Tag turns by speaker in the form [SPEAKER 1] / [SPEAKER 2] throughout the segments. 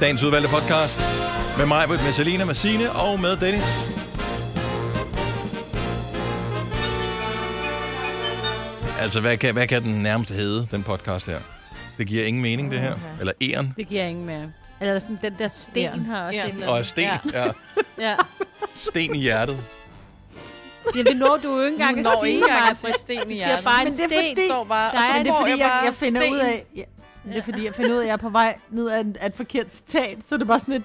[SPEAKER 1] dagens udvalgte podcast. Med mig, med Selina, med Signe og med Dennis. Altså, hvad kan, hvad kan den nærmest hedde, den podcast her? Det giver ingen mening, det her. Eller æren.
[SPEAKER 2] Det giver ingen mere. Eller sådan, den der sten
[SPEAKER 3] Ja.
[SPEAKER 2] har også
[SPEAKER 3] Ja.
[SPEAKER 2] ja. et eller
[SPEAKER 1] Og
[SPEAKER 2] andet.
[SPEAKER 1] sten, ja. ja.
[SPEAKER 2] Ja.
[SPEAKER 1] Sten i hjertet.
[SPEAKER 2] ja, det når du jo ikke engang
[SPEAKER 3] Du
[SPEAKER 2] at
[SPEAKER 3] når
[SPEAKER 2] sige,
[SPEAKER 3] ikke engang at
[SPEAKER 2] Maja.
[SPEAKER 3] sige sten i
[SPEAKER 2] Det er
[SPEAKER 3] hjernen.
[SPEAKER 2] bare en
[SPEAKER 4] Men det er
[SPEAKER 2] sten.
[SPEAKER 4] fordi-
[SPEAKER 3] står bare,
[SPEAKER 2] Der
[SPEAKER 3] og så
[SPEAKER 2] er-
[SPEAKER 4] Men det
[SPEAKER 2] får
[SPEAKER 4] er
[SPEAKER 3] får
[SPEAKER 4] fordi, jeg,
[SPEAKER 3] bare
[SPEAKER 4] jeg finder
[SPEAKER 3] sten.
[SPEAKER 4] ud af, ja, det er fordi, jeg finder ud af, at jeg er på vej ned ad, en- ad et forkert citat, så det er bare sådan et,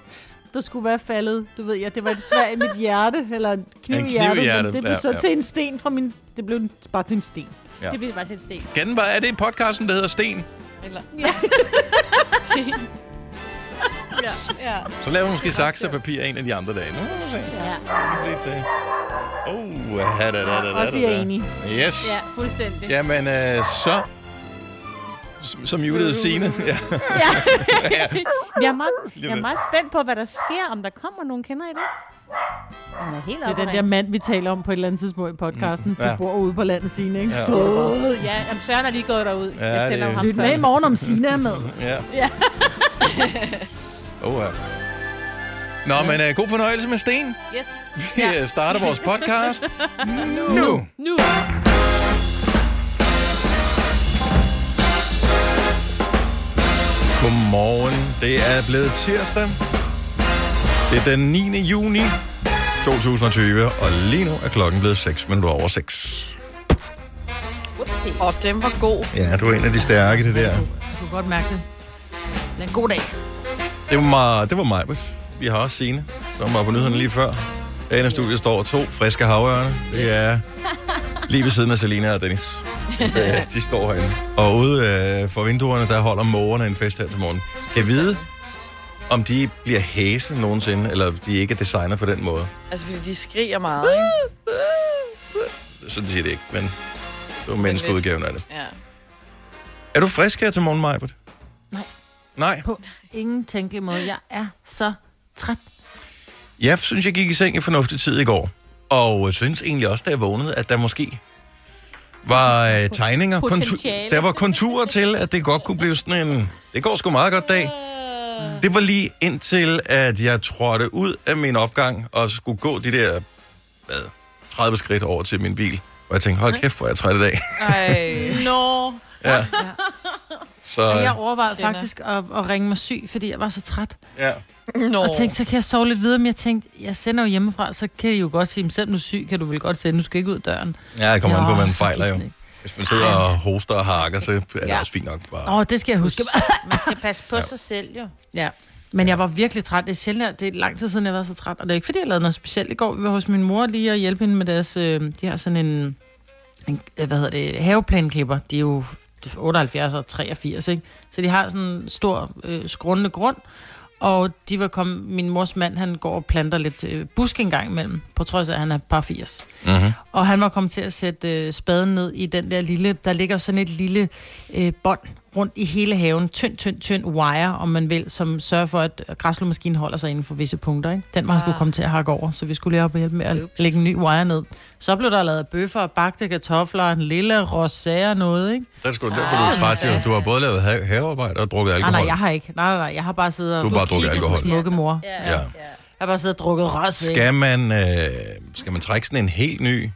[SPEAKER 4] der skulle være faldet, du ved, ja, det var et svær i mit hjerte, eller en kniv,
[SPEAKER 1] En kniv i
[SPEAKER 4] i hjertet,
[SPEAKER 1] hjertet,
[SPEAKER 4] men det blev
[SPEAKER 1] ja,
[SPEAKER 4] så
[SPEAKER 1] ja.
[SPEAKER 4] til en sten fra min, det blev en- bare til en sten.
[SPEAKER 1] Ja.
[SPEAKER 2] Det bliver bare til en sten.
[SPEAKER 1] Kan den bare, er det podcasten, der hedder Sten?
[SPEAKER 3] Eller,
[SPEAKER 2] Ja.
[SPEAKER 3] sten.
[SPEAKER 2] Ja.
[SPEAKER 3] Ja.
[SPEAKER 1] Så laver vi måske saks og papir en af de andre dage. Nu må vi se.
[SPEAKER 2] ja.
[SPEAKER 1] Lige til. Oh, da, da, da, da, da, da.
[SPEAKER 4] Også jeg er enig.
[SPEAKER 1] Yes.
[SPEAKER 2] Ja, fuldstændig.
[SPEAKER 1] Jamen, øh, så... Som, som julet Signe. Ja.
[SPEAKER 2] Ja. jeg, er meget,
[SPEAKER 1] Lige
[SPEAKER 2] jeg er
[SPEAKER 1] ved.
[SPEAKER 2] meget spændt på, hvad der sker, om der kommer nogen. Kender I det? Han er helt
[SPEAKER 4] Det er
[SPEAKER 2] oppe
[SPEAKER 4] den der mand, vi taler om på et eller andet tidspunkt i podcasten,
[SPEAKER 1] Mm,
[SPEAKER 4] mm,
[SPEAKER 1] ja.
[SPEAKER 4] ja. der bor ude på landet Signe, ikke?
[SPEAKER 1] Ja.
[SPEAKER 4] Ja.
[SPEAKER 2] der... Ja, jamen, Søren er lige gået derud.
[SPEAKER 1] Ja,
[SPEAKER 2] jeg sender
[SPEAKER 1] det-
[SPEAKER 2] jo ham
[SPEAKER 4] Lyt med i
[SPEAKER 2] først.
[SPEAKER 4] morgen, om Signe er med.
[SPEAKER 1] ja.
[SPEAKER 2] Ja.
[SPEAKER 1] Oh, ja. Nå, men øh, god fornøjelse med Sten.
[SPEAKER 2] Yes.
[SPEAKER 1] Vi ja. starter vores podcast nu. nu.
[SPEAKER 2] Nu.
[SPEAKER 1] Godmorgen. Det er blevet tirsdag. Det er den 9. juni 2020, og lige nu er klokken blevet 6 minutter over 6.
[SPEAKER 2] Upsi.
[SPEAKER 3] Og den var god.
[SPEAKER 1] Ja, du er en af de stærke, det der.
[SPEAKER 4] Du kan godt mærke det.
[SPEAKER 3] Men en god dag.
[SPEAKER 1] Det var, mig, det var mig. Vi har også Signe, som var på nyhederne lige før. Derinde i studiet står to friske havørne. Det er lige ved siden af Selina og Dennis. Ja, de står herinde. Og ude øh, for vinduerne, der holder mågerne en fest her til morgen. Kan jeg vide, om de bliver hæse nogensinde, eller om de ikke er designet på den måde?
[SPEAKER 3] Altså, fordi de skriger meget, ikke?
[SPEAKER 1] Så det siger det ikke, men det var menneskeudgaven af det.
[SPEAKER 3] Ja.
[SPEAKER 1] Er du frisk her til morgen, Majbert?
[SPEAKER 4] Nej.
[SPEAKER 1] Nej?
[SPEAKER 4] På ingen tænkelig måde. Jeg er så træt.
[SPEAKER 1] Jeg synes, jeg gik i seng i fornuftig tid i går. Og jeg synes egentlig også, da jeg vågnede, at der måske var øh, tegninger.
[SPEAKER 2] Potentiale.
[SPEAKER 1] Kontu- der var konturer til, at det godt kunne blive sådan en... Det går sgu meget godt dag. Det var lige indtil, at jeg trådte ud af min opgang og skulle gå de der hvad, 30 skridt over til min bil. Og jeg tænkte, hold kæft, hvor er jeg træt i dag.
[SPEAKER 3] Ej.
[SPEAKER 2] Nå.
[SPEAKER 1] ja. Så,
[SPEAKER 4] Og jeg
[SPEAKER 1] øh,
[SPEAKER 4] overvejede
[SPEAKER 3] Kender.
[SPEAKER 4] faktisk at, at ringe mig syg, fordi jeg var så træt.
[SPEAKER 1] ja.
[SPEAKER 3] Nå.
[SPEAKER 4] Og tænkte, så kan jeg sove lidt videre, men jeg tænkte, jeg sender jo hjemmefra, så kan jeg jo godt sige, "Men selvom du er syg, kan du vel godt sende, du skal ikke ud døren.
[SPEAKER 1] ja, jeg kommer an på,
[SPEAKER 4] Nå,
[SPEAKER 1] hvad man
[SPEAKER 4] så
[SPEAKER 1] fejler
[SPEAKER 4] gik
[SPEAKER 1] jo.
[SPEAKER 4] den ikke.
[SPEAKER 1] Hvis man sidder og hoster og hakker, så er det
[SPEAKER 3] Ja.
[SPEAKER 1] også fint nok bare.
[SPEAKER 4] Åh, oh, det skal jeg huske.
[SPEAKER 2] Man skal passe på sig selv, jo.
[SPEAKER 4] Ja. Men jeg var virkelig træt. Det er sjældent, at- det er lang tid siden, jeg var så træt. Og det er ikke, fordi jeg lavede noget specielt. I går vi var hos min mor lige og hjælpe hende med deres... Øh, de har sådan en, en øh, hvad hedder det, haveplanklipper. De er jo 78 og 83, ikke? Så de har sådan en stor øh, skrånende grund. Og de var kommet, min mors mand, han går og planter lidt øh, busk en gang imellem, på trods af, at han er par 80.
[SPEAKER 1] Mhm.
[SPEAKER 4] Og han var kommet til at sætte øh, spaden ned i den der lille, der ligger sådan et lille øh, bånd rundt i hele haven. Tynd, tynd, tynd wire, om man vil, som sørger for, at græslemaskinen holder sig inden for visse punkter. Ikke? Den var han
[SPEAKER 2] Ah,
[SPEAKER 4] skulle komme til at hakke over, så vi skulle lige op og hjælpe med at
[SPEAKER 3] Ups.
[SPEAKER 4] lægge en ny wire ned. Så blev der lavet bøffer og bagte kartofler og en lille rosé og noget, ikke?
[SPEAKER 1] Det er sgu derfor, du er træt, jo. Du har både lavet ha- havearbejde og drukket
[SPEAKER 4] Ah, Nej,
[SPEAKER 1] alkohol.
[SPEAKER 4] nej, jeg har ikke. Nej, nej, nej, jeg har bare siddet og
[SPEAKER 1] Du har bare
[SPEAKER 4] og kigget
[SPEAKER 1] drukket
[SPEAKER 4] på
[SPEAKER 1] alkohol.
[SPEAKER 4] smukke mor. Jeg
[SPEAKER 1] Ja.
[SPEAKER 4] har bare siddet og drukket rosé.
[SPEAKER 1] Skal man, øh, skal man trække sådan en helt ny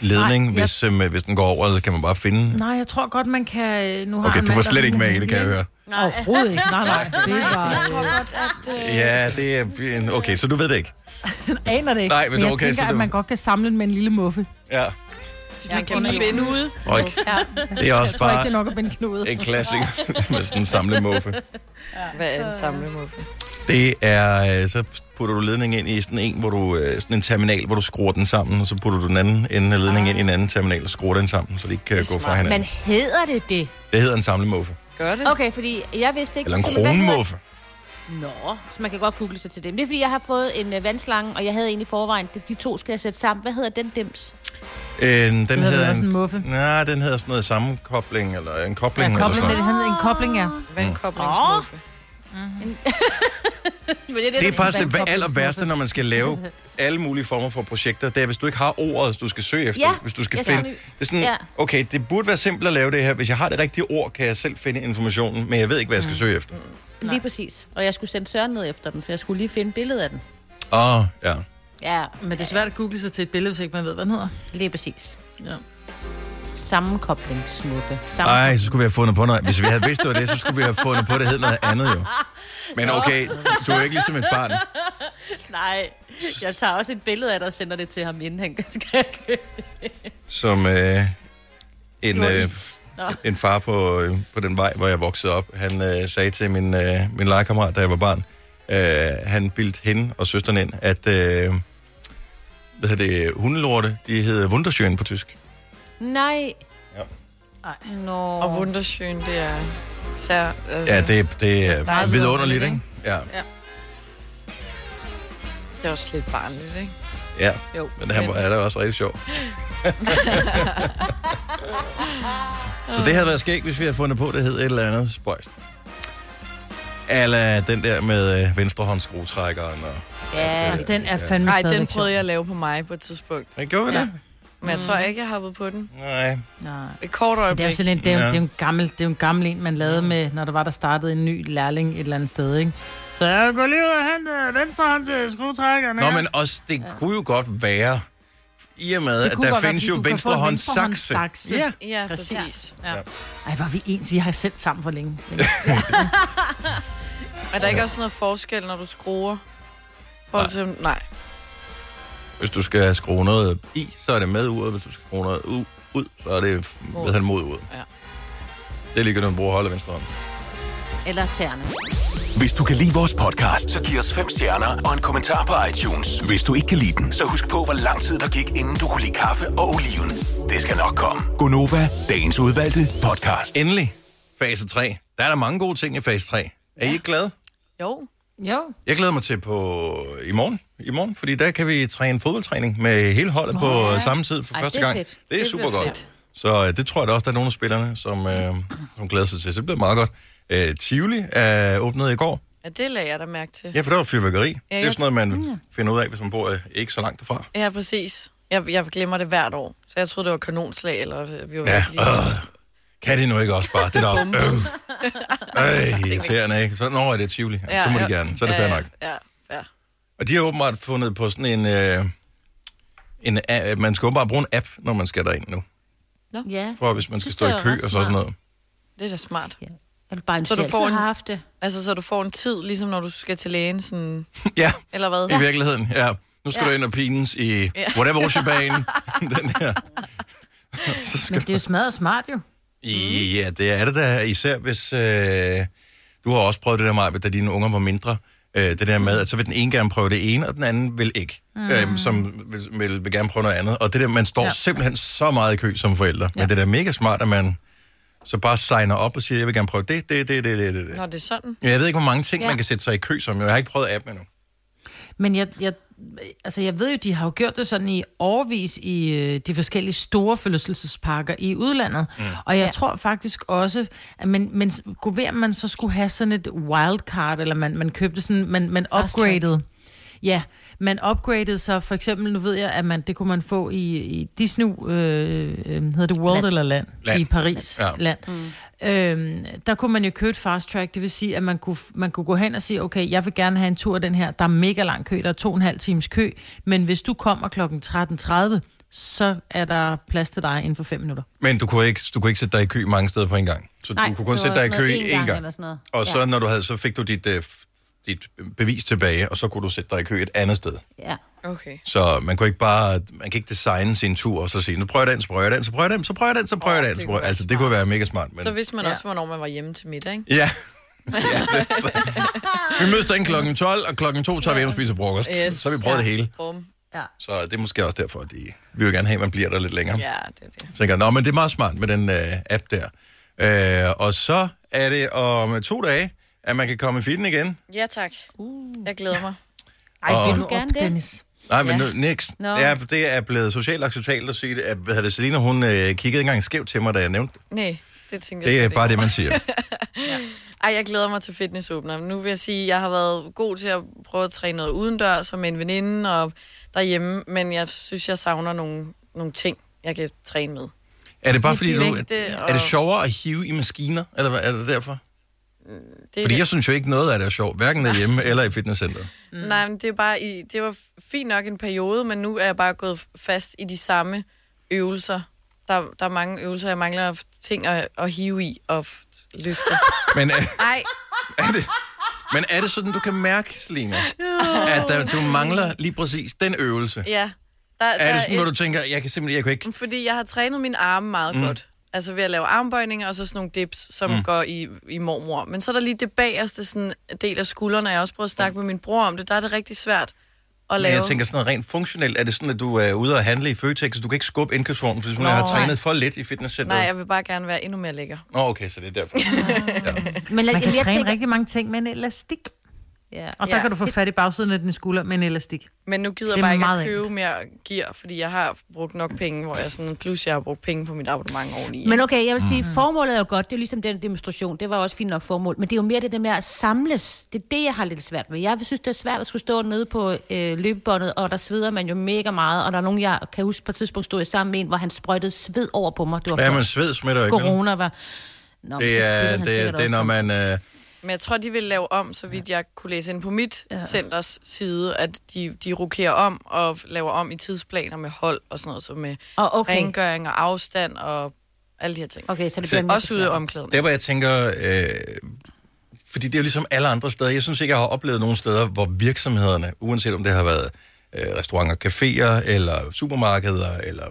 [SPEAKER 1] ledning,
[SPEAKER 4] Nej,
[SPEAKER 1] nej,
[SPEAKER 4] jeg-
[SPEAKER 1] hvis, øh, hvis den går over, eller kan man bare finde...
[SPEAKER 4] Nej, jeg tror godt, man kan... øh, Nu har
[SPEAKER 1] Okay,
[SPEAKER 4] han
[SPEAKER 1] du var
[SPEAKER 4] mand, der
[SPEAKER 1] slet ikke
[SPEAKER 4] har
[SPEAKER 1] med
[SPEAKER 4] en
[SPEAKER 1] i det, kan jeg høre.
[SPEAKER 4] Nej. Overhovedet ikke. Nej, nej. Det
[SPEAKER 3] Jeg
[SPEAKER 4] var...
[SPEAKER 3] tror godt, at... Øh,
[SPEAKER 1] Ja, det er... en- Okay, så du ved det ikke.
[SPEAKER 4] aner det ikke.
[SPEAKER 1] Nej, men det er
[SPEAKER 4] jeg
[SPEAKER 1] okay, så
[SPEAKER 4] tænker,
[SPEAKER 1] det-
[SPEAKER 4] at man godt kan samle den med en lille muffe.
[SPEAKER 1] Ja,
[SPEAKER 3] hvis man kan finde ud.
[SPEAKER 1] og ikke.
[SPEAKER 3] Ja.
[SPEAKER 1] Det er også
[SPEAKER 4] Jeg tror ikke,
[SPEAKER 1] bare
[SPEAKER 4] det er nok at binde knude.
[SPEAKER 1] en klassik med sådan en samlet muffe.
[SPEAKER 3] Hvad er en samlemuffe?
[SPEAKER 1] Det er... øh, Så putter du ledningen ind i sådan en, hvor du... øh, Sådan en terminal, hvor du skruer den sammen, og så putter du den anden ende af ledningen ind i en anden terminal og skruer den sammen, så de ikke kan
[SPEAKER 3] Det er
[SPEAKER 1] gå fra
[SPEAKER 3] smart.
[SPEAKER 2] Men
[SPEAKER 1] hinanden.
[SPEAKER 2] hedder det det?
[SPEAKER 1] Det hedder en samlet muffe.
[SPEAKER 3] Gør det?
[SPEAKER 2] Okay, fordi jeg vidste ikke...
[SPEAKER 1] Eller en
[SPEAKER 2] Så hvad hedder-
[SPEAKER 1] kronmuffe.
[SPEAKER 2] Nå, så man kan godt google sig til dem. Det er fordi, jeg har fået en øh, vandslange, og jeg havde en i forvejen. De- De to skal jeg sætte sammen. Hvad hedder den dims?
[SPEAKER 1] Øh, den
[SPEAKER 4] hedder vel
[SPEAKER 1] hedder
[SPEAKER 4] også
[SPEAKER 1] en,
[SPEAKER 4] en muffe?
[SPEAKER 1] Nej, den hedder sådan noget sammenkobling, eller en
[SPEAKER 4] Ja,
[SPEAKER 1] kobling, ja,
[SPEAKER 3] Mm.
[SPEAKER 4] kobling, Mhm.
[SPEAKER 1] eller sådan
[SPEAKER 4] det
[SPEAKER 1] noget.
[SPEAKER 4] hedder en kobling, ja.
[SPEAKER 3] Vandkoblingsmuffe.
[SPEAKER 2] Men det,
[SPEAKER 1] Det er
[SPEAKER 2] der-
[SPEAKER 1] faktisk det aller værste, når man skal lave alle mulige former for projekter. Det er, hvis du ikke har ordet, du skal søge efter.
[SPEAKER 2] Ja,
[SPEAKER 1] hvis du skal
[SPEAKER 2] jeg
[SPEAKER 1] finde...
[SPEAKER 2] skal-
[SPEAKER 1] Det er sådan,
[SPEAKER 2] Ja.
[SPEAKER 1] okay, det burde være simpelt at lave det her. Hvis jeg har det rigtige ord, kan jeg selv finde informationen, men jeg ved ikke, hvad jeg skal søge efter.
[SPEAKER 2] Lige præcis. Og jeg skulle sende Søren ned efter den, så jeg skulle lige finde billedet af den.
[SPEAKER 1] Åh, oh, ja.
[SPEAKER 2] Ja,
[SPEAKER 4] Men det er svært at google sig til et billede, hvis ikke man ved, hvad den hedder.
[SPEAKER 2] lige præcis.
[SPEAKER 4] Ja.
[SPEAKER 2] Sammenkoblingsmåde.
[SPEAKER 1] Ej, så skulle vi have fundet på noget. Hvis vi havde vidst, det var det, så skulle vi have fundet på, det hed noget andet jo. Men okay, du er ikke ligesom et barn.
[SPEAKER 2] Nej, jeg tager også et billede af dig og sender det til ham, inden han skal købe det.
[SPEAKER 1] som øh, en, øh,
[SPEAKER 2] Nå.
[SPEAKER 1] en far på, øh, på den vej, hvor jeg voksede op. Han øh, sagde til min, øh, min legekammerat, da jeg var barn, øh, han bildte hende og søsteren ind, at øh, hvad hedder det, hundelorte, de hedder Wunderschön på tysk.
[SPEAKER 2] Nej.
[SPEAKER 1] Ja.
[SPEAKER 2] Ej. Nå.
[SPEAKER 3] Og Wunderschön, det er sær... Altså,
[SPEAKER 1] Ja, det, det er
[SPEAKER 4] Bare
[SPEAKER 1] vidunderligt,
[SPEAKER 4] vidunderligt,
[SPEAKER 1] ikke? Ja,
[SPEAKER 3] det er også lidt barnligt, ikke?
[SPEAKER 1] ja.
[SPEAKER 3] Jo.
[SPEAKER 1] Men han er da også rigtig sjov. Så det havde været skægt, hvis vi havde fundet på, det hed et eller andet spøjst. Eller den der med øh, venstrehåndsskruetrækkeren og
[SPEAKER 2] Ja.
[SPEAKER 1] det-
[SPEAKER 4] Den er
[SPEAKER 1] ja.
[SPEAKER 4] fandme
[SPEAKER 3] Nej, den
[SPEAKER 4] stadigvæk
[SPEAKER 3] prøvede jeg at lave på mig på et tidspunkt.
[SPEAKER 1] Men gjorde vi
[SPEAKER 3] Ja.
[SPEAKER 1] det?
[SPEAKER 3] Men jeg tror ikke, jeg hoppede på den.
[SPEAKER 1] Ja. Nej.
[SPEAKER 4] sjov. Nej.
[SPEAKER 3] Et kort
[SPEAKER 4] Men Det er jo
[SPEAKER 3] øjeblik.
[SPEAKER 4] sådan en, det er, jo-
[SPEAKER 1] Ja.
[SPEAKER 4] det er jo en gammel, det er jo en gammel en, man lavede med, når der var, der startede en ny lærling et eller andet sted, ikke? Så jeg går lige ud og hente venstre hånd til skruetrækkerne.
[SPEAKER 1] Nå, men også, det ja. kunne jo godt være, i og med,
[SPEAKER 4] Det
[SPEAKER 1] at
[SPEAKER 4] kunne
[SPEAKER 1] der
[SPEAKER 4] godt være,
[SPEAKER 1] findes
[SPEAKER 4] fordi
[SPEAKER 1] jo
[SPEAKER 4] du kan få en
[SPEAKER 1] venstrehåndssakse.
[SPEAKER 4] venstrehåndssakse.
[SPEAKER 1] Ja.
[SPEAKER 3] Ja,
[SPEAKER 4] Præcis.
[SPEAKER 3] præcis. Ja.
[SPEAKER 1] Ja.
[SPEAKER 4] Ej, var vi ens. Vi har sendt sammen for længe.
[SPEAKER 3] Er der ikke også noget forskel, når du skruer? Forhold til, nej.
[SPEAKER 1] Hvis du skal skrue noget i, så er det med uret. Hvis du skal skrue noget u- ud, så er det
[SPEAKER 3] Mod.
[SPEAKER 1] ved han mod uret.
[SPEAKER 3] Ja.
[SPEAKER 1] Det er ligegyldigt, om du bruger højre eller venstre hånd.
[SPEAKER 2] Eller tæerne.
[SPEAKER 5] Hvis du kan lide vores podcast, så giv os fem stjerner og en kommentar på iTunes. Hvis du ikke kan lide den, så husk på, hvor lang tid der gik, inden du kunne lide kaffe og oliven. Det skal nok komme. Gonova, dagens udvalgte podcast.
[SPEAKER 1] Endelig, fase 3. Der er der mange gode ting i fase 3. Er I ikke glade?
[SPEAKER 3] Jo.
[SPEAKER 4] Jo.
[SPEAKER 1] Jeg glæder mig til på i morgen, i morgen fordi der kan vi træne fodboldtræning med hele holdet på ja. samme tid for
[SPEAKER 2] Ej,
[SPEAKER 1] første
[SPEAKER 2] det er
[SPEAKER 1] gang.
[SPEAKER 2] fedt.
[SPEAKER 1] Det er
[SPEAKER 3] Det
[SPEAKER 1] super
[SPEAKER 3] bliver
[SPEAKER 1] godt.
[SPEAKER 3] fedt.
[SPEAKER 1] Så øh, det tror jeg der også, der er nogle af spillerne, som, øh, som glæder sig til. Så det bliver meget godt. Øh, Tivoli er åbnet i går.
[SPEAKER 3] Ja, det lagde jeg da mærke til.
[SPEAKER 1] Ja, for der var fyrværkeri. Ja, det er
[SPEAKER 3] jeg
[SPEAKER 1] sådan noget, man finder ud af, hvis man bor øh, ikke så langt derfra.
[SPEAKER 3] Ja, præcis. Jeg, jeg glemmer det hvert år. Så jeg troede, det var kanonslag, eller vi var
[SPEAKER 1] Ja,
[SPEAKER 3] virkelig-
[SPEAKER 1] øh, kan de nu ikke også bare? Det er da også... Øh, øh, irriterende, ikke? Så, nå, er det Tivoli. Ja, så må de gerne. Så er det
[SPEAKER 3] ja,
[SPEAKER 1] fair nok.
[SPEAKER 3] Ja, ja.
[SPEAKER 1] Og de har åbenbart fundet på sådan en... Øh, en a- man skal åbenbart bruge en app, når man skal derind nu.
[SPEAKER 2] Ja.
[SPEAKER 1] For hvis man skal
[SPEAKER 2] Synes,
[SPEAKER 1] stå
[SPEAKER 2] det
[SPEAKER 1] i
[SPEAKER 2] er
[SPEAKER 1] kø
[SPEAKER 2] ret
[SPEAKER 1] og sådan
[SPEAKER 2] smart.
[SPEAKER 1] noget.
[SPEAKER 3] Det er da smart.
[SPEAKER 2] ja. Eller bare en
[SPEAKER 3] Så
[SPEAKER 2] så
[SPEAKER 3] du
[SPEAKER 2] du
[SPEAKER 3] får en-
[SPEAKER 2] har haft det.
[SPEAKER 3] Altså, så du får en tid, ligesom når du skal til lægen, sådan,
[SPEAKER 1] ja,
[SPEAKER 3] eller hvad?
[SPEAKER 1] i virkeligheden, ja. Nu skal
[SPEAKER 2] Ja.
[SPEAKER 1] du ind og pines i whatever ocean den her. Så
[SPEAKER 4] Men
[SPEAKER 1] skal
[SPEAKER 4] det er jo smadret smart, jo.
[SPEAKER 1] Ja, det er det da, især hvis... Øh, du har også prøvet det der meget, da dine unger var mindre. Øh, det der med, at så vil den ene gerne prøve det ene, og den anden vil ikke. Mm. Øh, som vil, vil, vil gerne prøve noget andet. Og det der, man står ja.
[SPEAKER 4] Ja.
[SPEAKER 1] simpelthen så meget i kø som forældre. Ja. Men det er da mega smart, at man så bare signer op og siger, jeg vil gerne prøve det, det, det, det, det, det. det.
[SPEAKER 3] Når det er sådan.
[SPEAKER 1] Ja, Jeg ved ikke, hvor mange ting, ja.
[SPEAKER 2] Ja.
[SPEAKER 1] man kan sætte sig i kø som. Jeg har ikke prøvet appen endnu.
[SPEAKER 4] Men jeg, jeg, altså jeg ved jo, de har jo gjort det sådan i årvis i øh, de forskellige store forlystelsesparker i udlandet. Mm. Og jeg ja. tror faktisk også, at man, men kunne være, at man så skulle have sådan et wildcard, eller man, man købte sådan, man, man
[SPEAKER 2] Fast track.
[SPEAKER 4] upgraded. Ja, man upgraded så for eksempel, nu ved jeg, at man, det kunne man få i, i Disney, øh, øh, hedder det World land. eller Land?
[SPEAKER 1] Land.
[SPEAKER 4] I Paris.
[SPEAKER 1] Ja.
[SPEAKER 4] Land. Mm. Øhm, der kunne man jo købe et fast track, det vil sige, at man kunne, man kunne gå hen og sige, okay, jeg vil gerne have en tur af den her, der er mega lang kø, der er to og en halv times kø, men hvis du kommer klokken 13.30, så er der plads til dig inden for fem minutter.
[SPEAKER 1] Men du kunne, ikke, du kunne ikke sætte dig i kø mange steder på en gang. Så Nej, du kunne kun sætte dig i kø én gang.
[SPEAKER 2] Eller sådan noget.
[SPEAKER 1] Og så, når du havde, så fik du dit, øh, f- dit bevis tilbage, og så kunne du sætte dig i kø et andet sted.
[SPEAKER 2] Ja.
[SPEAKER 3] Okay.
[SPEAKER 1] Så man kunne ikke bare, man kan ikke designe sin tur, og så sige, nu prøver jeg den, så prøver jeg den, så prøver jeg den, så prøver jeg den, så prøver jeg den. Så prøver jeg. Altså, det kunne være mega smart. Men...
[SPEAKER 3] Så vidste man
[SPEAKER 4] Ja.
[SPEAKER 3] også, hvornår man var hjemme til middag, ikke?
[SPEAKER 1] Ja. ja det, er så. Vi mødes derinde klokken 12, og klokken 2 tager vi hjem og spiser frokost. Yes. Så har vi prøvet ja. det hele.
[SPEAKER 3] Bum.
[SPEAKER 2] ja.
[SPEAKER 1] Så det er måske også derfor, at de, vi vil gerne have, at man bliver der lidt længere.
[SPEAKER 3] Ja, det er det.
[SPEAKER 1] tænker, nå, men det er meget smart med den øh, app der. Øh, og så er det om to dage, at man kan komme i feeden igen.
[SPEAKER 3] Ja, tak. Uh. Jeg glæder mig.
[SPEAKER 4] Ej,
[SPEAKER 1] Og-
[SPEAKER 4] vil du
[SPEAKER 2] Gerne
[SPEAKER 4] op,
[SPEAKER 2] det?
[SPEAKER 4] Dennis?
[SPEAKER 1] Nej, men
[SPEAKER 2] Ja.
[SPEAKER 1] nu, niks.
[SPEAKER 2] Nå.
[SPEAKER 1] Ja, for det er blevet socialt acceptabelt at sige det. At, hvad hedder det, Selina, hun øh, kiggede ikke engang skævt til mig, da jeg nævnte det.
[SPEAKER 3] Nej, det tænker jeg
[SPEAKER 1] Det er
[SPEAKER 3] slet
[SPEAKER 1] bare
[SPEAKER 3] ikke.
[SPEAKER 1] det, man siger.
[SPEAKER 3] Ej, jeg glæder mig til fitnessåbner. Nu vil jeg sige, at jeg har været god til at prøve at træne noget udendørs og med en veninde og derhjemme, men jeg synes, jeg savner nogle, nogle ting, jeg kan træne med.
[SPEAKER 1] Er det bare
[SPEAKER 3] Lidt
[SPEAKER 1] fordi, du...
[SPEAKER 3] vægte
[SPEAKER 1] Er
[SPEAKER 3] og-
[SPEAKER 1] det sjovere at hive i maskiner, eller hvad er det derfor?
[SPEAKER 3] Det er
[SPEAKER 1] Fordi
[SPEAKER 3] det.
[SPEAKER 1] jeg synes jo ikke noget af det er sjovt, hverken derhjemme eller i fitnesscenteret.
[SPEAKER 3] Mm. Nej, men det, er bare i, det var fint nok en periode, men nu er jeg bare gået fast i de samme øvelser. Der, der er mange øvelser, jeg mangler f- ting at, at hive i og f- løfte.
[SPEAKER 1] Men er,
[SPEAKER 3] Nej,
[SPEAKER 1] er det, men er det sådan, du kan mærke, Selina, at der, du mangler lige præcis den øvelse?
[SPEAKER 3] ja. Der, der
[SPEAKER 1] Er det sådan, når du tænker, jeg kan simpelthen jeg kan ikke...
[SPEAKER 3] Fordi jeg har trænet mine arme meget mm. godt. Altså ved at lave armbøjninger og så sådan nogle dips, som mm. går i, i mormor. Men så er der lige det bagerste sådan, del af skuldrene, og jeg har også prøvet at snakke med min bror om det. Der er det rigtig svært at
[SPEAKER 1] Mm. Men
[SPEAKER 3] lave.
[SPEAKER 1] jeg tænker sådan noget rent funktionelt. Er det sådan, at du er ude at handle i Føtex, og du kan ikke skubbe indkøbsvognen, fordi du har
[SPEAKER 3] nej.
[SPEAKER 1] trænet for lidt i fitnesscenteret?
[SPEAKER 3] Nej, jeg vil bare gerne være endnu mere lækker.
[SPEAKER 1] Nå, okay, så det er derfor.
[SPEAKER 2] Men
[SPEAKER 4] Man kan
[SPEAKER 2] jeg
[SPEAKER 4] træne
[SPEAKER 2] tænker,
[SPEAKER 4] rigtig mange ting med en elastik.
[SPEAKER 2] Ja.
[SPEAKER 4] Og der
[SPEAKER 3] Ja.
[SPEAKER 4] kan du få fat i bagsiden af din skulder med en elastik.
[SPEAKER 3] Men nu gider
[SPEAKER 4] Det er
[SPEAKER 3] jeg bare
[SPEAKER 4] meget
[SPEAKER 3] ikke at købe
[SPEAKER 4] enkelt.
[SPEAKER 3] mere gear, fordi jeg har brugt nok penge, hvor jeg sådan, plus jeg har brugt penge på mit abonnement oveni.
[SPEAKER 2] Men okay, jeg vil sige,
[SPEAKER 1] Mhm.
[SPEAKER 2] formålet er jo godt. Det er jo ligesom den demonstration. Det var også fint nok formål. Men det er jo mere det der med at samles. Det er det, jeg har lidt svært med. Jeg synes, det er svært at skulle stå nede på øh, løbebåndet, og der sveder man jo mega meget. Og der er nogen, jeg kan huske på et tidspunkt, stod jeg sammen med en, hvor han sprøjtede sved over på mig. Det var
[SPEAKER 1] Ja,
[SPEAKER 2] før
[SPEAKER 1] men sved smitter jo ikke. vel?
[SPEAKER 2] corona var... Nå, men
[SPEAKER 1] Det
[SPEAKER 2] så spillede
[SPEAKER 1] er,
[SPEAKER 2] han
[SPEAKER 1] det, er- det er,
[SPEAKER 2] sikkert også
[SPEAKER 1] når
[SPEAKER 2] om-
[SPEAKER 1] man... Øh,
[SPEAKER 3] Men jeg tror, de vil lave om, så vidt jeg kunne læse ind på mit ja. centers side, at de, de rokerer om og laver om i tidsplaner med hold og sådan noget, så med
[SPEAKER 2] Og okay.
[SPEAKER 3] rengøring og afstand og alle de her ting.
[SPEAKER 2] Okay, så det
[SPEAKER 1] Så-
[SPEAKER 2] bliver mere
[SPEAKER 3] Også ude i
[SPEAKER 2] besværligt.
[SPEAKER 3] omklædning.
[SPEAKER 1] Der, hvor jeg tænker... Øh, fordi det er jo ligesom alle andre steder. Jeg synes ikke, jeg har oplevet nogen steder, hvor virksomhederne, uanset om det har været øh, restauranter, caféer, eller supermarkeder, eller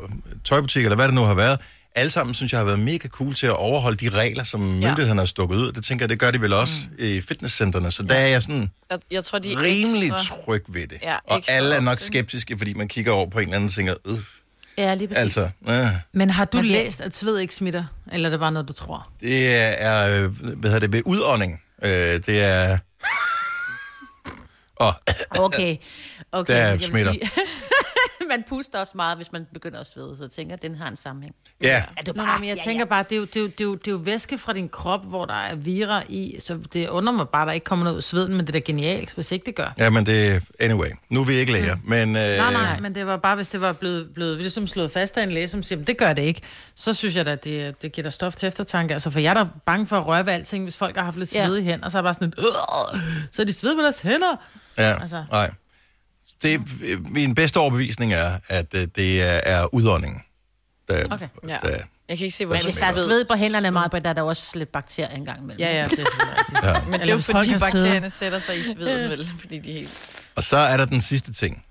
[SPEAKER 1] tøjbutikker, eller hvad det nu har været, alle sammen synes jeg har været mega cool til at overholde de regler, som myndighederne har stukket ud. Det tænker jeg, det gør de vel også mm. i fitnesscentrene. Så der er jeg sådan
[SPEAKER 3] Jeg, jeg tror, de er
[SPEAKER 1] rimelig
[SPEAKER 3] ekstra...
[SPEAKER 1] tryg ved det.
[SPEAKER 3] Ja,
[SPEAKER 1] og
[SPEAKER 3] ekstra
[SPEAKER 1] alle er nok
[SPEAKER 3] opsyn.
[SPEAKER 1] skeptiske, fordi man kigger over på en eller anden og tænker, øh,
[SPEAKER 2] Ja, lige præcis.
[SPEAKER 1] altså, øh,
[SPEAKER 4] Men har du
[SPEAKER 2] Men det-
[SPEAKER 4] læst, at sved ikke smitter? Eller er det bare noget, du tror?
[SPEAKER 1] det er, øh, hvad hedder det, ved udånding. Øh, det er... og
[SPEAKER 2] Okay. okay
[SPEAKER 1] Der
[SPEAKER 2] men jeg vil
[SPEAKER 1] smitter.
[SPEAKER 2] sige- man puster også meget, hvis man begynder at svede, så jeg tænker, at den har en sammenhæng.
[SPEAKER 1] Ja,
[SPEAKER 2] Er du
[SPEAKER 4] Nå, nej, men jeg tænker bare, det er, jo, det, er jo, det, er jo, det er jo væske fra din krop, hvor der er vira i, så det undrer mig bare, at der ikke kommer noget ud af sveden, men det er da genialt, hvis ikke det gør.
[SPEAKER 1] ja men det... Anyway, nu er vi ikke læger, men... Øh,
[SPEAKER 4] Mm. Nej, nej, men det var bare, hvis det var blevet, blevet ligesom slået fast af en læge, som siger, "Men det gør det ikke, så synes jeg da, det, det giver dig stof til eftertanke. Altså, for jeg er da bange for at røre ved alting, hvis folk har haft lidt
[SPEAKER 2] Ja.
[SPEAKER 4] sved i hænder, så er jeg bare sådan et, "Øh, så er de sved på deres hænder.
[SPEAKER 1] Ja,
[SPEAKER 4] altså.
[SPEAKER 1] nej. Det, øh, min bedste overbevisning er, at øh, det er, er udåndingen. Der, okay.
[SPEAKER 3] Ja.
[SPEAKER 1] der,
[SPEAKER 3] Jeg kan ikke se, hvor
[SPEAKER 2] Hvis der er sved på hænderne meget, men der er der også lidt bakterier engang imellem.
[SPEAKER 3] Ja, ja, det er selvfølgelig rigtigt.
[SPEAKER 1] Ja.
[SPEAKER 3] Ja. Men det er
[SPEAKER 4] Eller
[SPEAKER 3] jo
[SPEAKER 4] hvis folk
[SPEAKER 3] fordi
[SPEAKER 4] har siddet-
[SPEAKER 3] bakterierne sætter sig i sveden, vel? Fordi de er helt...
[SPEAKER 1] Og så er der den sidste ting.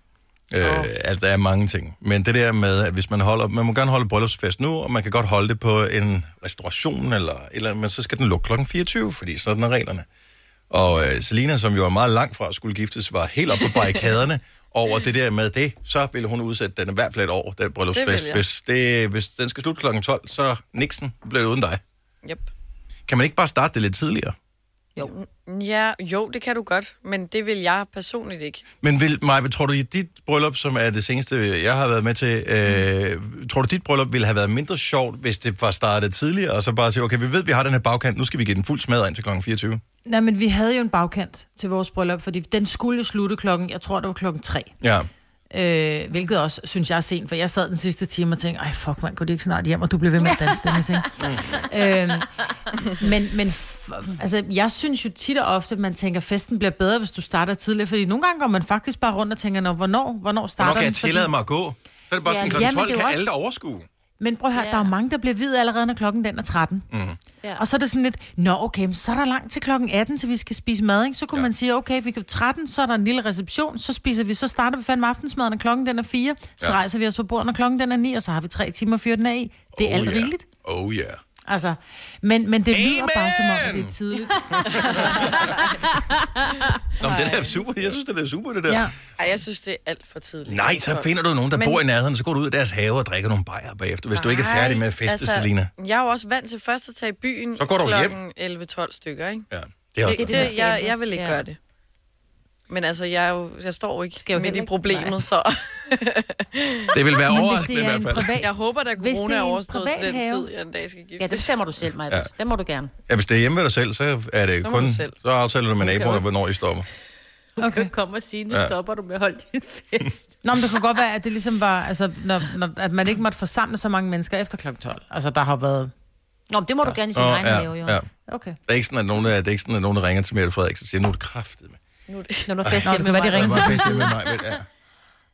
[SPEAKER 1] Øh, at der er mange ting. Men det der med, at hvis man holder... Man må gerne holde bryllupsfest nu, og man kan godt holde det på en restauration, eller, eller men så skal den lukke klokken 24, fordi sådan er reglerne. Og øh, Selina, som jo er meget langt fra at skulle giftes, var helt oppe på barrikaderne over det der med det. Så ville hun udsætte den i hvert fald et år, den
[SPEAKER 3] Det
[SPEAKER 1] bryllupsfest.
[SPEAKER 3] vil jeg.
[SPEAKER 1] hvis, det, hvis den skal slutte klokken 12, så Nixon bliver det uden dig.
[SPEAKER 3] Yep.
[SPEAKER 1] Kan man ikke bare starte det lidt tidligere?
[SPEAKER 2] Jo.
[SPEAKER 3] Ja, jo, det kan du godt, men det vil jeg personligt ikke.
[SPEAKER 1] Men vil, Maja, tror du, at dit bryllup, som er det seneste, jeg har været med til, øh, tror du, dit bryllup ville have været mindre sjovt, hvis det var startet tidligere, og så bare sige, okay, vi ved, vi har den her bagkant, nu skal vi give den fuld smadret ind til klokken 24.
[SPEAKER 4] Nej, men vi havde jo en bagkant til vores bryllup, fordi den skulle jo slutte klokken, jeg tror, det var klokken tre.
[SPEAKER 1] Ja.
[SPEAKER 4] Øh, hvilket også, synes jeg er sent, for jeg sad den sidste time og tænkte, ej fuck man, går det ikke snart hjem, og du bliver ved med at danse, Dennis, ikke?
[SPEAKER 1] Mm.
[SPEAKER 4] øhm, men men f- altså, jeg synes jo tit og ofte, at man tænker, festen bliver bedre, hvis du starter tidligere, fordi nogle gange går man faktisk bare rundt og tænker, Nå, hvornår, hvornår starter
[SPEAKER 1] Hvornår kan jeg
[SPEAKER 4] den? Fordi-
[SPEAKER 1] tillade mig at gå? Så er det bare sådan,
[SPEAKER 4] Ja,
[SPEAKER 1] klokken
[SPEAKER 4] jamen,
[SPEAKER 1] 12
[SPEAKER 4] det er
[SPEAKER 1] kan
[SPEAKER 4] jo også-
[SPEAKER 1] alle der overskue.
[SPEAKER 4] Men prøv at høre,
[SPEAKER 3] Ja.
[SPEAKER 4] der er jo mange, der bliver hvid allerede, når klokken den er 13. Mm.
[SPEAKER 2] Ja.
[SPEAKER 4] Og så er det sådan lidt, nå okay, men så er der langt til klokken 18, så vi skal spise mad, ikke? Så kunne ja. man sige, okay, vi kan 13, så er der en lille reception, så spiser vi, så starter vi fandme aftensmaden, når klokken den er 4, så
[SPEAKER 1] Ja.
[SPEAKER 4] rejser vi os på bordet, når klokken den er 9, og så har vi 3 timer 14 af i. Det er oh, alt
[SPEAKER 1] yeah.
[SPEAKER 4] rigeligt.
[SPEAKER 1] Oh yeah.
[SPEAKER 4] Altså, men, men det lyder
[SPEAKER 1] Amen!
[SPEAKER 4] bare som om, at det er tidligt.
[SPEAKER 1] Nå, men den er super, jeg synes, den er super, det der.
[SPEAKER 4] Ja. Altså,
[SPEAKER 1] Ja.
[SPEAKER 3] Ej, jeg synes, det er alt for tidligt.
[SPEAKER 1] Nej, så finder du nogen, der men...
[SPEAKER 3] Men-
[SPEAKER 1] bor i nærheden, så går du ud af deres have og drikker nogle bajer bagefter, hvis Nej, du ikke er færdig med at feste, altså... Selina.
[SPEAKER 3] Jeg er jo også vant til først at tage i byen
[SPEAKER 1] Så går du hjem.
[SPEAKER 3] klokken 11-12 stykker, ikke?
[SPEAKER 1] Ja, det er også
[SPEAKER 3] Det,
[SPEAKER 1] det.
[SPEAKER 3] det,
[SPEAKER 2] der skal
[SPEAKER 3] jeg,
[SPEAKER 2] ændres.
[SPEAKER 3] jeg vil ikke
[SPEAKER 2] Ja.
[SPEAKER 3] gøre det. Men altså, jeg, er jo, jeg står jo ikke
[SPEAKER 2] jo
[SPEAKER 3] jo midt
[SPEAKER 2] heller
[SPEAKER 3] i
[SPEAKER 2] ikke-
[SPEAKER 3] problemet,
[SPEAKER 2] nej.
[SPEAKER 3] så
[SPEAKER 1] Det vil være
[SPEAKER 6] Men hvis
[SPEAKER 1] overraskende
[SPEAKER 6] det
[SPEAKER 1] i
[SPEAKER 6] er en
[SPEAKER 1] hvert fald.
[SPEAKER 6] privat...
[SPEAKER 3] jeg håber, at
[SPEAKER 6] Hvis
[SPEAKER 3] corona
[SPEAKER 6] det
[SPEAKER 3] er
[SPEAKER 6] er en
[SPEAKER 3] overstået til den
[SPEAKER 6] privat have-
[SPEAKER 3] tid, jeg en dag skal give
[SPEAKER 2] Ja, det stemmer du selv, Maja. Ja. Det må du gerne.
[SPEAKER 1] Ja, hvis det er hjemme ved dig selv, så er det
[SPEAKER 3] Så må
[SPEAKER 1] kun...
[SPEAKER 3] du selv.
[SPEAKER 1] Så aftaler du med naboerne, hvornår I stopper.
[SPEAKER 2] Du okay. kan jo komme og sige, nu
[SPEAKER 1] Ja.
[SPEAKER 2] ja. stopper du med at holde din fest.
[SPEAKER 4] Nå, men det kunne godt være, at det ligesom var, altså, når, når, at man ikke måtte forsamle så mange mennesker efter kl. 12. Altså, der har været...
[SPEAKER 2] Nå, men det må du gerne i din
[SPEAKER 1] Nå,
[SPEAKER 2] egen
[SPEAKER 1] ja,
[SPEAKER 2] have, jo.
[SPEAKER 1] ja.
[SPEAKER 4] Okay.
[SPEAKER 1] Det er ikke sådan, at nogen, der, det er ikke sådan, at nogen der ringer til Mette Frederiksen og siger, nu er det kraftigt.
[SPEAKER 2] Når du er fest
[SPEAKER 4] Nå, det
[SPEAKER 2] hjemme
[SPEAKER 4] kan være, de
[SPEAKER 1] Der
[SPEAKER 4] ringer
[SPEAKER 1] var fest hjemme med mig. men Ja.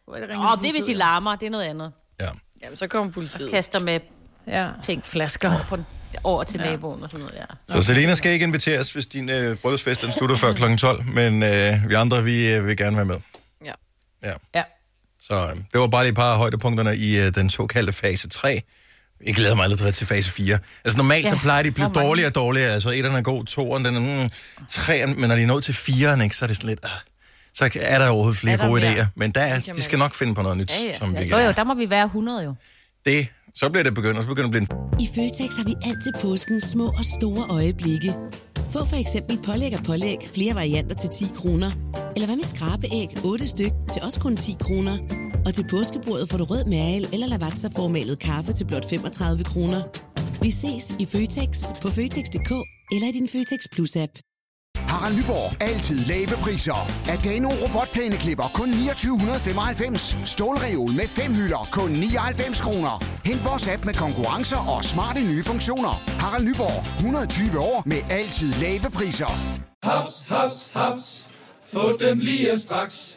[SPEAKER 2] Åh, det er, hvis I larmer, det er noget andet.
[SPEAKER 1] ja.
[SPEAKER 3] Jamen, så kommer politiet.
[SPEAKER 2] Kaster med
[SPEAKER 4] Ja.
[SPEAKER 2] ting, flasker over, på, over til ja. naboen og sådan noget, ja.
[SPEAKER 1] Så Selena skal ikke inviteres, hvis din øh, bryllupsfest den slutter før kl. 12, men øh, vi andre, vi øh, vil gerne være med.
[SPEAKER 3] Ja.
[SPEAKER 1] Ja.
[SPEAKER 4] Ja.
[SPEAKER 1] Så øh, det var bare lige et par af højdepunkterne i øh, den såkaldte fase 3. Jeg glæder mig allerede til fase 4. Altså normalt ja, så
[SPEAKER 2] Ja,
[SPEAKER 1] plejer de at blive
[SPEAKER 2] hvor mange?
[SPEAKER 1] dårligere og dårligere. Altså etteren er god, toeren, den er mm, treeren, men når de er nået til fireren, ikke, så er det sådan lidt... Ah, så er der overhovedet flere
[SPEAKER 2] Er der
[SPEAKER 1] gode
[SPEAKER 2] mere?
[SPEAKER 1] idéer, men der er,
[SPEAKER 3] kan
[SPEAKER 1] de
[SPEAKER 3] man-
[SPEAKER 1] skal nok finde på noget nyt,
[SPEAKER 3] Ja, ja.
[SPEAKER 1] som vi
[SPEAKER 2] Jo, jo,
[SPEAKER 1] kan.
[SPEAKER 2] der må vi være 100 jo.
[SPEAKER 1] Det, så bliver det begyndt, og så begynder det at blive en
[SPEAKER 7] I Føtex har vi altid påsken små og store øjeblikke. Få for eksempel pålæg og pålæg flere varianter til 10 kroner. Eller hvad med skrabeæg 8 styk til også kun 10 kroner. Og til påskebordet får du rød mal eller lavatserformalet kaffe til blot 35 kroner. Vi ses i Føtex på Føtex.dk eller i din Føtex Plus-app.
[SPEAKER 8] Harald Nyborg. Altid lave priser. Adano robotplæneklipper kun 2995. Stålreol med fem hylder kun 99 kroner. Hent vores app med konkurrencer og smarte nye funktioner. Harald Nyborg. 120 år med altid lave priser.
[SPEAKER 9] Haps, haps, haps. Få dem lige straks.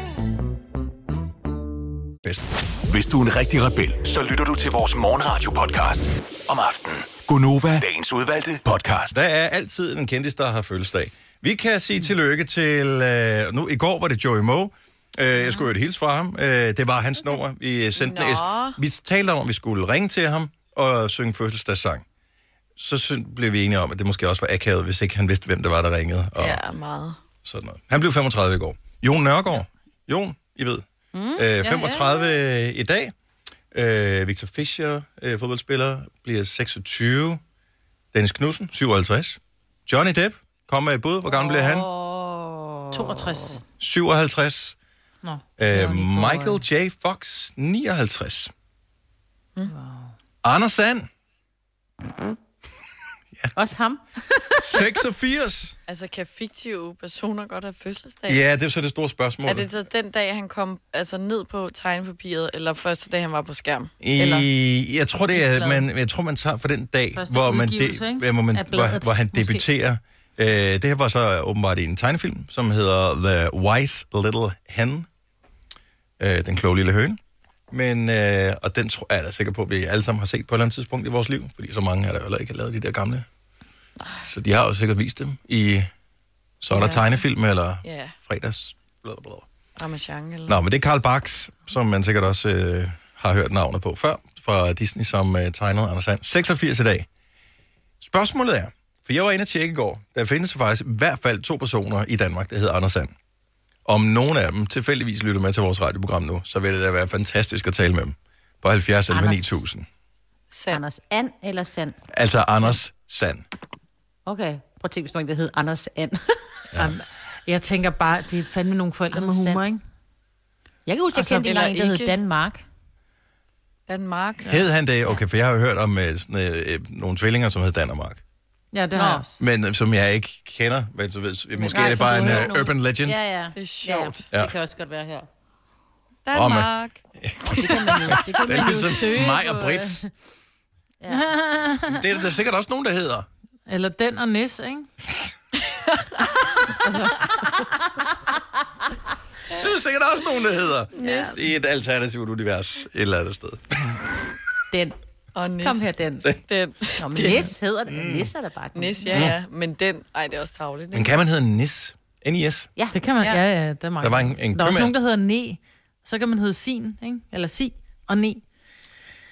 [SPEAKER 1] fest.
[SPEAKER 5] Hvis du er en rigtig rebel, så lytter du til vores morgenradio-podcast om aftenen. Gunova, dagens udvalgte podcast.
[SPEAKER 1] Der er altid en kendis, der har fødselsdag. Vi kan sige tillykke til... Øh, nu, I går var det Joey Moe. Øh, jeg skulle jo et hils fra ham. Øh, det var hans nummer. Vi, øh, sendte en
[SPEAKER 3] Nå.
[SPEAKER 1] S- vi talte om, at vi skulle ringe til ham og synge fødselsdagssang. Så syn- blev vi enige om, at det måske også var akavet, hvis ikke han vidste, hvem det var, der ringede. Og ja.
[SPEAKER 3] Ja, meget.
[SPEAKER 1] sådan noget. Han blev 35 i går. Jon Nørgaard. Jon, I ved.
[SPEAKER 2] Hmm?
[SPEAKER 1] Mm, øh, 35 ja, ja. i dag. Øh, Victor Fischer, øh, fodboldspiller, bliver 26. Dennis Knudsen, 57. Johnny Depp, kom med et bud. Hvor gammel oh. bliver han?
[SPEAKER 4] 62.
[SPEAKER 1] 57.
[SPEAKER 4] Nå.
[SPEAKER 1] Øh, Michael J. Fox, 59. Wow. Anders Sand,
[SPEAKER 2] Også ham.
[SPEAKER 1] 86.
[SPEAKER 3] Altså, kan fiktive personer godt have fødselsdag?
[SPEAKER 1] ja, det er så det store spørgsmål.
[SPEAKER 3] Er det så den dag, han kom altså, ned på tegnepapiret, eller første dag, han var på skærm? Eller?
[SPEAKER 1] I, jeg tror, det er,
[SPEAKER 3] Ugeblad.
[SPEAKER 1] man, jeg tror, man tager for den dag,
[SPEAKER 4] Første
[SPEAKER 1] hvor, man
[SPEAKER 4] udgivelse,
[SPEAKER 1] de,
[SPEAKER 4] ikke?
[SPEAKER 1] ja, hvor, man,
[SPEAKER 4] Af
[SPEAKER 1] hvor,
[SPEAKER 4] bladet,
[SPEAKER 1] hvor han
[SPEAKER 4] måske.
[SPEAKER 1] debuterer. Øh, det her var så åbenbart i en tegnefilm, som hedder The Wise Little Hen. Øh, den kloge lille høne. Men, øh, og den tror jeg, er jeg da sikker på, at vi alle sammen har set på et eller andet tidspunkt i vores liv. Fordi så mange er der jo heller ikke har lavet de der gamle. Så de har jo sikkert vist dem i... Så er der
[SPEAKER 3] Ja.
[SPEAKER 1] tegnefilm eller
[SPEAKER 3] Ja,
[SPEAKER 1] fredags... Bla, bla, bla.
[SPEAKER 3] Ramachan eller...
[SPEAKER 1] Nå, men det er Karl Barks, som man sikkert også øh, har hørt navnet på før, fra Disney, som øh, tegnede Anders Sand. 86 i dag. Spørgsmålet er, for jeg var inde og tjekke i går, der findes faktisk i hvert fald to personer i Danmark, der hedder Anders Sand. Om nogen af dem tilfældigvis lytter med til vores radioprogram nu, så vil det da være fantastisk at tale med dem på 70 11
[SPEAKER 2] Anders.
[SPEAKER 1] 9000.
[SPEAKER 3] Sand.
[SPEAKER 2] Anders And eller Sand?
[SPEAKER 1] Altså Anders Sand.
[SPEAKER 2] Okay, prøv at tænke, hvis man ikke hed Anders And.
[SPEAKER 4] Jeg tænker bare, det er fandme nogle forældre med
[SPEAKER 2] Anders
[SPEAKER 4] humor,
[SPEAKER 2] Sand.
[SPEAKER 4] ikke?
[SPEAKER 2] Jeg kan huske, jeg
[SPEAKER 3] Og så
[SPEAKER 2] kendte engang en,
[SPEAKER 3] eller
[SPEAKER 2] der hed
[SPEAKER 3] ikke.
[SPEAKER 2] Danmark.
[SPEAKER 3] Danmark.
[SPEAKER 1] Hed han det? Okay, for jeg har jo hørt om øh, sådan, øh, øh, nogle tvillinger, som hed Danmark.
[SPEAKER 4] Ja, det
[SPEAKER 2] har
[SPEAKER 4] har
[SPEAKER 2] jeg
[SPEAKER 4] jeg
[SPEAKER 2] også.
[SPEAKER 1] Men øh, som jeg ikke kender. Men, så, ved, måske
[SPEAKER 2] nej,
[SPEAKER 1] er det
[SPEAKER 2] så
[SPEAKER 1] bare
[SPEAKER 2] altså, du
[SPEAKER 1] en
[SPEAKER 2] hører
[SPEAKER 1] øh,
[SPEAKER 2] nogen.
[SPEAKER 1] urban legend.
[SPEAKER 2] Ja, ja.
[SPEAKER 3] Det er sjovt.
[SPEAKER 2] Ja,
[SPEAKER 1] Ja.
[SPEAKER 2] det kan også godt være her.
[SPEAKER 3] Danmark.
[SPEAKER 2] Det kan man jo, det
[SPEAKER 1] Det
[SPEAKER 2] kan man
[SPEAKER 1] er
[SPEAKER 2] jo
[SPEAKER 1] ligesom
[SPEAKER 2] søge
[SPEAKER 1] mig
[SPEAKER 2] på,
[SPEAKER 4] øh.
[SPEAKER 1] og Brits.
[SPEAKER 2] Ja.
[SPEAKER 1] Det er der sikkert også nogen, der hedder.
[SPEAKER 4] Eller den og Nis, ikke?
[SPEAKER 1] Det er der sikkert også nogen, der hedder. Yes. I et alternativt univers et eller andet sted.
[SPEAKER 2] øh, Den.
[SPEAKER 3] Og Nis.
[SPEAKER 2] Kom her, den.
[SPEAKER 3] Den. Mm.
[SPEAKER 2] Nå, men Nis hedder det. Nis er da bare den.
[SPEAKER 3] Nis, ja, ja. Men den. Ej, det er også tavligt.
[SPEAKER 1] Men kan man hedde Nis? NIS.
[SPEAKER 2] Ja.
[SPEAKER 4] Det kan man, ja, ja, ja der er mange.
[SPEAKER 1] Der var en- en
[SPEAKER 4] der er også
[SPEAKER 1] købmand.
[SPEAKER 4] nogen, der hedder ne. Så kan man hedde sin, ikke? Eller si og ne.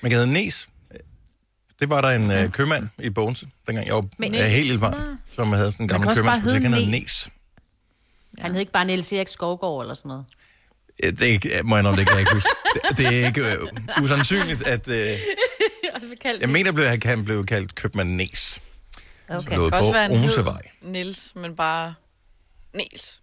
[SPEAKER 1] Man kan hedde Nes. Det var der en øh, købmand i Bogense, dengang jeg var
[SPEAKER 2] Men-
[SPEAKER 1] øh, helt lille
[SPEAKER 2] Nå.
[SPEAKER 1] barn, som havde sådan en
[SPEAKER 4] kan
[SPEAKER 1] gammel
[SPEAKER 4] også bare
[SPEAKER 1] købmandsbutik. Han
[SPEAKER 4] hedde
[SPEAKER 1] hed
[SPEAKER 4] Nes.
[SPEAKER 1] Nes.
[SPEAKER 2] Han hed ikke bare Niels Erik Skovgaard eller sådan noget.
[SPEAKER 1] Ja, Det er ikke, må jeg nok, det kan jeg ikke huske. Det, det er ikke øh, usandsynligt, at... Øh,
[SPEAKER 2] Og så blev kaldt
[SPEAKER 1] jeg mener, at han blev kaldt købmand Nes.
[SPEAKER 2] Okay.
[SPEAKER 1] Okay. Lå
[SPEAKER 3] Det kan også være
[SPEAKER 1] på
[SPEAKER 3] en hed
[SPEAKER 1] Osevej.
[SPEAKER 3] Niels, men bare Niels.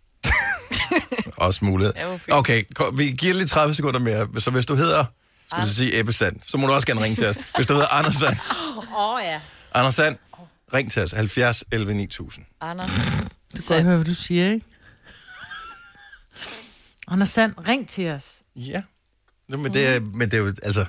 [SPEAKER 1] Også mulighed.
[SPEAKER 3] Ja, hvor fint.
[SPEAKER 1] Okay, kom, vi giver lige 30 sekunder mere. Så hvis du hedder, skal vi så sige Ebbesand, så må du også gerne ringe til os. Hvis du hedder Anders Sand,
[SPEAKER 2] Åh oh, ja.
[SPEAKER 1] Anders Sand ring til os. 70 11 9000.
[SPEAKER 3] Anders.
[SPEAKER 4] Du kan godt høre, hvad du siger, ikke? Anders Sand, ring til os.
[SPEAKER 1] Ja. Nå, men, det, er-
[SPEAKER 3] Mhm.
[SPEAKER 1] men det er jo, altså,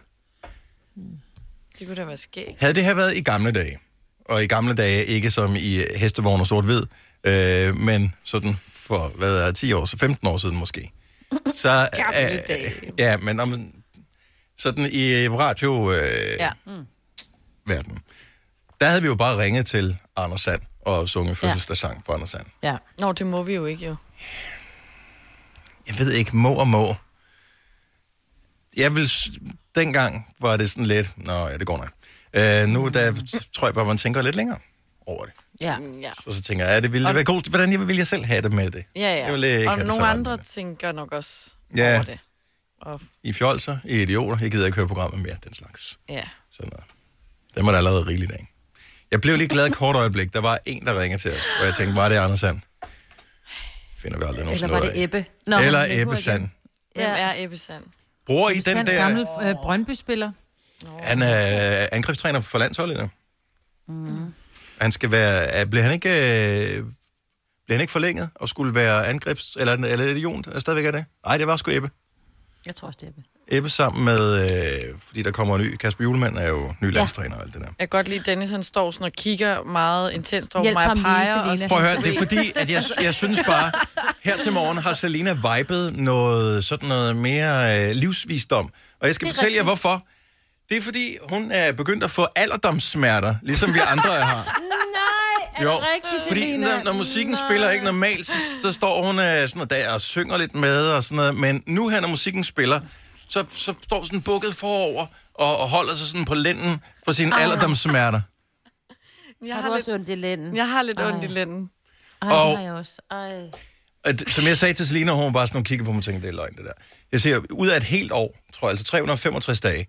[SPEAKER 3] Det kunne da være skægt.
[SPEAKER 1] havde det her været i gamle dage, og i gamle dage ikke som i øh, hestevogn og sort-hvid, øh, men sådan for, hvad er det, 10 år, så 15 år siden måske. Så,
[SPEAKER 3] Gamle
[SPEAKER 1] øh,
[SPEAKER 3] dage.
[SPEAKER 1] Ja, men om, sådan i radio, øh, ja.
[SPEAKER 3] Ja.
[SPEAKER 2] Mm.
[SPEAKER 1] verden. Der havde vi jo bare ringet til Anders Sand og sunget fødselsdagssang for Anders Sand.
[SPEAKER 4] Ja.
[SPEAKER 3] Nå, det må vi jo ikke jo.
[SPEAKER 1] Jeg ved ikke, må og må. Jeg vil... s- Dengang var det sådan lidt... Nå, ja, det går nok. Øh, nu der, tror jeg bare, man tænker lidt længere over det.
[SPEAKER 2] ja.
[SPEAKER 3] Mm, Ja,
[SPEAKER 1] Og så tænker jeg, er det ville det være god, hvordan vil jeg selv have det med det?
[SPEAKER 3] ja.
[SPEAKER 1] Jeg vil ikke
[SPEAKER 3] ja.
[SPEAKER 1] have
[SPEAKER 3] Og
[SPEAKER 1] det
[SPEAKER 3] nogle
[SPEAKER 1] sådan.
[SPEAKER 3] andre ting gør nok også
[SPEAKER 1] Ja.
[SPEAKER 3] over det. Og,
[SPEAKER 1] I fjolser, I idioter, jeg gider ikke høre programmet mere, den slags.
[SPEAKER 3] ja.
[SPEAKER 1] Sådan noget. Den var der allerede rigeligt af. Jeg blev lige glad et kort øjeblik. Der var en, der ringede til os, og jeg tænkte, var det Anders Sand? Finder vi aldrig nogen
[SPEAKER 2] Eller var det Ebbe? Nå,
[SPEAKER 1] Nå,
[SPEAKER 2] men det
[SPEAKER 1] Eller
[SPEAKER 2] kunne
[SPEAKER 1] Ebbe
[SPEAKER 2] jeg
[SPEAKER 1] Sand.
[SPEAKER 2] ikke.
[SPEAKER 3] Hvem
[SPEAKER 2] Ja.
[SPEAKER 3] er Ebbe Sand?
[SPEAKER 1] Bruger I den
[SPEAKER 4] Sand,
[SPEAKER 1] der...
[SPEAKER 4] gammel øh, Brøndby-spiller.
[SPEAKER 1] Han er øh, angrebstræner for landsholdet. Mm. Han skal være... er- Blev han ikke... øh, Blev han ikke forlænget og skulle være angrebs... Eller, eller er det Jon, der stadigvæk er det? Nej, det var sgu Ebbe.
[SPEAKER 2] Jeg tror også, det er Ebbe.
[SPEAKER 1] Ebbe sammen med... Øh, fordi der kommer en ny... Kasper Julemand er jo ny landstræner og alt det der.
[SPEAKER 3] Jeg kan godt lide, at Dennis han står sådan og kigger meget intenst over
[SPEAKER 2] Hjælp
[SPEAKER 3] mig og
[SPEAKER 2] ham lige,
[SPEAKER 3] peger. og
[SPEAKER 2] Selina.
[SPEAKER 1] Prøv at høre, det er fordi, at jeg, jeg synes bare, her til morgen har Selina vibet noget, sådan noget mere øh, livsvisdom. Og jeg skal fortælle jer, hvorfor. Det er fordi, hun er begyndt at få alderdomssmerter, ligesom vi andre har.
[SPEAKER 2] Nej, er det rigtigt,
[SPEAKER 1] fordi
[SPEAKER 2] Selina?
[SPEAKER 1] når, når musikken
[SPEAKER 2] Nej.
[SPEAKER 1] spiller ikke normalt, så, så står hun øh, sådan noget der og synger lidt med og sådan noget. Men nu her, når musikken spiller, så, så står sådan bukket forover og, og holder sig sådan på lænden for sine
[SPEAKER 2] Ah.
[SPEAKER 1] alderdomssmerter.
[SPEAKER 3] Jeg
[SPEAKER 2] Har
[SPEAKER 3] har
[SPEAKER 2] du
[SPEAKER 3] lidt,
[SPEAKER 2] også ondt i lænden?
[SPEAKER 3] jeg har lidt
[SPEAKER 2] Ej.
[SPEAKER 3] ondt i lænden.
[SPEAKER 2] Ej,
[SPEAKER 1] Og-
[SPEAKER 2] det har jeg også. Ej.
[SPEAKER 1] at, som jeg sagde til Selina, hun var bare sådan, hun kiggede på mig og tænkte, det er løgn, det der. Jeg siger, ud af et helt år, tror jeg, altså 365 dage,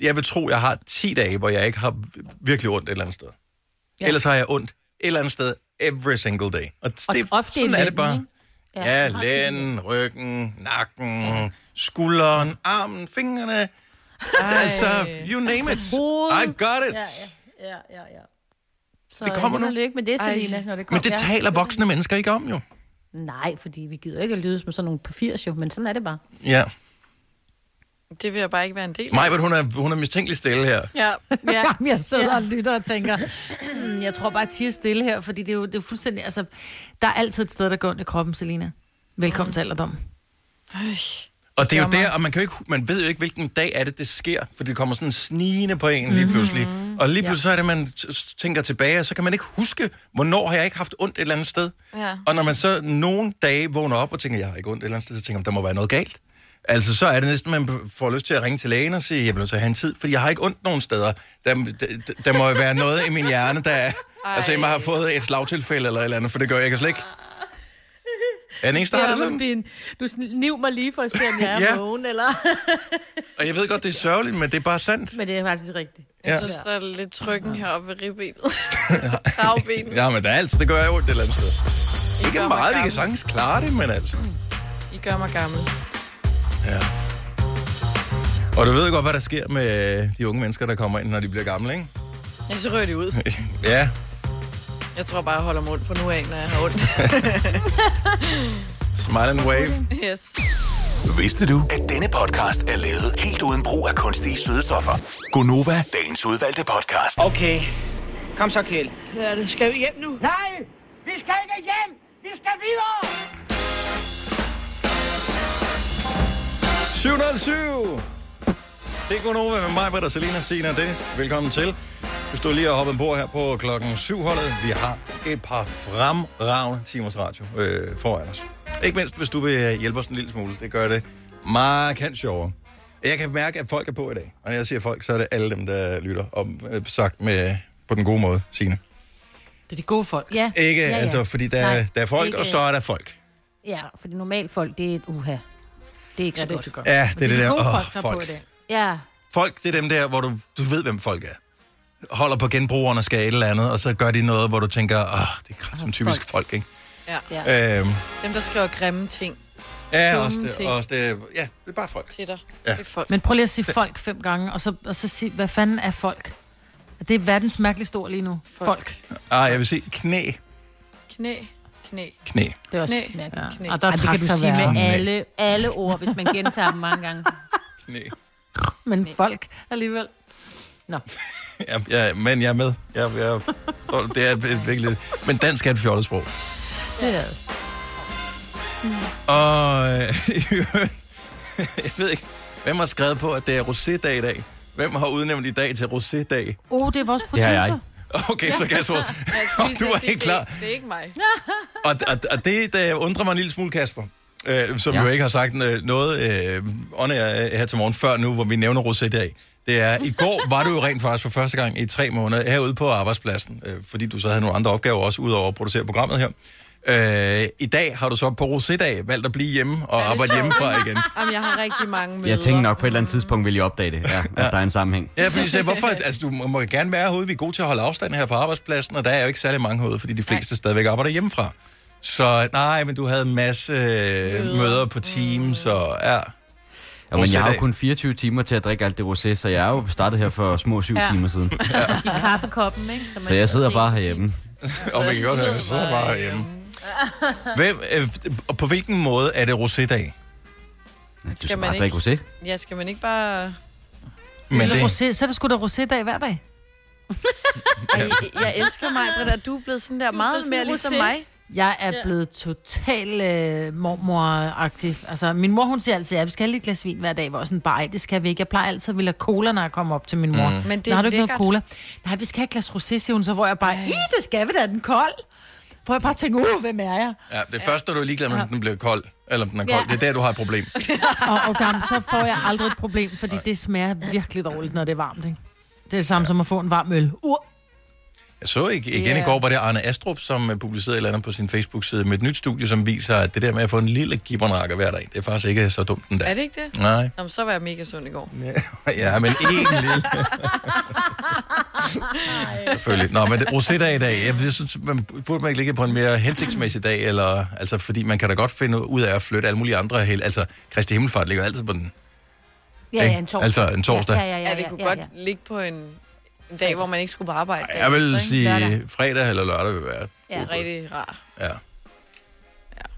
[SPEAKER 1] jeg vil tro, jeg har 10 dage, hvor jeg ikke har virkelig ondt et eller andet sted. Ja. Ellers har jeg ondt et eller andet sted every single day. Og, det,
[SPEAKER 2] Og ofte i
[SPEAKER 1] sådan er det
[SPEAKER 2] lænden,
[SPEAKER 1] bare.
[SPEAKER 2] ikke?
[SPEAKER 1] Ja, ja lænden, ryggen, nakken, skulderen, armen, fingrene. Altså, you name it. I
[SPEAKER 2] Hovedet.
[SPEAKER 1] got it.
[SPEAKER 2] Ja, ja, ja, ja, ja. Så
[SPEAKER 1] Det kommer
[SPEAKER 2] held og
[SPEAKER 1] nu.
[SPEAKER 2] Lykke med det, Selina, når det
[SPEAKER 1] Men
[SPEAKER 2] kommer.
[SPEAKER 1] det taler voksne mennesker ikke om, jo.
[SPEAKER 2] Nej, fordi vi gider ikke at lyde som sådan nogle på 80, jo, men sådan er det bare.
[SPEAKER 1] Ja.
[SPEAKER 3] Det vil jeg bare ikke være en del af.
[SPEAKER 1] Maja, hun er, hun er mistænkelig stille her.
[SPEAKER 3] Ja.
[SPEAKER 2] Ja.
[SPEAKER 4] Jamen, jeg sidder og lytter og tænker, "Hmm, jeg tror bare, at er stille her, fordi det er jo det er jo fuldstændig, altså, der er altid et sted, der går ondt i kroppen, Selina. Velkommen til alderdom.
[SPEAKER 1] Og det er jo der, og man, kan jo ikke, man ved jo ikke, hvilken dag er det, det sker, for det kommer sådan snigende på en lige pludselig. Og lige pludselig så er det, man t- s- tænker tilbage, og så kan man ikke huske, hvornår har jeg ikke haft ondt et eller andet sted.
[SPEAKER 3] Ja.
[SPEAKER 1] Og når man så nogle dage vågner op og tænker, jeg har ikke ondt et eller andet sted, så tænker man, der må være noget galt. Altså, så er det næsten, man får lyst til at ringe til lægen og sige, jeg bliver nødt til at have en tid, for jeg har ikke ondt nogen steder. Der, der, der må jo være noget i min hjerne, der er... Altså, jeg må have fået et slagtilfælde eller et eller andet, for det gør jeg, jeg kan slet ikke. Er den eneste, der har det sådan?
[SPEAKER 2] Robin, du sn- niv mig lige for at se, om jeg
[SPEAKER 1] Ja.
[SPEAKER 2] er vågen, eller...
[SPEAKER 1] Og jeg ved godt, det er sørgeligt, men det er bare sandt.
[SPEAKER 2] men det er faktisk rigtigt.
[SPEAKER 3] Jeg synes, der er lidt trykken heroppe ved ribbenet. Ravbenet.
[SPEAKER 1] Ja, men det er altså, det gør jeg ondt et eller andet sted.
[SPEAKER 3] I
[SPEAKER 1] Ikke
[SPEAKER 3] gør mig
[SPEAKER 1] meget, vi
[SPEAKER 3] gammel.
[SPEAKER 1] kan sagtens klare det, men altså.
[SPEAKER 3] I gør mig gammel.
[SPEAKER 1] Og du ved godt, hvad der sker med øh, de unge mennesker, der kommer ind, når de bliver gamle, ikke?
[SPEAKER 3] Ja, så rører de ud.
[SPEAKER 1] ja.
[SPEAKER 3] Jeg tror bare, jeg holder mund for nu af, når jeg har ondt.
[SPEAKER 1] Smile and wave.
[SPEAKER 3] yes.
[SPEAKER 5] Vidste du, at denne podcast er lavet helt uden brug af kunstige sødestoffer? Gonova, dagens udvalgte podcast.
[SPEAKER 10] Okay. Kom så, Kjeld. Hvad er det? Skal vi hjem nu? Nej! Vi skal ikke hjem! Vi skal videre!
[SPEAKER 1] 707! Det er Gunova med mig, Britt og Selina, Sina og Dennis. Velkommen til. Vi stod lige og hoppede ombord her på klokken syv holdet. Vi har et par fremragende timers radio øh, foran os. Ikke mindst, hvis du vil hjælpe os en lille smule. Det gør det markant sjovere. Jeg kan mærke, at folk er på i dag. Og når jeg siger folk, så er det alle dem, der lytter. Og øh, sagt med, på den gode måde, Signe.
[SPEAKER 4] Det er de gode folk.
[SPEAKER 2] Ja.
[SPEAKER 1] Ikke,
[SPEAKER 2] ja, ja.
[SPEAKER 1] altså, fordi der,
[SPEAKER 2] Nej,
[SPEAKER 1] er- der er folk,
[SPEAKER 2] ikke-
[SPEAKER 1] og så er der folk.
[SPEAKER 2] Ja, fordi normalt folk, det er et uha. Det er ikke så godt.
[SPEAKER 4] så godt.
[SPEAKER 1] Ja, det er det der. Åh,
[SPEAKER 2] der er
[SPEAKER 1] folk.
[SPEAKER 2] på i dag. Ja,
[SPEAKER 1] Folk, det er dem der, hvor du, du ved, hvem folk er. Holder på genbrugerne og skal et eller andet, og så gør de noget, hvor du tænker, åh, det er som typisk folk, ikke?
[SPEAKER 3] Ja. ja.
[SPEAKER 1] Ja. Øhm,
[SPEAKER 3] Dem, der skriver grimme ting
[SPEAKER 1] ja,
[SPEAKER 3] Dumme
[SPEAKER 1] også det,
[SPEAKER 3] ting.
[SPEAKER 1] også det, ja, det er bare folk.
[SPEAKER 3] til dig.
[SPEAKER 1] Ja.
[SPEAKER 3] Ja. Det er folk.
[SPEAKER 4] Men prøv lige at sige folk fem gange, og så, og så sig, hvad fanden er folk? Det er verdens mærkeligste ord lige nu. Folk. folk.
[SPEAKER 1] Ah, jeg vil sige knæ,
[SPEAKER 3] Knæ, knæ,
[SPEAKER 1] knæ.
[SPEAKER 2] det er også
[SPEAKER 3] knæ,
[SPEAKER 2] mærkeligt.
[SPEAKER 4] Ja.
[SPEAKER 3] knæ.
[SPEAKER 4] Og der er
[SPEAKER 2] Ej, det kan du sige
[SPEAKER 4] traktorværter.
[SPEAKER 2] med alle, alle ord, hvis man gentager dem mange gange.
[SPEAKER 1] knæ.
[SPEAKER 4] Men folk alligevel.
[SPEAKER 1] Ja, ja, men jeg er med. Jeg, jeg, og det er et- et virkelig... Men dansk er et fjollet sprog.
[SPEAKER 4] Det er,
[SPEAKER 1] Og øh, i øvrigt, jeg ved ikke, hvem har skrevet på, at det er rosé-dag i dag? Hvem har udnævnt i dag til rosé-dag?
[SPEAKER 4] oh, det er vores
[SPEAKER 11] Det
[SPEAKER 4] producer.
[SPEAKER 11] har jeg.
[SPEAKER 1] Okay, så kan jeg svare.
[SPEAKER 3] Jeg skulle
[SPEAKER 1] Du
[SPEAKER 3] lige til at
[SPEAKER 1] er
[SPEAKER 3] sige,
[SPEAKER 1] ikke klar.
[SPEAKER 3] Det, det er ikke mig.
[SPEAKER 1] Og, og, og det, der undrer mig en lille smule, Kasper, øh, som ja. jo ikke har sagt øh, noget øh, on air, øh, her til morgen før nu, hvor vi nævner rosé i dag, det er, i går var du jo rent faktisk for første gang i tre måneder herude på arbejdspladsen, øh, fordi du så havde nogle andre opgaver også, udover at producere programmet her. Øh, I dag har du så på rosé-dag valgt at blive hjemme og arbejde hjemmefra igen.
[SPEAKER 3] Jamen, jeg har rigtig mange møder.
[SPEAKER 11] Jeg tænkte nok på et eller andet tidspunkt, vil I opdage det, ja, at der er en sammenhæng.
[SPEAKER 1] Ja, fordi jeg sagde, hvorfor? Altså, du må må gerne være herude. Vi er gode til at holde afstand her på arbejdspladsen, og der er jo ikke særlig mange herude, fordi de fleste stadigvæk arbejder hjemmefra. Så nej, men du havde en masse øh, møder på Teams, og ja.
[SPEAKER 11] Ja, men jeg har jo
[SPEAKER 1] Rosé-dag.
[SPEAKER 11] kun 24 timer til at drikke alt det rosé, så jeg er jo startet her for små syv
[SPEAKER 2] Ja.
[SPEAKER 11] timer siden.
[SPEAKER 2] I kaffekoppen, ikke? man
[SPEAKER 11] Så jeg sidder
[SPEAKER 2] kan se
[SPEAKER 11] bare
[SPEAKER 2] på
[SPEAKER 11] herhjemme.
[SPEAKER 2] Teams.
[SPEAKER 1] Og man kan godt høre, så sidder bare hjemme. Hvem, øh, og på hvilken måde er det rosé-dag?
[SPEAKER 11] Ja, Du
[SPEAKER 3] Skal
[SPEAKER 11] skal
[SPEAKER 3] man
[SPEAKER 11] bare
[SPEAKER 3] ikke?
[SPEAKER 11] drikke rosé.
[SPEAKER 3] Ja, skal man ikke bare...
[SPEAKER 1] Men
[SPEAKER 4] så,
[SPEAKER 1] det,
[SPEAKER 4] rosé, så er der sgu da rosé-dag hver dag.
[SPEAKER 3] Ej, jeg elsker mig, Britta. Du er blevet sådan der meget mere ligesom mig.
[SPEAKER 4] Jeg er ja. blevet total øh, mormoragtig. Altså, min mor, hun siger altid, at vi skal have lidt glas vin hver dag, hvor sådan bare, "Ej, det skal vi ikke. Jeg plejer altid at ville have cola, når jeg kommer op til min mor. Mm.
[SPEAKER 3] Men det er
[SPEAKER 4] "Nå, har du ikke noget
[SPEAKER 3] lækkert."
[SPEAKER 4] cola? Nej, vi skal have et glas rosé, siger hun så, hvor jeg bare, i, det skal vi da, er den kold. Hvor jeg bare tænker, uh, hvem er jeg?
[SPEAKER 1] ja, det er først, når du er ligeglad med, om den bliver kold, eller om den er kold.
[SPEAKER 2] Ja.
[SPEAKER 1] Det er der, du har et problem.
[SPEAKER 4] Og, og gammel, så får jeg aldrig et problem, fordi det smager virkelig dårligt, når det er varmt, ikke? Det er det samme som at få en varm øl. Uh,
[SPEAKER 1] Jeg så ikke, igen i
[SPEAKER 3] Ja.
[SPEAKER 1] går var det Arne Astrup, som øh, publicerede et eller andet på sin Facebook-side med et nyt studie, som viser, at det der med at få en lille gibbernakker hver dag, det er faktisk ikke så dumt den dag.
[SPEAKER 3] Er det ikke det?
[SPEAKER 1] Nej.
[SPEAKER 3] Nå, men så var jeg mega sund i går.
[SPEAKER 1] Ja, men en lille... Selvfølgelig. Nå, men det- rosé-dag i dag, jeg, jeg synes, man burde man ikke ligge på en mere hensigtsmæssig dag, eller, altså, fordi man kan da godt finde ud af at flytte alle mulige andre hel, altså, Kristi Himmelfart ligger altid på den.
[SPEAKER 2] Ja,
[SPEAKER 1] ikke?
[SPEAKER 2] ja, en torsdag.
[SPEAKER 1] Altså, en torsdag.
[SPEAKER 2] Ja, ja, ja. ja,
[SPEAKER 3] Ja, det kunne
[SPEAKER 2] ja, ja.
[SPEAKER 3] godt ligge på en, en dag, hvor man ikke skulle på arbejde.
[SPEAKER 1] Ej, Jeg vil
[SPEAKER 3] Ikke?
[SPEAKER 1] sige,
[SPEAKER 2] Lørdag.
[SPEAKER 1] fredag eller lørdag vil være.
[SPEAKER 2] Ja,
[SPEAKER 3] Rigtig rar.
[SPEAKER 1] Ja.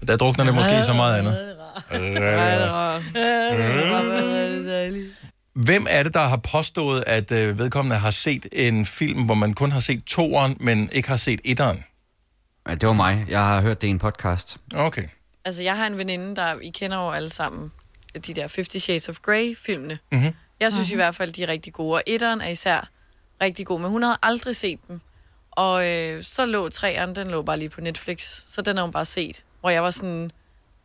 [SPEAKER 1] Der drukner det måske i så meget andet.
[SPEAKER 3] Ej, det er rart. Det var bare rigtig dejligt.
[SPEAKER 1] Hvem er det, der har påstået, at øh, vedkommende har set en film, hvor man kun har set toeren, men ikke har set etteren?
[SPEAKER 11] Ja, det var mig. Jeg har hørt det i en podcast.
[SPEAKER 1] Okay.
[SPEAKER 3] Altså, jeg har en veninde, der... I kender jo alle sammen de der 50 Shades of Grey-filmene.
[SPEAKER 1] Mhm.
[SPEAKER 3] Mm-hmm. Jeg synes
[SPEAKER 2] Mhm.
[SPEAKER 3] i hvert fald, de er rigtig gode. Og etteren er især rigtig god, men hun havde aldrig set dem. Og øh, så lå treeren, den lå bare lige på Netflix. Så den har hun bare set. Hvor jeg var sådan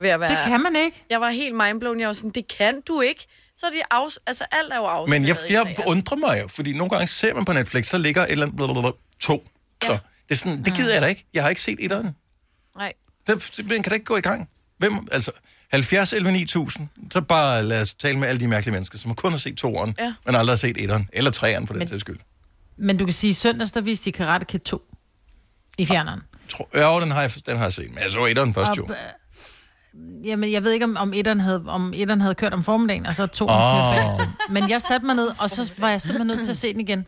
[SPEAKER 3] ved at være...
[SPEAKER 4] det kan man ikke.
[SPEAKER 3] Jeg var helt mindblown. Jeg var sådan, det kan du ikke. Så er de af... Altså, alt er jo afspillet.
[SPEAKER 1] Men jeg,
[SPEAKER 3] i
[SPEAKER 1] jeg
[SPEAKER 3] serien.
[SPEAKER 1] undrer mig jo, fordi nogle gange ser man på Netflix, så ligger et eller andet blablabla, to. Så det, er sådan, det gider jeg da ikke. Jeg har ikke set etteren.
[SPEAKER 3] Nej.
[SPEAKER 1] Det, man kan da ikke gå i gang. Hvem, altså, 70 11 9000, så bare lad os tale med alle de mærkelige mennesker, som kun har set toeren,
[SPEAKER 3] Ja.
[SPEAKER 1] men aldrig har set etteren, eller treeren på den men... skyld.
[SPEAKER 4] Men du kan sige, at søndags, der viste de Karate Kid 2 i fjerneren.
[SPEAKER 1] Tro, ja, den har, jeg, den har jeg set, men jeg så etteren først jo.
[SPEAKER 4] Og, øh, Jamen, jeg ved ikke, om, om, etteren havde, om etteren havde kørt om formiddagen, og så to oh.
[SPEAKER 1] Åh.
[SPEAKER 4] Men jeg satte mig ned, og så var jeg simpelthen nødt til at se den igen.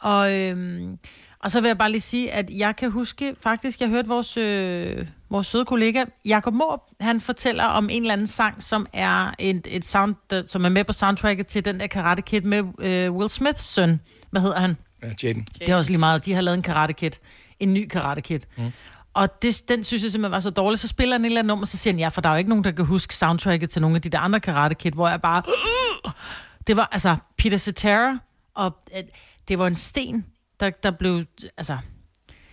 [SPEAKER 4] Og, øhm, og så vil jeg bare lige sige, at jeg kan huske, faktisk, jeg hørte vores, øh, vores søde kollega, Jakob Morup, han fortæller om en eller anden sang, som er, et, et sound, der- som er med på soundtracket til den der Karate Kid med øh, Will Smiths søn. Hvad hedder han?
[SPEAKER 1] Ja, Jaden.
[SPEAKER 4] Det er også lige meget. De har lavet en Karate Kid. En ny Karate Kid. Mm. Og det, den synes jeg simpelthen var så dårlig. Så spiller han et eller andet nummer, så siger han, ja, for der er jo ikke nogen, der kan huske soundtracket til nogle af de der andre Karate Kid, hvor jeg bare... Det var altså Peter Cetera, og øh, det var en sten, der, der blev... Altså,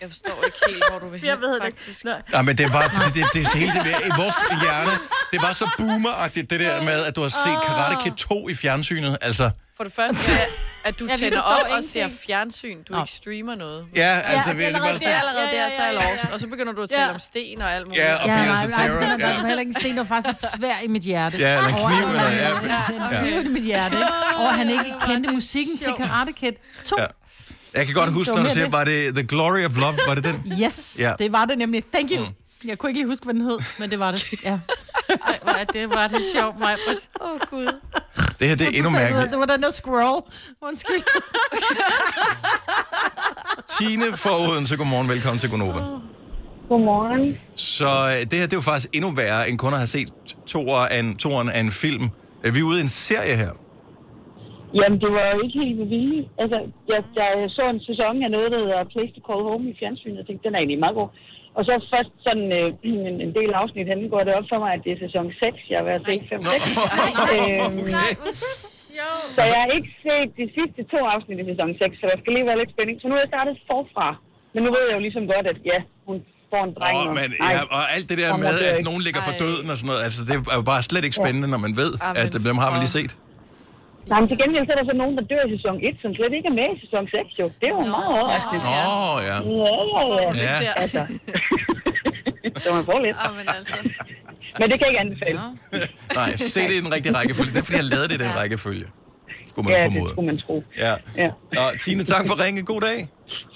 [SPEAKER 3] Jeg forstår ikke helt, hvor du vil hen, Jeg ved faktisk. det
[SPEAKER 1] Nej, men det var, fordi det, det hele det der, i vores hjerne, det var så boomeragtigt, det der med, at du har set Karate Kid 2 i fjernsynet, altså.
[SPEAKER 3] For det første er, at du
[SPEAKER 2] Ja, vi
[SPEAKER 3] tænder
[SPEAKER 2] forstår
[SPEAKER 3] op og ser
[SPEAKER 2] ingenting.
[SPEAKER 3] fjernsyn. Du ikke streamer noget.
[SPEAKER 1] Ja, altså,
[SPEAKER 3] det er allerede, det er allerede der, så er jeg lost. Og så begynder du at tale
[SPEAKER 4] Ja.
[SPEAKER 3] om sten og alt muligt.
[SPEAKER 1] Ja, og Fields of
[SPEAKER 4] nej, nej,
[SPEAKER 1] Terror.
[SPEAKER 4] der var
[SPEAKER 1] Ja.
[SPEAKER 4] heller ikke en sten, der var faktisk et svær i mit hjerte.
[SPEAKER 1] Ja, eller en
[SPEAKER 4] Over-
[SPEAKER 1] kniv, eller- ja,
[SPEAKER 4] ja,
[SPEAKER 1] ja.
[SPEAKER 4] en kniv i mit hjerte. ikke? Og at han ikke kendte musikken til Karate Kid 2.
[SPEAKER 1] Ja. Jeg kan godt huske,
[SPEAKER 4] Det
[SPEAKER 1] når du
[SPEAKER 4] var mere
[SPEAKER 1] siger,
[SPEAKER 4] det.
[SPEAKER 1] var det The Glory of Love, var det den?
[SPEAKER 4] Yes,
[SPEAKER 1] Ja. Mm.
[SPEAKER 4] det var det nemlig. Thank you. Jeg kunne ikke lige huske, hvad den hed, men det var det. Ja.
[SPEAKER 2] Ej, hvor er det var det sjovt, mig.
[SPEAKER 3] Åh, oh, Gud.
[SPEAKER 1] Det her, det er endnu mærkeligt.
[SPEAKER 4] Det var den der squirrel. Undskyld.
[SPEAKER 1] Tine fra Odense, godmorgen, velkommen til Gonova.
[SPEAKER 12] Godmorgen.
[SPEAKER 1] Så øh, det her, det er jo faktisk endnu værre, end kun at have set toeren af en, toeren af en film. Øh, Vi er ude i en serie her.
[SPEAKER 12] Jamen, det var jo ikke helt med vilje. Altså, jeg, jeg så en sæson af noget, der hedder Place to Call Home i fjernsynet, og tænkte, den er egentlig meget god. Og så først sådan øh, en, en del afsnit henne går det op for mig, at det er sæson 6, jeg har været set 5 øhm, Så jeg har ikke set de sidste to afsnit i sæson 6, så der skal lige være lidt spænding. Så nu er jeg startet forfra. Men nu ved jeg jo ligesom godt, at ja, hun får en dreng.
[SPEAKER 1] Og,
[SPEAKER 12] og-
[SPEAKER 1] man,
[SPEAKER 12] Ej.
[SPEAKER 1] ja, og alt det der
[SPEAKER 12] Kom,
[SPEAKER 1] med,
[SPEAKER 12] jeg dør
[SPEAKER 1] at
[SPEAKER 12] ikke.
[SPEAKER 1] nogen ligger for døden og sådan noget, altså det er jo bare slet ikke spændende, når man ved,
[SPEAKER 12] Amen.
[SPEAKER 1] at øh, dem har man lige set.
[SPEAKER 12] Nej, men til gengæld så er der så nogen, der dør i sæson 1, som slet ikke er med i sæson 6, jo. Det er jo meget overraskende.
[SPEAKER 1] Åh, ja.
[SPEAKER 12] Ja, ja, ja.
[SPEAKER 1] Ja.
[SPEAKER 12] ja. Altså. så man får lidt.
[SPEAKER 3] men, altså.
[SPEAKER 12] men det kan jeg ikke anbefale.
[SPEAKER 1] Nej, se det i den rigtige rækkefølge. Det er, fordi jeg lavede det i den rækkefølge. Skulle man
[SPEAKER 12] Ja, det
[SPEAKER 1] formode.
[SPEAKER 12] skulle man tro.
[SPEAKER 1] Ja.
[SPEAKER 12] Ja.
[SPEAKER 1] Og Tine, tak for ringen. God dag.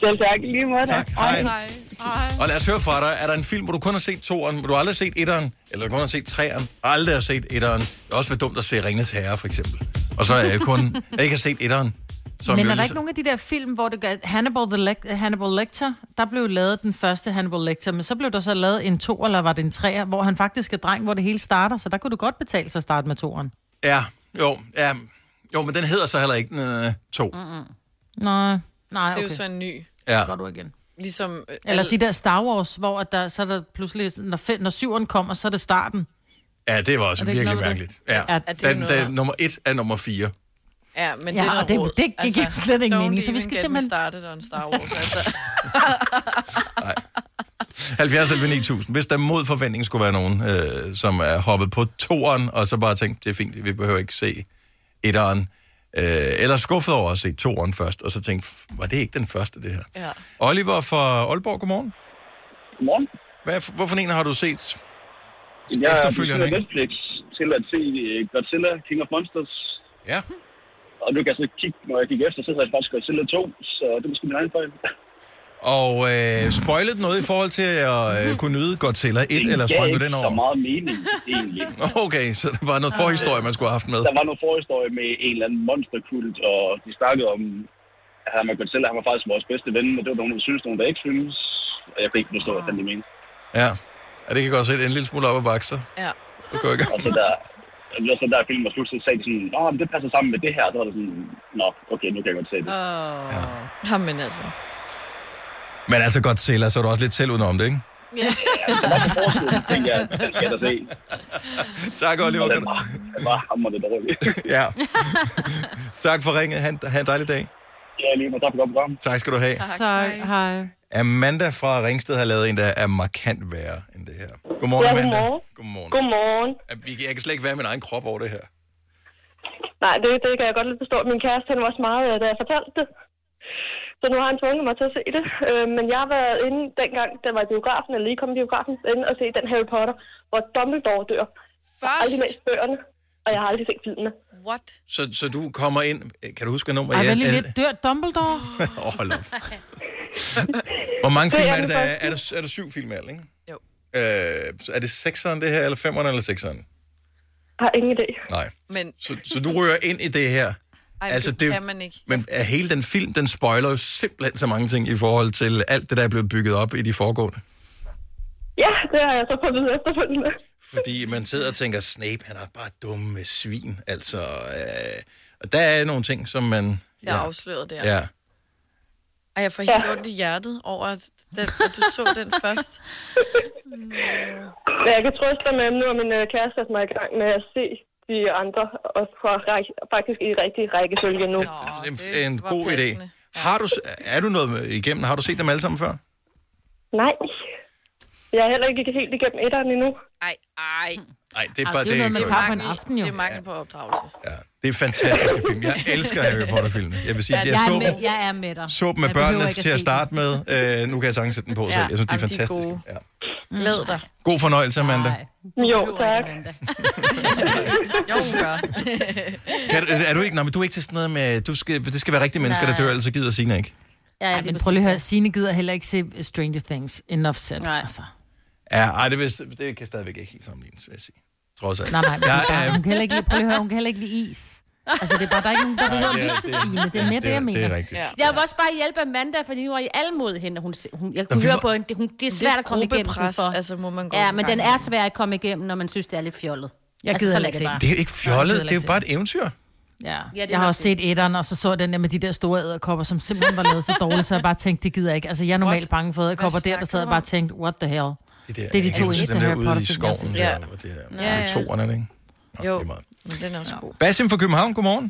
[SPEAKER 12] Selv tak. I Lige måde.
[SPEAKER 1] Tak. Hej. Og lad os høre fra dig. Er der en film, hvor du kun har set toeren, hvor du aldrig har set etteren, eller kun har set treeren, og aldrig har set etteren? Det er også for dumt at se Ringens Herre, for eksempel. Og så er jeg kun, jeg ikke har set etteren.
[SPEAKER 4] Men
[SPEAKER 1] jo
[SPEAKER 4] er der
[SPEAKER 1] lige-
[SPEAKER 4] ikke nogen af de der film, hvor det gør... Hannibal, the Lec- Hannibal Lecter, der blev lavet den første Hannibal Lecter, men så blev der så lavet en to, eller var det en treer, hvor han faktisk er dreng, hvor det hele starter, så der kunne du godt betale sig at starte med toeren.
[SPEAKER 1] Ja, jo, ja. Jo, men den hedder så heller ikke øh, to.
[SPEAKER 4] Nej, nej,
[SPEAKER 3] Det
[SPEAKER 4] okay.
[SPEAKER 3] er jo så en ny.
[SPEAKER 1] Ja.
[SPEAKER 4] Går du igen.
[SPEAKER 3] Ligesom... øh,
[SPEAKER 4] Eller
[SPEAKER 3] al-
[SPEAKER 4] de der Star Wars, hvor at der, så er der pludselig, sådan, når, fem, når syveren kommer, så er det starten.
[SPEAKER 1] Ja, det var også
[SPEAKER 4] Er det ikke
[SPEAKER 1] virkelig
[SPEAKER 4] noget med det?
[SPEAKER 1] mærkeligt. Ja.
[SPEAKER 4] Ja,
[SPEAKER 1] ja
[SPEAKER 4] det er
[SPEAKER 1] den,
[SPEAKER 4] noget
[SPEAKER 1] den, nummer et er nummer fire.
[SPEAKER 3] Ja, men
[SPEAKER 4] Ja,
[SPEAKER 3] det er noget Altså,
[SPEAKER 4] og det-
[SPEAKER 3] råd.
[SPEAKER 4] det giver slet ingen
[SPEAKER 3] don't
[SPEAKER 4] mening, så vi
[SPEAKER 3] even
[SPEAKER 4] skal
[SPEAKER 3] get me
[SPEAKER 4] simpelthen-
[SPEAKER 3] started on Star Wars, altså.
[SPEAKER 1] 70 11 9000. Hvis der mod forventning skulle være nogen, øh, som er hoppet på toeren, og så bare tænkt, det er fint, vi behøver ikke se etteren. Øh, eller skuffet over at se toeren først, og så tænkt, "F- var det ikke den første, det her?
[SPEAKER 3] Ja.
[SPEAKER 1] Oliver fra Aalborg, godmorgen.
[SPEAKER 13] Godmorgen.
[SPEAKER 1] Hvad, hvorfor en har du set
[SPEAKER 13] Jeg
[SPEAKER 1] efterfølgende?
[SPEAKER 13] har
[SPEAKER 1] ikke?
[SPEAKER 13] Netflix til at se øh, Godzilla, King of Monsters.
[SPEAKER 1] Ja.
[SPEAKER 13] Og nu kan jeg så kigge, når jeg gik efter, så hedder jeg faktisk Godzilla 2, så det er måske min egen fejl.
[SPEAKER 1] Og øh, spoilet noget i forhold til at øh, kunne nyde Godzilla 1, eller sprang du
[SPEAKER 13] Det gav
[SPEAKER 1] den
[SPEAKER 13] ikke så
[SPEAKER 1] over?
[SPEAKER 13] meget mening, egentlig.
[SPEAKER 1] Okay, så der var noget forhistorie, man skulle have haft med.
[SPEAKER 13] Der var noget forhistorie med en eller anden monsterkult, og de snakkede om, at ham og Godzilla, han var faktisk vores bedste ven, og det var nogen, der synes, nogen, der ikke synes. Og jeg kan ikke forstå, hvad fanden de mente.
[SPEAKER 1] Ja. ja, det kan godt sætte en lille smule op ad bakser.
[SPEAKER 3] Ja.
[SPEAKER 1] Og gå i gang.
[SPEAKER 13] Og så der, og så der film var slut, så sagde de sådan, Nå, men det passer sammen med det her. Så var det sådan, nå, okay, nu kan jeg godt se det.
[SPEAKER 3] Åh. Jamen altså.
[SPEAKER 1] Men altså Godzilla, så er du også lidt selv udenom det, ikke?
[SPEAKER 13] tænker jeg, den skal jeg da se.
[SPEAKER 1] Tak, Oliver.
[SPEAKER 13] Og Den var, den var hammerende dårlig.
[SPEAKER 1] Ja. tak for ringet. Han, ha' en dejlig dag.
[SPEAKER 13] Ja, lige med. Tak for godt program.
[SPEAKER 1] Tak skal du have.
[SPEAKER 4] Tak, hej.
[SPEAKER 1] Amanda fra Ringsted har lavet en, der er markant værre end det her. Godmorgen,
[SPEAKER 14] ja,
[SPEAKER 1] Amanda.
[SPEAKER 14] Godmorgen.
[SPEAKER 1] Godmorgen.
[SPEAKER 14] godmorgen.
[SPEAKER 1] Jeg kan- Jeg kan slet ikke være min egen krop over det her.
[SPEAKER 14] Nej, det, det kan jeg godt lidt forstå. Min kæreste, han var også meget, øh, da jeg fortalte det. Så nu har han tvunget mig til at se det. Øh, men jeg har været inde dengang, der var i biografen, eller lige kom i biografen, inde og se den Harry Potter, hvor Dumbledore dør.
[SPEAKER 3] Først?
[SPEAKER 14] Aldrig læst bøgerne, og jeg har aldrig set filmene.
[SPEAKER 3] What?
[SPEAKER 1] Så, så du kommer ind... Kan du huske, hvad nummer
[SPEAKER 4] Ej,
[SPEAKER 1] jeg
[SPEAKER 4] vel lige lidt dør Dumbledore.
[SPEAKER 1] Åh, hold op. Hvor mange
[SPEAKER 4] Det
[SPEAKER 1] film
[SPEAKER 4] er
[SPEAKER 1] er det,
[SPEAKER 4] den
[SPEAKER 1] der er?
[SPEAKER 4] første.
[SPEAKER 1] Er der, er der syv film i alt, ikke? Jo. Øh, så er det sekseren det her, eller femeren, eller sekseren?
[SPEAKER 14] Jeg har ingen idé.
[SPEAKER 1] Nej.
[SPEAKER 3] Men...
[SPEAKER 1] Så, så du rører ind i det her.
[SPEAKER 3] Ej,
[SPEAKER 1] Altså,
[SPEAKER 3] altså,
[SPEAKER 1] det
[SPEAKER 3] det
[SPEAKER 1] er jo-
[SPEAKER 3] kan man ikke.
[SPEAKER 1] Men er hele den film, den spoiler jo simpelthen så mange ting i forhold til alt det, der er blevet bygget op i de foregående.
[SPEAKER 14] Ja, det har jeg så fundet ud efterfølgende.
[SPEAKER 1] Fordi man sidder og tænker, Snape, han er bare dumme svin. Altså, øh, og der er nogle ting, som man...
[SPEAKER 3] Jeg er afsløret der.
[SPEAKER 1] Ja. ja.
[SPEAKER 3] Og jeg får helt ondt i hjertet over, at, den, at du så den først.
[SPEAKER 14] Men jeg kan trøste dig med, at nu har min øh, kæreste sat mig i gang med at se de andre, og fra, ræk- faktisk i rigtig rækkefølge nu.
[SPEAKER 1] En, en god idé. Har du, s- er du noget med- igennem? Har du set dem alle sammen før?
[SPEAKER 14] Nej. Jeg er heller ikke helt igennem etteren endnu. Ej, ej.
[SPEAKER 1] Nej, det er bare det. Det,
[SPEAKER 3] aften, jo. Det er mangel på opdragelse.
[SPEAKER 1] det er fantastiske film. Jeg elsker Harry Potter-filmene. Jeg vil sige, at jeg,
[SPEAKER 2] jeg, er
[SPEAKER 1] så
[SPEAKER 2] med, jeg er med dig.
[SPEAKER 1] så dem med
[SPEAKER 2] Jeg behøver
[SPEAKER 1] børnene
[SPEAKER 2] ikke
[SPEAKER 1] til at
[SPEAKER 2] se dem.
[SPEAKER 1] starte med. Øh, nu kan jeg sagtens sætte dem på selv. Jeg synes, de er fantastiske.
[SPEAKER 3] Ja. Glæd dig.
[SPEAKER 1] God fornøjelse, Amanda.
[SPEAKER 14] Jo, tak.
[SPEAKER 3] jo, hun gør.
[SPEAKER 1] Kan, du- er du ikke, nej, men du er ikke til sådan noget med, du skal, det skal være rigtige mennesker, der
[SPEAKER 4] Nej.
[SPEAKER 1] dør, ellers så gider Signe ikke.
[SPEAKER 4] Ja, ja, men prøv lige at høre, Signe gider heller ikke se Stranger Things. Enough said. Nej. Altså.
[SPEAKER 1] Ja, ej, det, vil, det kan stadigvæk ikke helt sammenlignes, vil jeg sige. Trods alt. øhm,
[SPEAKER 4] Nej, nej, men
[SPEAKER 1] Jeg
[SPEAKER 4] ja,
[SPEAKER 1] er-
[SPEAKER 4] hun, kan heller ikke lide, prøv lige at høre, hun kan heller ikke lide is. Altså, det er bare, der er ikke nogen, der
[SPEAKER 1] Nej,
[SPEAKER 4] behøver
[SPEAKER 1] det
[SPEAKER 4] at
[SPEAKER 1] er-
[SPEAKER 4] lytte til
[SPEAKER 1] det er-
[SPEAKER 4] Signe. Det er mere det, jeg mener.
[SPEAKER 2] Ja. Jeg vil også bare hjælpe Amanda, fordi nu er I alle mod hende. og Hun, hun, jeg kunne
[SPEAKER 4] vi
[SPEAKER 2] høre
[SPEAKER 4] var-
[SPEAKER 2] på hende, det, hun, det er svært at komme igennem den
[SPEAKER 3] gruppepres,
[SPEAKER 2] for.
[SPEAKER 3] altså, må man gå
[SPEAKER 2] ja,
[SPEAKER 3] en
[SPEAKER 2] men
[SPEAKER 3] gang
[SPEAKER 2] den er svær at komme igennem, når man synes, det er lidt fjollet. Altså,
[SPEAKER 4] Jeg gider
[SPEAKER 2] så
[SPEAKER 4] heller
[SPEAKER 2] lad
[SPEAKER 4] ikke
[SPEAKER 2] bare.
[SPEAKER 1] Det er jo ikke fjollet, det er jo bare et eventyr.
[SPEAKER 4] Ja.
[SPEAKER 2] Ja, det
[SPEAKER 4] jeg har
[SPEAKER 2] er
[SPEAKER 4] også set etteren, og så så jeg den der med de der store æderkopper, som simpelthen var lavet så dårligt, så jeg bare tænkte, det gider jeg ikke. Altså, jeg er normalt
[SPEAKER 1] What?
[SPEAKER 4] bange for æderkopper
[SPEAKER 1] Hvad
[SPEAKER 4] der, der sad jeg bare og tænkte, what the hell?
[SPEAKER 1] Det, der,
[SPEAKER 4] det er de to eneste
[SPEAKER 1] eneste, der
[SPEAKER 4] Harry
[SPEAKER 1] ude i
[SPEAKER 4] Potter-film, jeg har
[SPEAKER 1] skoven.
[SPEAKER 4] set.
[SPEAKER 1] Der, og det, her.
[SPEAKER 3] Ja,
[SPEAKER 1] det er
[SPEAKER 3] ja.
[SPEAKER 1] toerne, er det ikke?
[SPEAKER 3] Jo, men den er også god.
[SPEAKER 1] Basim fra København, godmorgen.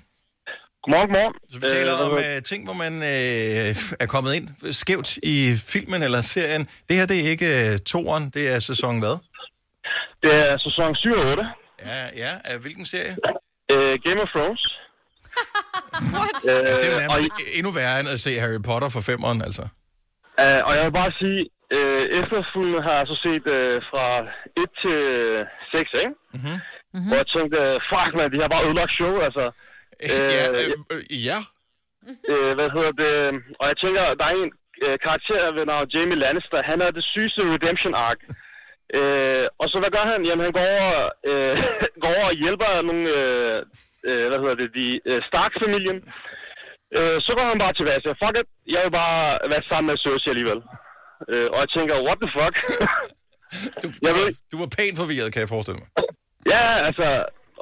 [SPEAKER 13] Godmorgen, godmorgen.
[SPEAKER 1] Så vi taler
[SPEAKER 13] Øh,
[SPEAKER 1] om øh, ting, hvor man øh, er kommet ind skævt i filmen eller serien. Det her, det er ikke øh, toeren, det er sæson hvad?
[SPEAKER 13] Det er sæson 7 og 8.
[SPEAKER 1] Ja, ja. Øh, Hvilken serie?
[SPEAKER 13] Øh, Game of Thrones.
[SPEAKER 1] What?
[SPEAKER 13] Øh,
[SPEAKER 1] Ja, det er jo
[SPEAKER 13] og
[SPEAKER 1] nærmest endnu værre end at se Harry Potter fra femeren, altså.
[SPEAKER 13] Uh, og jeg vil bare sige, uh, efterfølgende har jeg så set uh, fra 1 til 6, ikke?
[SPEAKER 1] Mm-hmm.
[SPEAKER 13] Mm-hmm. Hvor jeg tænkte, øh, fuck man, de har bare ødelagt show, altså.
[SPEAKER 1] ja, øh, øh, ja.
[SPEAKER 13] Øh, hvad hedder det? Og jeg tænker, der er en øh, karakter ved navn Jamie Lannister. Han er det sygeste redemption arc. Øh, og så hvad gør han? Jamen han går over, øh, går over og hjælper nogle, øh, øh, hvad hedder det, de øh, Stark-familien. Øh, så går han bare tilbage og siger, fuck it, jeg vil bare være sammen med Cersei alligevel. Øh, og jeg tænker, what the fuck?
[SPEAKER 1] du,
[SPEAKER 13] jeg ved,
[SPEAKER 1] Du var pænt forvirret, kan jeg forestille mig.
[SPEAKER 13] Ja, altså,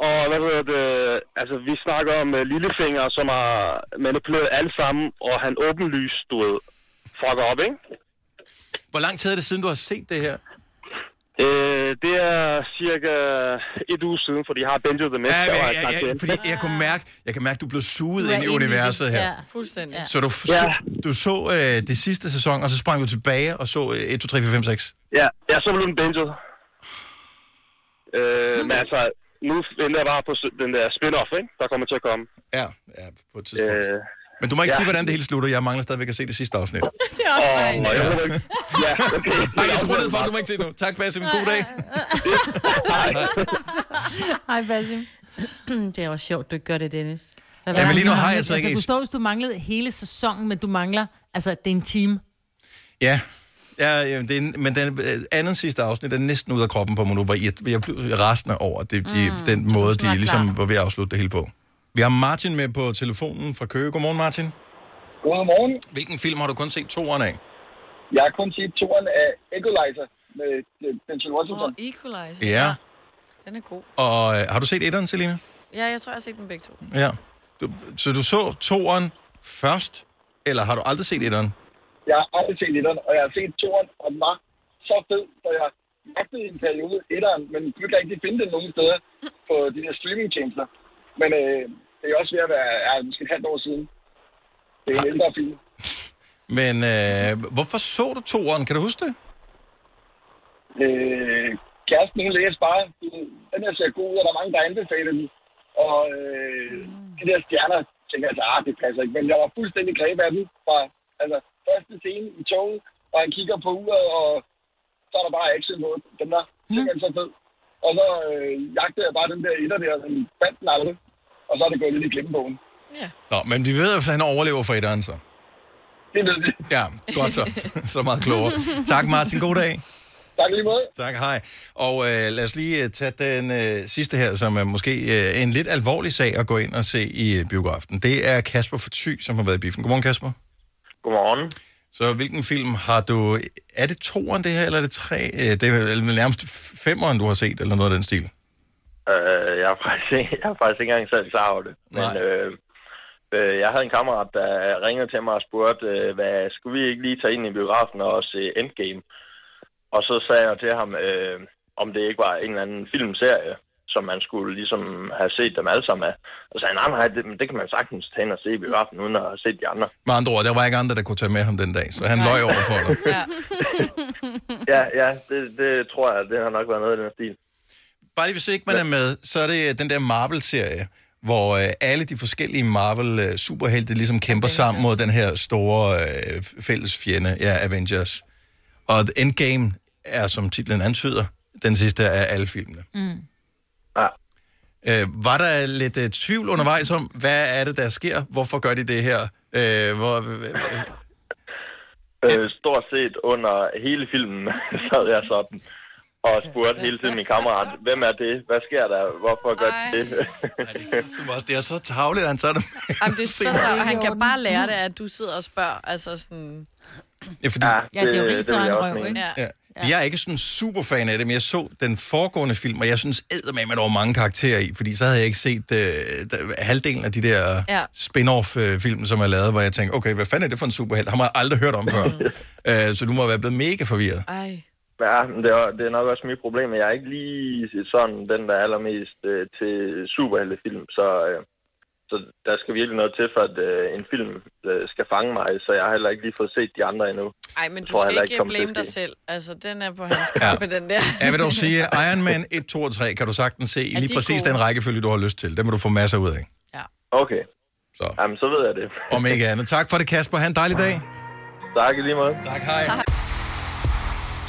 [SPEAKER 13] og hvad hedder det, altså vi snakker om uh, Lillefinger, som har manipuleret alle sammen, og han åbenlyst, du ved, fucker op, ikke?
[SPEAKER 1] Hvor lang tid er det siden, du har set det her?
[SPEAKER 13] Øh, det er cirka et uge siden, fordi jeg har Benjo The Mist,
[SPEAKER 1] Ja,
[SPEAKER 13] der
[SPEAKER 1] ja,
[SPEAKER 13] var
[SPEAKER 1] ja, ja, fordi jeg kunne mærke, jeg kan mærke, du blev suget
[SPEAKER 13] Du er
[SPEAKER 1] ind i
[SPEAKER 13] inde i det.
[SPEAKER 1] universet her.
[SPEAKER 3] Ja, fuldstændig.
[SPEAKER 1] Så du, f- så, du så øh, det sidste sæson, og så sprang du tilbage og så øh, 1, 2, 3, 4, 5, 6.
[SPEAKER 13] Ja, ja, så blev den Benjo. Øh, men altså, nu venter jeg bare på s- den der spin-off, ikke? Der kommer til at komme.
[SPEAKER 1] Ja, ja, på et tidspunkt. Øh, Men du må ikke
[SPEAKER 13] Ja.
[SPEAKER 1] sige, hvordan det hele slutter. Jeg mangler stadigvæk at se det sidste afsnit.
[SPEAKER 13] det er også oh,
[SPEAKER 1] Ja.
[SPEAKER 13] jeg ved ikke. Ja, okay.
[SPEAKER 1] Nej, jeg skruer ned for, at du må ikke se det nu. Tak, Basim. God dag.
[SPEAKER 4] Hej, Basim.
[SPEAKER 2] det var sjovt, du ikke gør det, Dennis.
[SPEAKER 4] Hvad
[SPEAKER 1] Ja,
[SPEAKER 4] var
[SPEAKER 1] men
[SPEAKER 4] det,
[SPEAKER 1] lige nu
[SPEAKER 4] du
[SPEAKER 1] har jeg
[SPEAKER 4] manglede?
[SPEAKER 1] så ikke
[SPEAKER 4] Altså,
[SPEAKER 1] et-
[SPEAKER 4] du står, hvis du manglede hele sæsonen, men du mangler... Altså, det er en time.
[SPEAKER 1] Ja. Ja, jamen, det er, en- men den øh, anden sidste afsnit er næsten ud af kroppen på mig nu, hvor jeg, jeg blev rasende over det, de, mm, den måde, de
[SPEAKER 13] snart
[SPEAKER 1] ligesom
[SPEAKER 13] klar.
[SPEAKER 1] var ved at afslutte det hele på. Vi har Martin med på telefonen fra Køge. Godmorgen, Martin.
[SPEAKER 15] Godmorgen.
[SPEAKER 1] Hvilken film har du kun set toeren af?
[SPEAKER 15] Jeg har kun set toren af Equalizer med øh, Denzel Washington.
[SPEAKER 3] Og Equalizer.
[SPEAKER 1] Ja.
[SPEAKER 3] Den er god.
[SPEAKER 1] Og øh, har du set etteren, Selina?
[SPEAKER 3] Ja, jeg tror, jeg har set dem begge to.
[SPEAKER 1] Ja. Du, så du så toeren først, eller har du aldrig set etteren?
[SPEAKER 15] Jeg har aldrig set etteren, og jeg har set toren, og den var så fed, så jeg jagtede i en periode etteren, men kunne ikke rigtig finde den nogen steder på de der streamingtjenester. Men øh, det er også ved at være ja, måske et halvt år siden. Det er en ældre film.
[SPEAKER 1] Men øh, hvorfor så du toeren? Kan du huske det?
[SPEAKER 15] Øh, kæresten, hun læste bare, du ved, den her ser god ud, og der er mange, der anbefaler den. Og øh,
[SPEAKER 4] Mm.
[SPEAKER 15] de der stjerner, tænker jeg så, ah, det passer ikke. Men jeg var fuldstændig grebet af den fra altså, første scene i toget, og han kigger på uret, og så er der bare action på den. den. der
[SPEAKER 4] Mm.
[SPEAKER 15] simpelthen så fed. Og så øh, jagtede jeg bare den der etter der, og sådan, fandt den aldrig. Og så er det gået lidt i glemmebogen.
[SPEAKER 1] Nå, men vi ved, at han overlever for etteren, så.
[SPEAKER 15] Det ved vi.
[SPEAKER 1] Ja, godt så. så meget klogere. Tak, Martin. God dag.
[SPEAKER 15] Tak lige måde.
[SPEAKER 1] Tak, hej. Og øh, lad os lige øh, tage den øh, sidste her, som er måske øh, en lidt alvorlig sag at gå ind og se i øh, biografen. Det er Kasper for Thy, som har været i biffen. Godmorgen, Kasper.
[SPEAKER 13] Godmorgen.
[SPEAKER 1] Så hvilken film har du... Er det toeren, det her, eller er det tre? Øh, det er vel nærmest femeren, du har set, eller noget af den stil.
[SPEAKER 13] Øh, jeg, er faktisk, ikke- jeg er faktisk ikke engang selv klar over det. Men øh, øh, jeg havde en kammerat, der ringede til mig og spurgte, øh, hvad, skulle vi ikke lige tage ind i biografen og se Endgame? Og så sagde jeg til ham, øh, om det ikke var en eller anden filmserie.
[SPEAKER 16] som man skulle ligesom have set dem alle sammen af. Og så sagde han, nej, nej, det, men det kan man sagtens tage ind og se i biografen, uden at have set de andre.
[SPEAKER 1] Med andre ord, der var ikke andre, der kunne tage med ham den dag, så han løj over for dig.
[SPEAKER 16] Ja, ja, det, det tror jeg, det har nok været noget i den stil.
[SPEAKER 1] Bare lige hvis ikke man er med, så er det øh, den der Marvel-serie, hvor øh, alle de forskellige Marvel-superhelte ligesom kæmper sammen mod den her store øh, fælles fjende, ja, Avengers. Og Endgame er, som titlen antyder, den sidste af alle filmene.
[SPEAKER 17] Mm.
[SPEAKER 1] Øh, var der lidt øh, tvivl undervejs om, hvad er det, der sker? Hvorfor gør de det her? Øh, hvor, øh,
[SPEAKER 16] Øh, stort set under hele filmen sad jeg sådan og spurgte hele tiden min kammerat, hvem er det? Hvad sker der? Hvorfor gør de det?
[SPEAKER 1] altså, det er så tavligt, at han tager det med.
[SPEAKER 3] Jamen, det er så
[SPEAKER 1] Se.
[SPEAKER 3] tørt. Han kan bare lære det, at du sidder og spørger. Altså sådan...
[SPEAKER 1] Ja, fordi,
[SPEAKER 3] Ja, det er jo det- rigtigt, det vil jeg han også røv, mene. ikke?
[SPEAKER 1] Ja.
[SPEAKER 3] Ja.
[SPEAKER 1] Ja. Jeg er ikke sådan super fan af det, men jeg så den foregående film, og jeg synes eddermame, at der var mange karakterer i, fordi så havde jeg ikke set øh, der- halvdelen af de der
[SPEAKER 17] Ja.
[SPEAKER 1] ja. spin-off-film, som er lavet, hvor jeg tænkte, okay, hvad fanden er det for en superhelt? Ham har jeg aldrig hørt om før. øh, så du må være blevet mega forvirret.
[SPEAKER 3] Mm. Ej.
[SPEAKER 16] Ja, men det er, det er nok også mit problem, at jeg er ikke lige sådan den, der er allermest øh, til superheltefilm, så, øh, så der skal virkelig noget til, for at øh, en film øh, skal fange mig, så jeg har heller ikke lige fået set de andre endnu.
[SPEAKER 3] Ej, men du
[SPEAKER 16] Tror jeg heller ikke
[SPEAKER 3] skal ikke
[SPEAKER 16] kommer til at
[SPEAKER 3] blame dig
[SPEAKER 16] ske.
[SPEAKER 3] selv. Altså, den er på hans kappe, den der.
[SPEAKER 1] Jeg vil dog sige, Iron Man 1, 2 og 3 kan du sagtens se i
[SPEAKER 3] de
[SPEAKER 1] lige præcis
[SPEAKER 3] gode?
[SPEAKER 1] den rækkefølge, du har lyst til. Det må du få masser ud af.
[SPEAKER 16] Okay.
[SPEAKER 1] Så.
[SPEAKER 16] Jamen, så ved jeg det.
[SPEAKER 1] Om ikke andet. Tak for det, Kasper. Ha' en dejlig dag.
[SPEAKER 16] Tak i lige måde.
[SPEAKER 1] Tak, hej.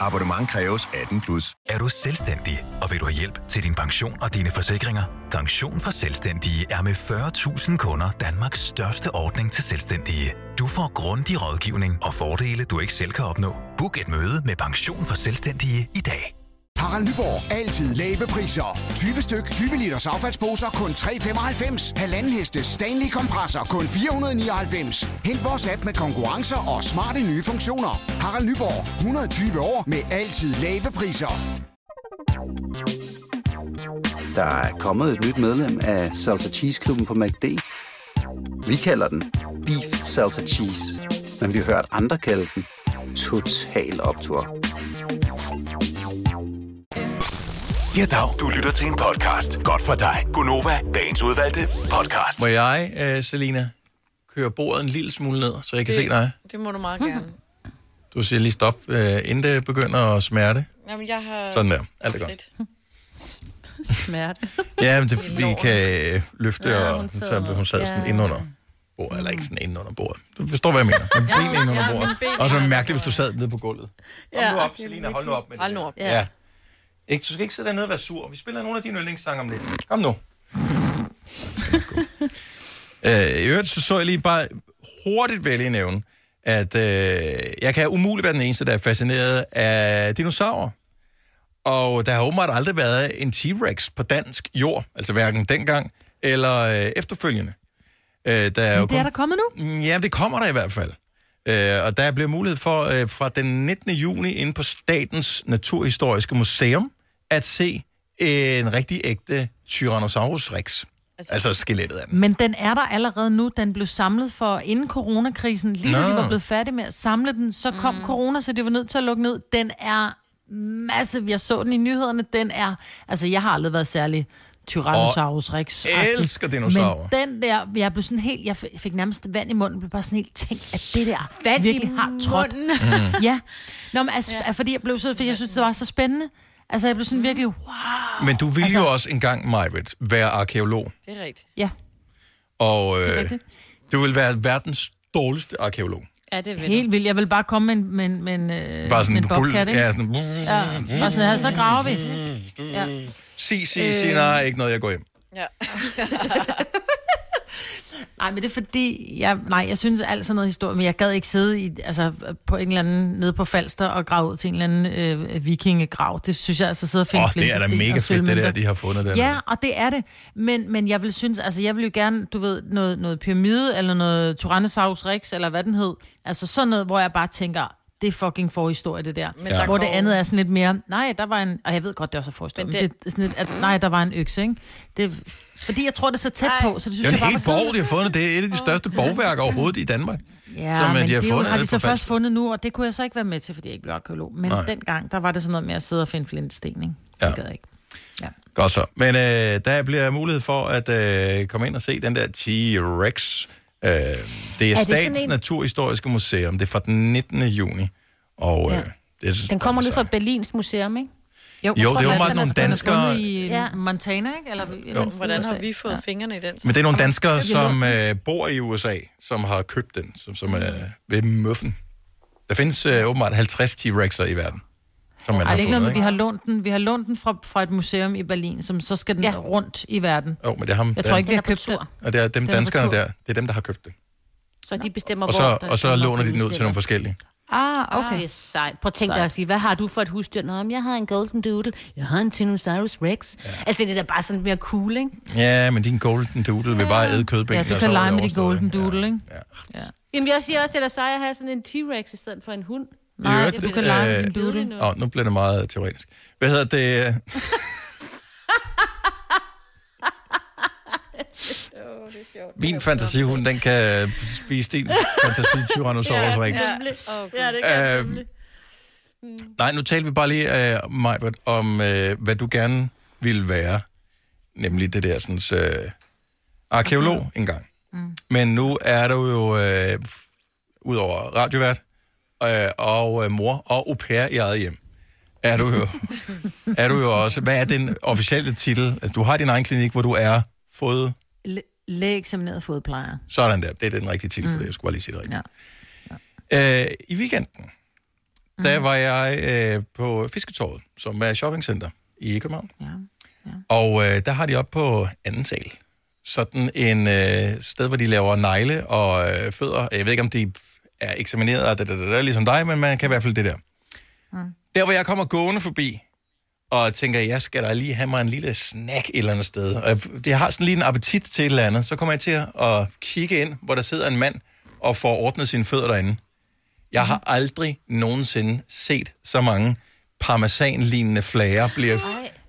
[SPEAKER 5] Abonnement kræves 18 plus.
[SPEAKER 18] Er du selvstændig, og vil du have hjælp til din pension og dine forsikringer? Pension for Selvstændige er med 40.000 kunder Danmarks største ordning til selvstændige. Du får grundig rådgivning og fordele, du ikke selv kan opnå. Book et møde med Pension for Selvstændige i dag.
[SPEAKER 8] Harald Nyborg. Altid lave priser. 20 styk, 20 liters affaldsposer kun 3,95. Halvanden heste Stanley kompresser kun 499. Hent vores app med konkurrencer og smarte nye funktioner. Harald Nyborg. 120 år med altid lave priser.
[SPEAKER 19] Der er kommet et nyt medlem af Salsa Cheese Klubben på MACD. Vi kalder den Beef Salsa Cheese, men vi har hørt andre kalde den Total Optor.
[SPEAKER 5] Ja, dag. Du lytter til en podcast. Godt for dig. Gunova, dagens udvalgte podcast.
[SPEAKER 1] Må jeg, øh, Selina, køre bordet en lille smule ned, så jeg kan
[SPEAKER 3] Det-
[SPEAKER 1] se dig?
[SPEAKER 3] Det må du meget gerne.
[SPEAKER 1] Du siger lige stop, øh, inden det begynder at smerte.
[SPEAKER 3] Jamen, jeg har...
[SPEAKER 1] Sådan der. Alt er godt.
[SPEAKER 3] Lidt.
[SPEAKER 2] Smerte.
[SPEAKER 1] Ja, men det, vi kan øh, løfte,
[SPEAKER 2] Ja,
[SPEAKER 1] ja,
[SPEAKER 2] hun
[SPEAKER 1] og
[SPEAKER 2] sidder-
[SPEAKER 1] så hun sad sådan
[SPEAKER 2] ja.
[SPEAKER 1] inde under bordet, eller ikke sådan inde under bordet. Du forstår, hvad jeg mener. Med
[SPEAKER 2] Ja,
[SPEAKER 1] benene inde under
[SPEAKER 2] ja, med
[SPEAKER 1] bordet.
[SPEAKER 2] benene
[SPEAKER 1] Og så
[SPEAKER 2] under
[SPEAKER 1] mærkeligt, hvis du sad nede på gulvet.
[SPEAKER 2] Ja.
[SPEAKER 1] Hold nu op, Selina, hold nu op med det.
[SPEAKER 2] Hold nu op.
[SPEAKER 1] der. Ja. Ikke, du skal ikke sidde dernede og være sur. Vi spiller nogle af dine yndlingssange om lidt. Kom nu. Øh, I øvrigt så, så jeg lige bare hurtigt vælge nævne, at øh, jeg kan umuligt være den eneste, der er fascineret af dinosaurer. Og der har åbenbart aldrig været en T-Rex på dansk jord, altså hverken dengang eller øh, efterfølgende. Øh, der er jo Mm,
[SPEAKER 4] Det er der kommet nu?
[SPEAKER 1] Ja, det kommer der i hvert fald. Øh, og der bliver mulighed for øh, fra den 19. juni inde på Statens Naturhistoriske Museum at se øh, en rigtig ægte Tyrannosaurus rex. Altså, altså skelettet af den.
[SPEAKER 4] Men den er der allerede nu. Den blev samlet for inden coronakrisen. Lige da
[SPEAKER 1] Nå.
[SPEAKER 4] de var blevet færdige med at samle den, så kom mm. corona, så de var nødt til at lukke ned. Den er massiv. Jeg så den i nyhederne. Den er... Altså, jeg har aldrig været særlig Tyrannosaurus Rex.
[SPEAKER 1] elsker dinosaurer.
[SPEAKER 4] Men den der, jeg blev sådan helt, jeg fik nærmest vand i munden, blev bare sådan helt tænkt, at det der vand virkelig har trådt.
[SPEAKER 1] Mm.
[SPEAKER 4] ja. Nå, men altså, fordi jeg blev så, fordi jeg synes, det var så spændende. Altså, jeg blev
[SPEAKER 3] Mm.
[SPEAKER 4] sådan virkelig, wow. Ah,
[SPEAKER 1] Men du ville altså, jo også engang, Majbrit, være arkeolog.
[SPEAKER 3] Det er rigtigt.
[SPEAKER 4] Ja.
[SPEAKER 1] Og øh,
[SPEAKER 4] rigtigt.
[SPEAKER 1] du vil være verdens dårligste arkeolog.
[SPEAKER 4] Ja, det vil Helt vildt. Jeg vil bare komme med en, med, en- med en, øh,
[SPEAKER 1] Bare sådan
[SPEAKER 4] med en
[SPEAKER 1] en bul-
[SPEAKER 4] bobcat, ikke?
[SPEAKER 1] ja, sådan-
[SPEAKER 4] ja, bare sådan her, så graver vi. Ja.
[SPEAKER 1] Mm. Sig, sig, sig, nej, ikke noget, jeg går hjem.
[SPEAKER 3] Ja.
[SPEAKER 4] Nej, men det er fordi, jeg, nej, jeg synes alt sådan noget historie, men jeg gad ikke sidde i, altså, på en eller anden, nede på Falster og grave ud til en eller anden øh, vikingegrav. Det synes jeg altså sidder og
[SPEAKER 1] Åh,
[SPEAKER 4] finde
[SPEAKER 1] oh, det er da
[SPEAKER 4] flintesten
[SPEAKER 1] mega
[SPEAKER 4] og
[SPEAKER 1] fedt, det der,
[SPEAKER 4] sølvmønter.
[SPEAKER 1] de har fundet der.
[SPEAKER 4] Ja, og det er det. Men, men jeg vil synes, altså jeg vil jo gerne, du ved, noget, noget pyramide, eller noget Tyrannosaurus Rex, eller hvad den hed. Altså sådan noget, hvor jeg bare tænker, det er fucking forhistorie, det der. Men
[SPEAKER 2] Ja. der
[SPEAKER 4] Hvor det
[SPEAKER 2] går-
[SPEAKER 4] andet er sådan lidt mere, nej, der var en, og jeg ved godt, det også er forhistorie, men,
[SPEAKER 2] Men
[SPEAKER 4] det...
[SPEAKER 2] det-
[SPEAKER 4] men det er sådan lidt, at nej, der var en økse, ikke? Det, fordi jeg tror, det er så tæt på, så det
[SPEAKER 1] Det
[SPEAKER 4] synes
[SPEAKER 1] er jo
[SPEAKER 4] jeg
[SPEAKER 1] en
[SPEAKER 4] bare
[SPEAKER 1] hel
[SPEAKER 4] var
[SPEAKER 1] borg, de har fundet. Det er et af de største borgværker overhovedet i Danmark.
[SPEAKER 4] Ja,
[SPEAKER 1] som, øh,
[SPEAKER 4] men
[SPEAKER 1] de har
[SPEAKER 4] det jo-
[SPEAKER 1] fundet
[SPEAKER 4] har de
[SPEAKER 1] nede
[SPEAKER 4] så
[SPEAKER 1] på
[SPEAKER 4] først
[SPEAKER 1] Falster.
[SPEAKER 4] fundet nu, og det kunne jeg så ikke være med til, fordi jeg ikke blev arkeolog. Men
[SPEAKER 1] Nej.
[SPEAKER 4] Nej. dengang, der var det sådan noget med at sidde og finde flintsten, ikke?
[SPEAKER 1] Ja.
[SPEAKER 4] Det gad jeg ikke.
[SPEAKER 1] Godt så. Men øh, der bliver mulighed for at øh, komme ind og se den der T-Rex. Øh, det er
[SPEAKER 2] sådan
[SPEAKER 1] Statens
[SPEAKER 2] en-
[SPEAKER 1] Naturhistoriske Museum. Det er fra den 19. juni. Og øh,
[SPEAKER 2] Ja.
[SPEAKER 1] ja. det er
[SPEAKER 2] Den kommer ned fra Berlins Museum, ikke?
[SPEAKER 1] Jo, Jo, jeg tror, det er åbenbart den er- nogle den er danskere- fundet
[SPEAKER 4] i øh, Montana, ikke? Eller,
[SPEAKER 1] Jo.
[SPEAKER 3] Hvordan har vi fået ja. fingrene i den?
[SPEAKER 1] Men det er nogle danskere,
[SPEAKER 3] Jeg bliver
[SPEAKER 1] som øh, bor i USA, som har købt den, som, som er ved Møffen. Der findes øh, åbenbart 50 T-Rex'er i verden, som man
[SPEAKER 4] Ej,
[SPEAKER 1] har
[SPEAKER 4] det er ikke
[SPEAKER 1] fundet,
[SPEAKER 4] noget, med, vi har lånt den, vi har lånt den fra, fra et museum i Berlin, som så skal den ja. rundt i verden.
[SPEAKER 1] Jo, men det er ham.
[SPEAKER 4] Jeg
[SPEAKER 1] der-
[SPEAKER 4] tror ikke, vi har købt den.
[SPEAKER 1] Og det er dem
[SPEAKER 4] Den er på
[SPEAKER 1] danskerne
[SPEAKER 4] tur.
[SPEAKER 1] der, det er dem, der har købt den.
[SPEAKER 2] Så de bestemmer,
[SPEAKER 1] Og
[SPEAKER 2] hvor...
[SPEAKER 1] så,
[SPEAKER 2] der-
[SPEAKER 1] og så
[SPEAKER 2] hvor
[SPEAKER 1] låner de den ud
[SPEAKER 2] udstiller.
[SPEAKER 1] til nogle forskellige.
[SPEAKER 4] Ah,
[SPEAKER 2] okay. Ah, det er sejt. Prøv at tænke dig at sige, hvad har du for et husdyr? Nå, jamen, jeg har en golden doodle, jeg har en Tyrannosaurus rex. Ja. Altså, det er da bare sådan mere cool, ikke?
[SPEAKER 1] Ja, men din golden doodle vil bare æde kødben.
[SPEAKER 4] Ja, du kan lege med de golden doodle, ikke?
[SPEAKER 2] Jamen, jeg siger også, at det er sejt at have sådan en T-rex i stedet for en hund.
[SPEAKER 1] Nej,
[SPEAKER 2] du kan lege med din doodle.
[SPEAKER 1] øh, Åh, nu bliver det meget teoretisk. Hvad hedder det? Min fantasihund, den kan spise din fantasi Tyrannosaurus Rex. Øhm.
[SPEAKER 2] Ja, det
[SPEAKER 1] kan jeg nemlig. Nej, nu talte vi bare lige, øh, Majbert, om øh, hvad du gerne ville være. Nemlig det der sådan, øh, arkeolog engang. Mm. Men nu er du jo, øh, udover radiovært, øh, og øh, mor og au pair i eget hjem, er du jo, er du jo også. Hvad er den officielle titel? Du har din egen klinik, hvor du er fået
[SPEAKER 4] Læ- Lægeeksamineret fodplejer.
[SPEAKER 1] sådan der. Det er den rigtige titel mm. på
[SPEAKER 4] Mm.
[SPEAKER 1] det. Jeg skulle bare lige sige det rigtigt. Ja. Øh, I weekenden, mm. der var jeg øh, på Fisketorvet, som er shoppingcenter i København. Ja. Ja. Og øh, der har de op på anden sal sådan en øh, sted, hvor de laver negle og øh, fødder. Jeg ved ikke, om de er eksamineret og da, da, da, da, ligesom dig, men man kan i hvert fald det der. Mm. Der, hvor jeg kommer gående forbi, og tænker, jeg skal da lige have mig en lille snack et eller andet sted. Og jeg, jeg har sådan lige en appetit til et eller andet. Så kommer jeg til at kigge ind, hvor der sidder en mand og får ordnet sine fødder derinde. Jeg har aldrig nogensinde set så mange parmesanlignende flager blive,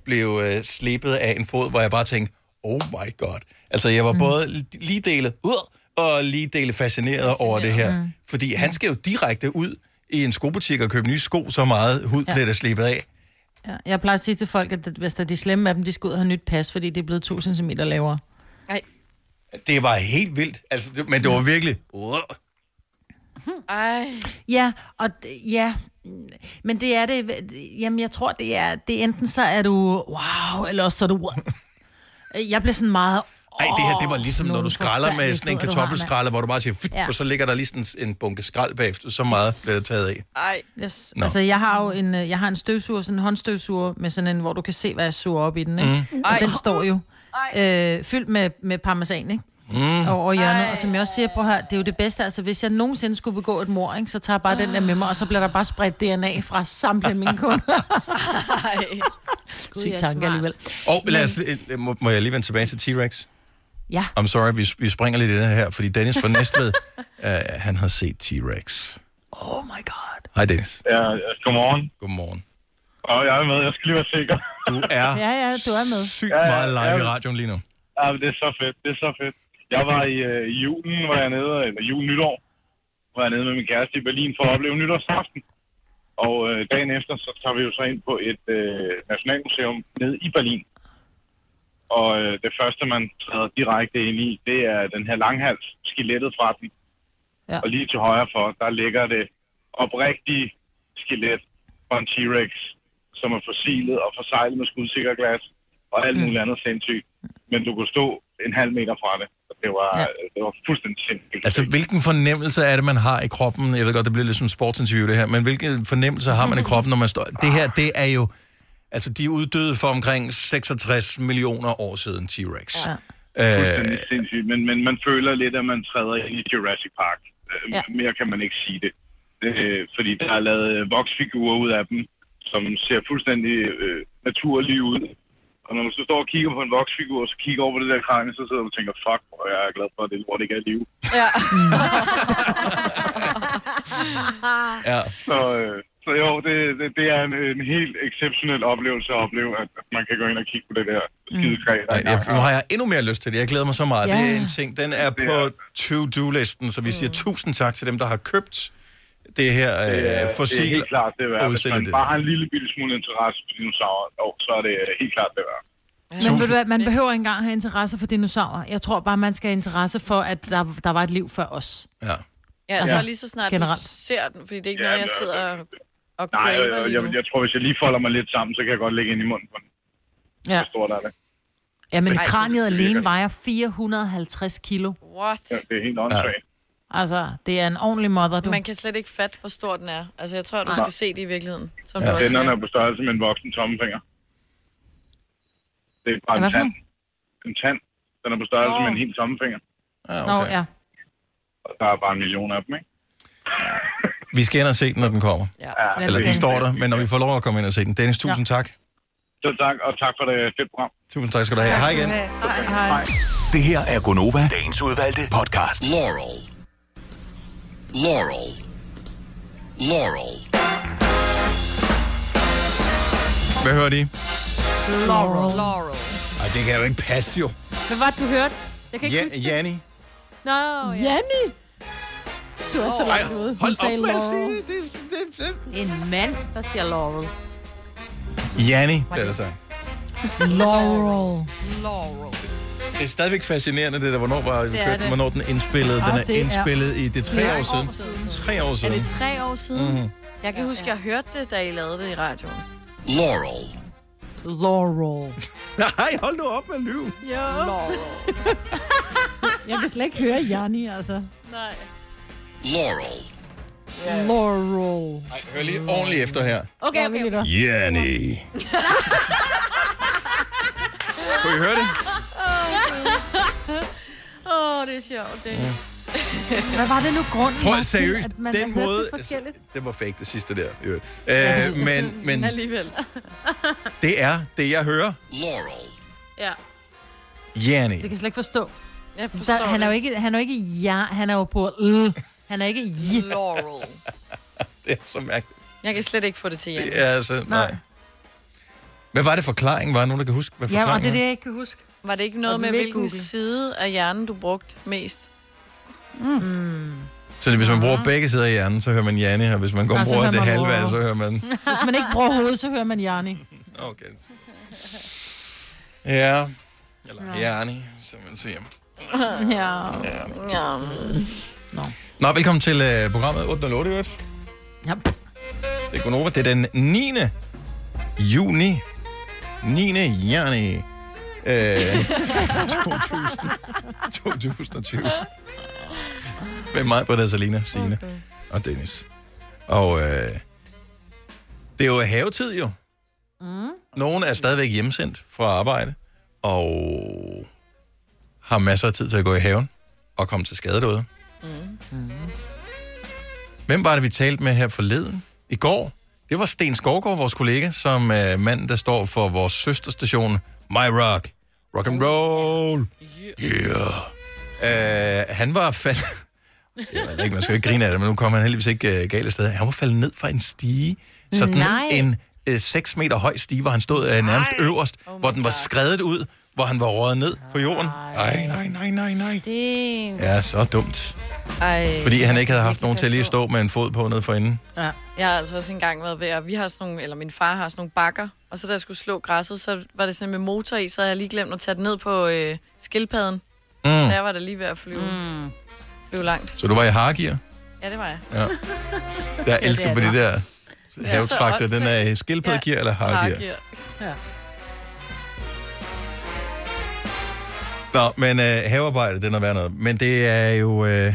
[SPEAKER 1] blive øh, slebet af en fod, hvor jeg bare tænkte, oh my god. Altså, jeg var mm. både lige dele ud og lige dele fascineret, over det her. Mm. Fordi han skal jo direkte ud i en skobutik og købe nye sko, så meget hud ja.
[SPEAKER 4] Ja.
[SPEAKER 1] bliver der slebet af.
[SPEAKER 4] Ja, jeg plejer at sige til folk, at hvis der er de slemme af dem, de skal ud og have nyt pas, fordi det er blevet 2 cm lavere.
[SPEAKER 1] Det var helt vildt, altså, det, men det var virkelig... Uh,
[SPEAKER 3] Ej.
[SPEAKER 4] Ja, og d- ja, men det er det, jamen jeg tror, det er, det er enten så er du, wow, eller også så er du, jeg bliver sådan meget,
[SPEAKER 1] Ej, det her, det var ligesom, når
[SPEAKER 4] nogle
[SPEAKER 1] du skralder med
[SPEAKER 4] forfærdelige
[SPEAKER 1] sådan en
[SPEAKER 4] fødder, du har, mand.
[SPEAKER 1] kartoffelskralder, hvor du bare siger, "Fyt",
[SPEAKER 4] Ja.
[SPEAKER 1] og så ligger der lige sådan en bunke skrald bagefter, så meget bliver der taget af.
[SPEAKER 3] Ej.
[SPEAKER 4] Yes.
[SPEAKER 1] Nå.
[SPEAKER 4] Altså, jeg har jo en, øh, jeg har en støvsuger, sådan en håndstøvsuger, med sådan en, hvor du kan se, hvad jeg suger op i den, ikke?
[SPEAKER 1] Mm.
[SPEAKER 4] Mm.
[SPEAKER 1] Ej.
[SPEAKER 4] Og den står jo øh, fyldt med, med parmesan, ikke?
[SPEAKER 1] Mm.
[SPEAKER 4] over hjørnet, og som jeg også siger, prøv her, det er jo det bedste, altså hvis jeg nogensinde skulle begå et mor, ikke, så tager jeg bare den der med mig, og så bliver der bare spredt DNA fra samtlige mine kunder. Syg
[SPEAKER 2] jeg er
[SPEAKER 4] tanke
[SPEAKER 2] smart.
[SPEAKER 4] alligevel.
[SPEAKER 1] Og lad os, øh, må, må jeg lige vende tilbage til T-Rex?
[SPEAKER 4] Ja.
[SPEAKER 1] I'm sorry, vi, vi springer lidt i det her, fordi Dennis fra Næstved, øh, han har set T-Rex.
[SPEAKER 4] Oh my god.
[SPEAKER 1] Hej Dennis.
[SPEAKER 17] Ja, godmorgen.
[SPEAKER 1] Godmorgen.
[SPEAKER 17] Og jeg er med, jeg skal lige være sikker.
[SPEAKER 1] Du er
[SPEAKER 4] Ja, ja, du er med.
[SPEAKER 1] sygt meget live i radioen lige nu.
[SPEAKER 17] Ja, men det er så fedt, det er så fedt. Jeg var i øh, i julen, var jeg nede, eller julen nytår, var jeg nede med min kæreste i Berlin for at opleve nytårsaften. Og øh, dagen efter, så tager vi jo så ind på et øh, nationalmuseum nede i Berlin. Og øh, det første, man træder direkte ind i, det er den her langhals, skelettet fra den.
[SPEAKER 4] Ja.
[SPEAKER 17] Og lige til højre for, der ligger det oprigtige skelet fra en T-Rex, som er fossilet og forsejlet med skudsikker glas og alt muligt andet sindssygt. Men du kunne stå en halv meter fra det, og det var, ja. det var fuldstændig sindssygt.
[SPEAKER 1] Altså, hvilken fornemmelse er det, man har i kroppen? Jeg ved godt, det bliver lidt som et sportsinterview, det her, men hvilke fornemmelser har man i kroppen, når man står... Det her, det er jo... Altså, de er uddøde for omkring 66 millioner år siden, T-Rex. Ja.
[SPEAKER 17] Fuldstændig sindssygt, men, men man føler lidt, at man træder ind i Jurassic Park.
[SPEAKER 2] Ja.
[SPEAKER 17] Ja. Mere kan man ikke sige det. Øh, fordi der er lavet øh, voksfigurer ud af dem, som ser fuldstændig øh, naturlige ud. Og når man så står og kigger på en voksfigur, og så kigger over på det der kranje, så sidder man og tænker, fuck, hvor jeg er glad for, at det lort ikke er liv.
[SPEAKER 3] Ja.
[SPEAKER 1] Ja.
[SPEAKER 17] Så, øh, så jo, det, det, det er en, en helt exceptionel oplevelse at opleve, at man kan gå ind og kigge på det der skide kræ. der
[SPEAKER 1] Ej, jeg,
[SPEAKER 17] engang
[SPEAKER 1] nu har jeg endnu mere lyst til det. Jeg glæder mig så meget.
[SPEAKER 17] Ja.
[SPEAKER 1] Ja. Det er en ting. Den er på to-do-listen, så vi siger tusind tak til dem, der har købt det her
[SPEAKER 17] Det er-
[SPEAKER 1] øh, fossil.
[SPEAKER 17] Det er helt klart, det er
[SPEAKER 1] og
[SPEAKER 17] værd. Hvis
[SPEAKER 1] udstillet
[SPEAKER 17] man
[SPEAKER 1] det.
[SPEAKER 17] bare har en lille bitte smule interesse for dinosaurer, og så er det øh, helt klart, det er værd.
[SPEAKER 4] Men ved du hvad, man behøver ikke engang have interesse for dinosaurer. Jeg tror bare, man skal have interesse for, at der, der var et liv før os.
[SPEAKER 1] Ja.
[SPEAKER 3] Ja, jeg tror lige så snart
[SPEAKER 4] Generelt.
[SPEAKER 3] du ser den, fordi det er ikke
[SPEAKER 17] Ja,
[SPEAKER 3] noget, jeg
[SPEAKER 17] men, altså-
[SPEAKER 3] sidder og, og
[SPEAKER 17] Nej, jeg,
[SPEAKER 3] craver
[SPEAKER 17] jeg,
[SPEAKER 3] lige
[SPEAKER 17] jeg,
[SPEAKER 3] nu.
[SPEAKER 17] jeg tror, hvis jeg lige folder mig lidt sammen, så kan jeg godt lægge ind i munden på den.
[SPEAKER 4] Ja.
[SPEAKER 17] Så stor der er det.
[SPEAKER 4] Ja, men
[SPEAKER 17] Ej,
[SPEAKER 4] kraniet
[SPEAKER 17] det er
[SPEAKER 4] alene
[SPEAKER 17] sikkert.
[SPEAKER 4] vejer 450 kilo.
[SPEAKER 3] What?
[SPEAKER 17] Ja, det er helt åndssvagt.
[SPEAKER 4] Altså, det er en ordentlig mother, du.
[SPEAKER 3] Man kan slet ikke fatte, hvor stor den er. Altså, jeg tror, du
[SPEAKER 17] Nej.
[SPEAKER 3] skal se det i virkeligheden. Som
[SPEAKER 17] Ja.
[SPEAKER 3] du også
[SPEAKER 17] Tænderne
[SPEAKER 3] siger.
[SPEAKER 17] er på størrelse med en voksen tommelfinger. Det er bare
[SPEAKER 3] Hvad
[SPEAKER 17] en
[SPEAKER 3] for
[SPEAKER 17] tand. En tand. Den er på størrelse
[SPEAKER 3] Nå.
[SPEAKER 17] med en helt tommelfinger.
[SPEAKER 1] Ah,
[SPEAKER 4] Nå, ja.
[SPEAKER 17] Og der er bare en million af dem, ikke?
[SPEAKER 1] Vi skal ind og se den, når den kommer.
[SPEAKER 3] Ja.
[SPEAKER 1] Eller den står der, men når vi får lov at komme ind og se den. Dennis, tusind ja. tak.
[SPEAKER 17] Så tak, og tak for det fedt program.
[SPEAKER 1] Tusind tak skal du have. Hej igen.
[SPEAKER 4] Hej, hej.
[SPEAKER 5] Det her er Gonova, dagens udvalgte podcast.
[SPEAKER 20] Laurel. Laurel. Laurel.
[SPEAKER 1] Hvad hører de?
[SPEAKER 4] Laurel.
[SPEAKER 3] Laurel.
[SPEAKER 1] Ej, det kan jo ikke passe, jo.
[SPEAKER 4] Hvad var det, du hørte? Jeg kan ikke
[SPEAKER 1] Ja,
[SPEAKER 4] huske det.
[SPEAKER 1] Janni.
[SPEAKER 4] Nå, ja. Janni! Du er så
[SPEAKER 2] Åh,
[SPEAKER 4] langt ude. Hun
[SPEAKER 2] hold op
[SPEAKER 4] sagde
[SPEAKER 2] med at
[SPEAKER 4] Laurel.
[SPEAKER 2] sige En mand, der siger Laurel.
[SPEAKER 1] Janni, det er altså- der sagt.
[SPEAKER 4] Laurel.
[SPEAKER 3] Laurel.
[SPEAKER 1] Det er stadigvæk fascinerende, det der, hvornår, var,
[SPEAKER 3] Det
[SPEAKER 1] det
[SPEAKER 3] er
[SPEAKER 1] købte,
[SPEAKER 3] det.
[SPEAKER 1] hvornår den indspillede. Den
[SPEAKER 3] Ah,
[SPEAKER 1] er
[SPEAKER 3] det er-
[SPEAKER 1] indspillet i det er tre
[SPEAKER 3] Ja.
[SPEAKER 1] år siden. Tre år siden.
[SPEAKER 3] Er det tre år siden?
[SPEAKER 1] Mhm.
[SPEAKER 3] Jeg kan huske, jeg hørte det, da I lavede det i radioen.
[SPEAKER 20] Laurel.
[SPEAKER 4] Laurel.
[SPEAKER 1] Nej, hold nu op med at lyve.
[SPEAKER 4] Jo. Jeg kan slet ikke høre Janni, altså.
[SPEAKER 3] Nej.
[SPEAKER 20] Laurel.
[SPEAKER 4] Laurel.
[SPEAKER 1] Ej, hør lige ordentligt efter her.
[SPEAKER 2] Okay, okay. okay.
[SPEAKER 1] Jenny. Kunne I høre det?
[SPEAKER 2] Åh, oh, det er sjovt, det. Ja.
[SPEAKER 4] Hvad var det nu grunden
[SPEAKER 1] Prøv
[SPEAKER 4] var til,
[SPEAKER 1] seriøst,
[SPEAKER 4] at man
[SPEAKER 1] den
[SPEAKER 4] hørte
[SPEAKER 1] måde...
[SPEAKER 4] det forskelligt?
[SPEAKER 1] Det var fake, det sidste der. i øvrigt. Øh, men, men
[SPEAKER 3] Alligevel.
[SPEAKER 1] det er det, jeg hører.
[SPEAKER 20] Laurel.
[SPEAKER 2] Ja.
[SPEAKER 1] Jenny.
[SPEAKER 4] Det kan jeg slet ikke forstå.
[SPEAKER 3] Jeg forstår
[SPEAKER 4] Der, han er jo
[SPEAKER 3] det.
[SPEAKER 4] ikke, han er jo ikke ja, han er jo på l. Han er ikke j.
[SPEAKER 3] Laurel.
[SPEAKER 1] Det er så mærkeligt.
[SPEAKER 3] Jeg kan slet ikke få det til, Jan.
[SPEAKER 1] Det er altså... Nej. Hvad var det forklaringen? Var der nogen, der kan huske, hvad
[SPEAKER 3] Ja, og
[SPEAKER 1] forklaringen
[SPEAKER 3] det er det,
[SPEAKER 1] var?
[SPEAKER 3] jeg
[SPEAKER 4] ikke kan huske.
[SPEAKER 3] Var det ikke
[SPEAKER 4] Og
[SPEAKER 3] noget
[SPEAKER 4] vi
[SPEAKER 3] med,
[SPEAKER 4] vil ikke
[SPEAKER 3] hvilken
[SPEAKER 4] google.
[SPEAKER 3] side af hjernen, du brugte mest?
[SPEAKER 4] Mm.
[SPEAKER 1] Så det, hvis man bruger begge sider af hjernen, så hører man Janne, og hvis man kun
[SPEAKER 4] Og så
[SPEAKER 1] bruger
[SPEAKER 4] hører
[SPEAKER 1] det
[SPEAKER 4] man
[SPEAKER 1] halve,
[SPEAKER 4] Aurora.
[SPEAKER 1] af det, så hører man...
[SPEAKER 4] Hvis man ikke bruger hovedet, så hører man Janni.
[SPEAKER 1] Okay. Ja. Eller Janne, som man siger.
[SPEAKER 4] Ja.
[SPEAKER 3] Ja.
[SPEAKER 1] Nå, velkommen til uh, programmet 808, i øvrigt.
[SPEAKER 4] Ja.
[SPEAKER 1] Det er Gunova. Det er den 9. juni. 9. juni. Øh, 2000, 2020. Med mig, Britta, Salina, Signe okay. og Dennis. Og øh, det er jo havetid, jo.
[SPEAKER 4] Mm.
[SPEAKER 1] Nogen er stadigvæk hjemsendt fra arbejde, og har masser af tid til at gå i haven og komme til skade derude. Hvem var det, vi talte med her forleden? I går? Det var Sten Skovgaard, vores kollega, som er manden, der står for vores søsterstation, My Rock. Rock and roll. Yeah. Uh, han var faldet... Jeg ved ikke, man skal jo ikke grine af det, men nu kom han heldigvis ikke uh, galt af sted. Han var faldet ned fra en stige. Sådan
[SPEAKER 21] Nej.
[SPEAKER 1] en uh, 6 meter høj stige, hvor han stod uh, nærmest øverst, oh hvor den var skredet ud, hvor han var røget ned på jorden. Ej, nej, nej, nej, nej.
[SPEAKER 2] Sten.
[SPEAKER 1] Ja, så dumt.
[SPEAKER 3] Ej.
[SPEAKER 1] Fordi han ikke havde haft nogen til at lige stå med en fod på nede for enden.
[SPEAKER 4] Ja.
[SPEAKER 3] Jeg har altså også engang været ved, at vi har sådan nogle, eller min far har sådan nogle bakker, og så da jeg skulle slå græsset, så var det sådan med motor i, så havde jeg lige glemt at tage det ned på øh, skildpadden. Mm. Så jeg var da lige ved at flyve, mm. flyve langt.
[SPEAKER 1] Så du var i hargear?
[SPEAKER 3] Ja, det var jeg.
[SPEAKER 1] Ja. Jeg elsker på det der havetraktor. Den er i skildpaddegear eller hargear?
[SPEAKER 4] Ja.
[SPEAKER 1] Nå, men øh, havearbejde, den er værd noget. Men det er jo øh,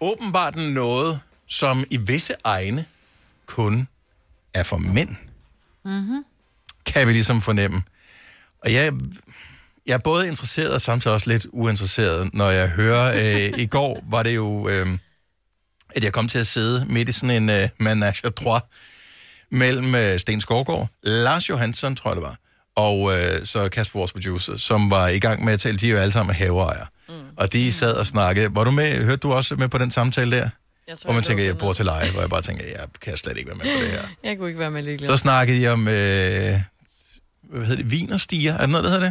[SPEAKER 1] åbenbart noget, som i visse egne kun er for mænd,
[SPEAKER 4] Mm-hmm.
[SPEAKER 1] kan vi ligesom fornemme. Og jeg, jeg er både interesseret og samtidig også lidt uinteresseret, når jeg hører... Øh, I går var det jo, øh, at jeg kom til at sidde midt i sådan en øh, menage à trois mellem øh, Sten Skovgaard, Lars Johansson, tror jeg det var, og øh, så Kasper, vores producer, som var i gang med at tale. De er jo alle sammen haveejere. Mm. Og de sad og snakkede. Var du med? Hørte du også med på den samtale der?
[SPEAKER 3] Jeg
[SPEAKER 1] Hvor man tænker, jeg bor til leje, hvor jeg bare tænker, jeg kan slet ikke være med på det her.
[SPEAKER 3] Jeg kunne ikke være med lige
[SPEAKER 1] Så snakkede I om, øh, hvad hedder det, vin og stiger? Er det noget, der hedder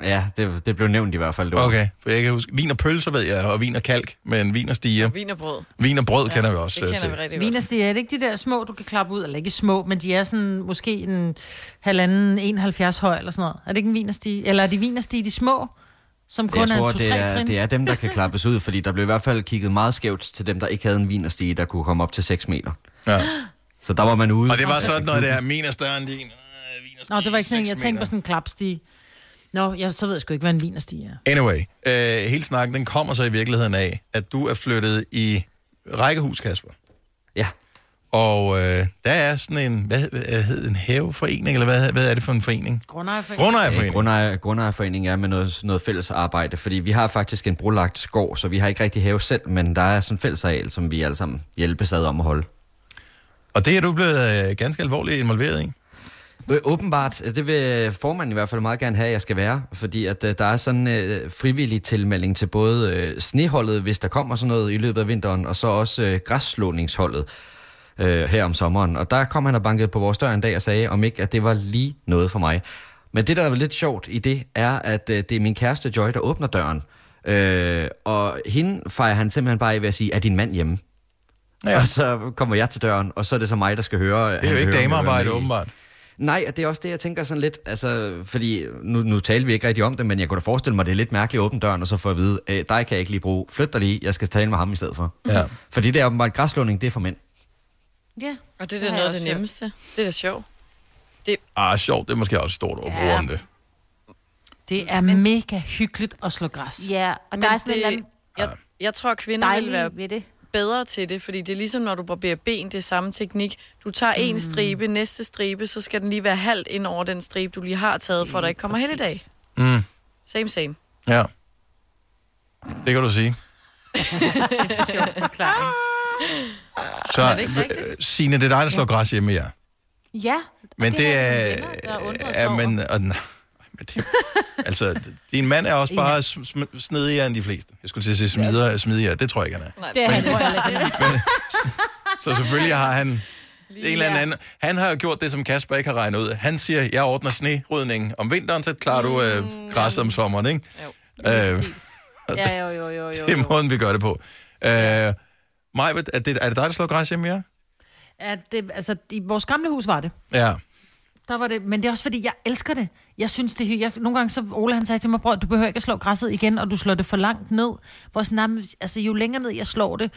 [SPEAKER 1] det?
[SPEAKER 11] Ja, det, det blev nævnt i hvert fald. Det var.
[SPEAKER 1] Okay, for jeg kan huske, vin og pølser ved jeg, og vin og kalk, men vin og stiger.
[SPEAKER 3] Vin og brød.
[SPEAKER 1] Vin og brød ja,
[SPEAKER 3] Ja,
[SPEAKER 1] kender vi også
[SPEAKER 3] det
[SPEAKER 1] øh,
[SPEAKER 3] kender
[SPEAKER 1] til.
[SPEAKER 3] vi rigtig godt.
[SPEAKER 4] Vinerstiger, er det ikke de der små, du kan klappe ud? Eller ikke små, men de er sådan måske en halvanden, 71 høj eller sådan noget. Er det ikke en vinerstige? Eller er de vinerstige, de små, som kun
[SPEAKER 11] Jeg tror,
[SPEAKER 4] er en
[SPEAKER 11] det
[SPEAKER 4] 2-3
[SPEAKER 11] er,
[SPEAKER 4] trin?
[SPEAKER 11] det er dem, der kan klappes ud, fordi der blev i hvert fald kigget meget skævt til dem, der ikke havde en vinerstige, der kunne komme op til 6 meter.
[SPEAKER 1] Ja.
[SPEAKER 11] Så der var man ude.
[SPEAKER 1] Og det var sådan noget der, min er større end din.
[SPEAKER 4] Nå, det var ikke sådan, en- jeg
[SPEAKER 1] seks
[SPEAKER 4] tænkte
[SPEAKER 1] meter.
[SPEAKER 4] på sådan en klapstige. Nå, jeg, så ved jeg sgu ikke, hvad en vinerstige er.
[SPEAKER 1] Anyway, øh, hele snakken, den kommer så i virkeligheden af, at du er flyttet i rækkehus, Kasper.
[SPEAKER 11] Ja.
[SPEAKER 1] Og øh, der er sådan en, hvad hed- hvad hed en haveforening, eller hvad, hvad er det for en forening?
[SPEAKER 4] Grundejerforening.
[SPEAKER 1] Grundejerforening.
[SPEAKER 11] Øh, Grundejer, grundejerforening er med noget, noget fælles arbejde, fordi vi har faktisk en brolagt skov, så vi har ikke rigtig have selv, men der er sådan en fælles areal, som vi alle sammen hjælpes ad om at holde.
[SPEAKER 1] Og det er du blevet øh, ganske alvorligt involveret i?
[SPEAKER 11] Øh, Åbenbart, det vil øh, formanden i hvert fald meget gerne have, at jeg skal være, fordi at øh, der er sådan øh, frivillig tilmelding til både øh, sneholdet, hvis der kommer sådan noget i løbet af vinteren, og så også øh, græsslåningsholdet øh, her om sommeren. Og der kom han og bankede på vores dør en dag og sagde, om ikke at det var lige noget for mig. Men det, der er lidt sjovt i det, er, at øh, det er min kæreste Joy, der åbner døren. Øh, og hende fejrer han simpelthen bare af ved at sige, er din mand hjemme?
[SPEAKER 1] Ja.
[SPEAKER 11] Og så kommer jeg til døren, og så er det så mig, der skal høre.
[SPEAKER 1] Det er jo ikke damearbejde, åbenbart.
[SPEAKER 11] Nej, og det er også det, jeg tænker sådan lidt, altså, fordi nu, nu taler vi ikke rigtig om det, men jeg kunne da forestille mig, det er lidt mærkeligt at åbne døren, og så få at vide, øh, dig kan jeg ikke lige bruge, flyt dig lige, jeg skal tale med ham i stedet for.
[SPEAKER 1] Ja.
[SPEAKER 11] Fordi det er åbenbart græslåning, det er for mænd.
[SPEAKER 2] Ja.
[SPEAKER 3] Og det er da
[SPEAKER 2] har jeg
[SPEAKER 3] noget af
[SPEAKER 2] også
[SPEAKER 3] det
[SPEAKER 2] hørt.
[SPEAKER 3] nemmeste. Det er da sjovt.
[SPEAKER 1] Ah, sjovt, det er måske også et stort ord ja. om det.
[SPEAKER 4] Det er men... mega hyggeligt at slå græs.
[SPEAKER 2] Ja, og
[SPEAKER 3] Men
[SPEAKER 2] der er sådan
[SPEAKER 3] det-
[SPEAKER 2] en eller
[SPEAKER 3] Jeg, jeg tror, kvinder
[SPEAKER 2] Dejlige
[SPEAKER 3] vil være
[SPEAKER 2] ved det.
[SPEAKER 3] bedre til det, fordi det er ligesom, når du barberer ben, det er samme teknik. Du tager
[SPEAKER 2] Mm.
[SPEAKER 3] en stribe, næste stribe, så skal den lige være halvt ind over den stribe, du lige har taget, for at der ikke kommer hen i dag.
[SPEAKER 1] Mm,
[SPEAKER 3] Same, same.
[SPEAKER 1] ja. Det kan du sige.
[SPEAKER 2] Ah!
[SPEAKER 1] Så,
[SPEAKER 2] Er det ikke rigtigt?
[SPEAKER 1] øh, Signe, det er dig, der slår græs hjemme med jer.
[SPEAKER 2] Ja. og
[SPEAKER 1] Men det
[SPEAKER 2] har jeg
[SPEAKER 1] er...
[SPEAKER 2] nogle venner, der har undret sig
[SPEAKER 1] Ja,
[SPEAKER 2] over.
[SPEAKER 1] men, og, nej, men det, altså, din mand er også bare sm- sm- snedigere end de fleste. Jeg skulle til at sige smider, smidigere. Det tror jeg ikke, han er.
[SPEAKER 2] Det er han tror jeg heller ikke.
[SPEAKER 1] Så selvfølgelig har han en eller anden. Han har jo gjort det, som Kasper ikke har regnet ud. Han siger, jeg ordner snerydningen om vinteren, så klarer du
[SPEAKER 2] Mm,
[SPEAKER 1] øh, græsset om sommeren, ikke? Jo. Øh,
[SPEAKER 2] Ja, jo, jo, jo, jo.
[SPEAKER 1] det er måden, vi gør det på. Øh, Maja, er det, er det dig, der slår græs hjemme, ja?
[SPEAKER 4] At det, altså, i vores gamle hus var det.
[SPEAKER 1] Ja.
[SPEAKER 4] Der var det, men det er også fordi, jeg elsker det. Jeg synes, det er hy- jeg, Nogle gange, så Ole han sagde til mig, bror, du behøver ikke at slå græsset igen, og du slår det for langt ned. Hvor sådan, "Nej, men hvis- altså, jo længere ned jeg slår det,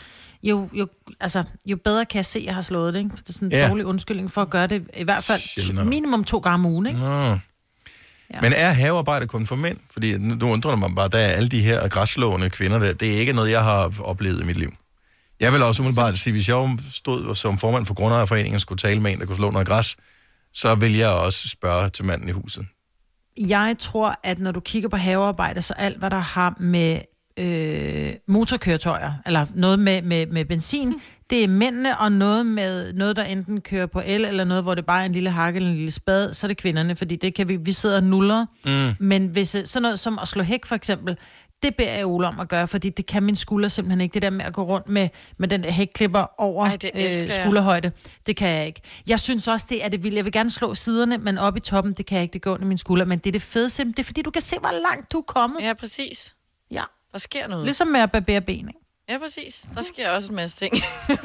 [SPEAKER 4] jo, jo, altså, jo bedre kan jeg se, at jeg har slået det. Ikke? For det er sådan en
[SPEAKER 1] Ja.
[SPEAKER 4] ja. dårlig undskyldning for at gøre det, i hvert fald
[SPEAKER 1] Sjældnere.
[SPEAKER 4] t- minimum to gange om ugen. Ikke?
[SPEAKER 1] Nå. Ja. Men er havearbejde kun for mænd? Fordi nu nu undrer det mig bare, der er alle de her græsslående kvinder der. Det er ikke noget, jeg har oplevet i mit liv. Jeg vil også umiddelbart sige, hvis jeg stod som formand for Grundejerforeningen og skulle tale med en, der kunne slå noget græs, så vil jeg også spørge til manden i huset.
[SPEAKER 4] Jeg tror, at når du kigger på havearbejde, så alt, hvad der har med øh, motorkøretøjer, eller noget med, med, med benzin, det er mændene, og noget med noget, der enten kører på el, eller noget, hvor det bare er en lille hakke eller en lille spade, så er det kvinderne, fordi det kan vi, vi sidder og nuller.
[SPEAKER 7] Mm.
[SPEAKER 4] Men hvis øh, sådan noget som at slå hæk, for eksempel, det beder jeg Ole om at gøre, fordi det kan min skulder simpelthen ikke. Det der med at gå rundt med, med den der hækklipper over
[SPEAKER 3] Ej, det
[SPEAKER 4] øh,
[SPEAKER 3] elsker jeg.
[SPEAKER 4] skulderhøjde, det kan jeg ikke. Jeg synes også, det er det vildt. Jeg vil gerne slå siderne, men op i toppen, det kan jeg ikke. Det går under min skulder. Men det er det fede simpelthen. Det er fordi, du kan se, hvor langt du er kommet.
[SPEAKER 3] Ja, præcis.
[SPEAKER 4] Ja.
[SPEAKER 3] Der sker noget.
[SPEAKER 4] Ligesom med at barbere ben, ikke?
[SPEAKER 3] Ja, præcis. Der sker også en masse ting.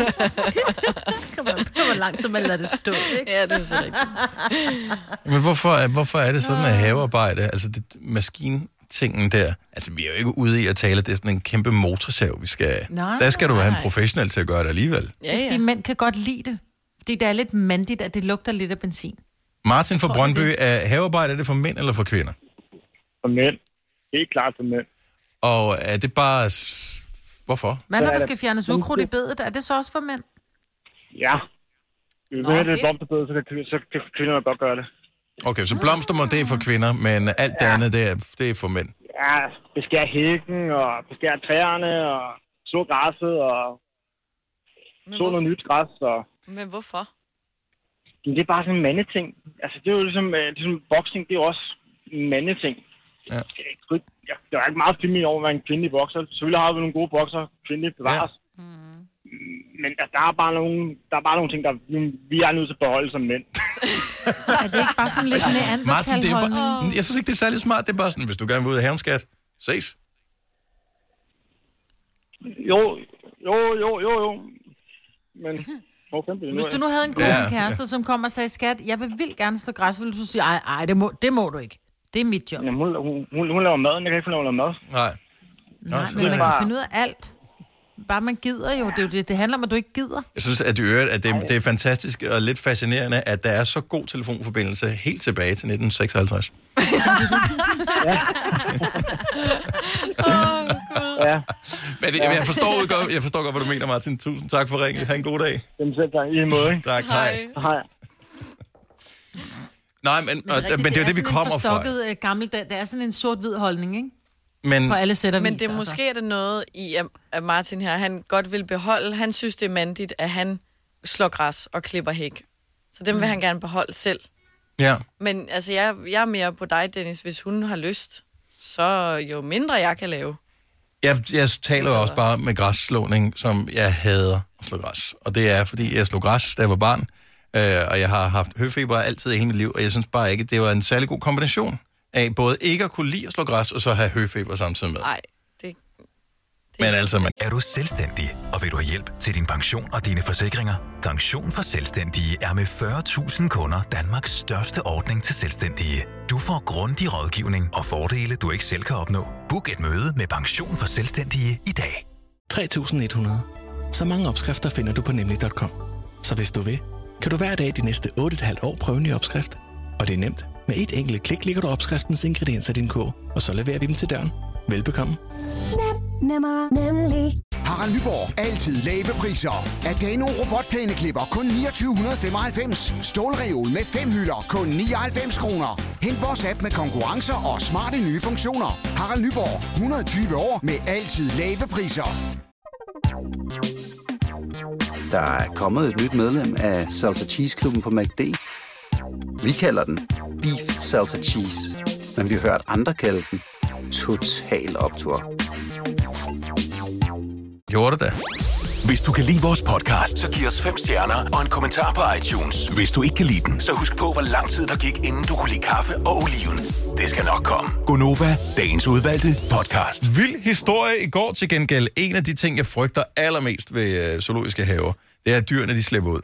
[SPEAKER 2] Hvor langt, så man lader det stå, ikke?
[SPEAKER 3] Ja, det er så rigtigt.
[SPEAKER 1] Men hvorfor, er- hvorfor er det sådan, at havearbejde, altså det, maskintingen der, altså vi er jo ikke ude i at tale, at det er sådan en kæmpe motorsav, vi skal...
[SPEAKER 4] Nej,
[SPEAKER 1] der skal du have en
[SPEAKER 4] nej.
[SPEAKER 1] professionel til at gøre det alligevel.
[SPEAKER 4] Ja, ja. Fordi mænd kan godt lide det. Fordi det er lidt mandigt, at det lugter lidt af benzin.
[SPEAKER 1] Martin fra
[SPEAKER 4] Jeg tror, det er
[SPEAKER 1] Brøndby, er havearbejde er det for mænd eller for kvinder?
[SPEAKER 15] For mænd. Helt klart for mænd.
[SPEAKER 1] Og er det bare... s- Hvorfor?
[SPEAKER 4] Hvad når der skal fjernes ukrudt i bedet? Er det så også for mænd?
[SPEAKER 15] Ja. Hvis
[SPEAKER 4] Nå,
[SPEAKER 15] man det
[SPEAKER 4] fedt.
[SPEAKER 15] blomsterbed, så kan, kvi- så kan kvinderne godt gøre det.
[SPEAKER 1] Okay, så blomstermor, det er for kvinder, men alt det andet, det er, det er for mænd.
[SPEAKER 10] Ja, beskær hækken, og beskær træerne, og så græsset, og så noget nyt græs, og
[SPEAKER 3] Men hvorfor?
[SPEAKER 10] Jamen, det er bare sådan en mandeting. Altså, det er jo ligesom, øh, ligesom boxing, det er jo også en mandeting.
[SPEAKER 1] Ja.
[SPEAKER 10] Jeg, der er ikke meget feminin over at være en kvindelig bokser. Selvfølgelig har vi nogle gode bokser, kvindelige bevares. Ja.
[SPEAKER 4] Mm.
[SPEAKER 10] Men der, der, er bare nogle, der er bare nogle ting, der vi, vi er nødt til at beholde som mænd.
[SPEAKER 4] Er det ikke bare sådan lidt med
[SPEAKER 1] Martin, det er bare,
[SPEAKER 4] andre
[SPEAKER 1] jeg synes ikke, det er særlig smart. Det er bare sådan, hvis du gerne vil ud af haven, skat, ses.
[SPEAKER 10] Jo, jo, jo, jo, jo. Men hvor fanden bliver det
[SPEAKER 4] Hvis
[SPEAKER 10] af?
[SPEAKER 4] du nu havde en
[SPEAKER 1] Ja,
[SPEAKER 4] god
[SPEAKER 1] ja.
[SPEAKER 4] kæreste, som kom og sagde, skat, jeg vil vildt gerne slå græs, ville du sige, ej, ej, det må, det må du ikke. Det er mit job.
[SPEAKER 10] Jamen, hun, hun, hun, hun laver mad, jeg kan ikke finde ud af at lave mad.
[SPEAKER 1] Nej.
[SPEAKER 4] Nej, men man kan finde ud af alt. Bare man gider jo. Det, er jo det. det handler om, at du ikke gider.
[SPEAKER 1] Jeg synes, at, i øvrigt, at det, det er fantastisk og lidt fascinerende, at der er så god telefonforbindelse helt tilbage til 1956.
[SPEAKER 10] Ja.
[SPEAKER 1] Men det, jeg, forstår ud godt, jeg forstår godt, hvad du mener, Martin. Tusind tak for ringen. Ha' en god dag.
[SPEAKER 10] Jamen selv tak. I lige måde, ikke?
[SPEAKER 1] Tak, hej.
[SPEAKER 10] Hej.
[SPEAKER 1] Nej, men, men, men det er jo det, vi kommer fra.
[SPEAKER 4] fra. Gammeldag. øh, Det er sådan en sort-hvid holdning, ikke?
[SPEAKER 1] Men,
[SPEAKER 4] På alle sæt og
[SPEAKER 3] Men
[SPEAKER 4] vis,
[SPEAKER 3] det er
[SPEAKER 4] altså.
[SPEAKER 3] måske er det noget i, at- at Martin her, han godt vil beholde. Han synes, det er mandigt, at han slår græs og klipper hæk. Så
[SPEAKER 4] Mm.
[SPEAKER 3] dem vil han gerne beholde selv.
[SPEAKER 1] ja.
[SPEAKER 3] Men altså, jeg, jeg er mere på dig, Dennis. Hvis hun har lyst, så jo mindre jeg kan lave.
[SPEAKER 1] Jeg, jeg taler jo også bare med græsslåning, som jeg hader at slå græs. Og det er, fordi jeg slog græs, da jeg var barn, øh, og jeg har haft høfeber altid i hele mit liv, og jeg synes bare ikke, det var en særlig god kombination af både ikke at kunne lide at slå græs, og så have høfeber samtidig med.
[SPEAKER 3] Nej, det...
[SPEAKER 1] Men altså, man...
[SPEAKER 18] Er du selvstændig, og vil du have hjælp til din pension og dine forsikringer? Pension for Selvstændige er med 40.000 kunder Danmarks største ordning til selvstændige. Du får grundig rådgivning og fordele, du ikke selv kan opnå. Book et møde med Pension for Selvstændige i dag.
[SPEAKER 7] 3100. Så mange opskrifter finder du på nemlig.com. Så hvis du vil, kan du hver dag de næste 8,5 år prøve en ny opskrift. Og det er nemt. Med et enkelt klik ligger du opskriftens ingredienser i din kog, og så leverer vi dem til døren. Velbekomme.
[SPEAKER 8] Nemmer, nemlig. Harald Nyborg. Altid lave priser. Adano robotplæneklipper kun 2995. Stålreol med fem hylder kun 99 kroner. Hent vores app med konkurrencer og smarte nye funktioner. Harald Nyborg. 120 år med altid lave priser.
[SPEAKER 19] Der er kommet et nyt medlem af Salsa Cheese Klubben på MACD. Vi kalder den Beef Salsa Cheese, men vi har hørt andre kalde den Total Optor.
[SPEAKER 1] Gjorde det da.
[SPEAKER 5] Hvis du kan lide vores podcast, så giv os fem stjerner og en kommentar på iTunes. Hvis du ikke kan lide den, så husk på, hvor lang tid der gik, inden du kunne lide kaffe og oliven. Det skal nok komme.
[SPEAKER 1] Gonova, dagens udvalgte podcast. Vild historie i går til gengæld. En af de ting, jeg frygter allermest ved øh, zoologiske haver, det er, at dyrene de slipper ud.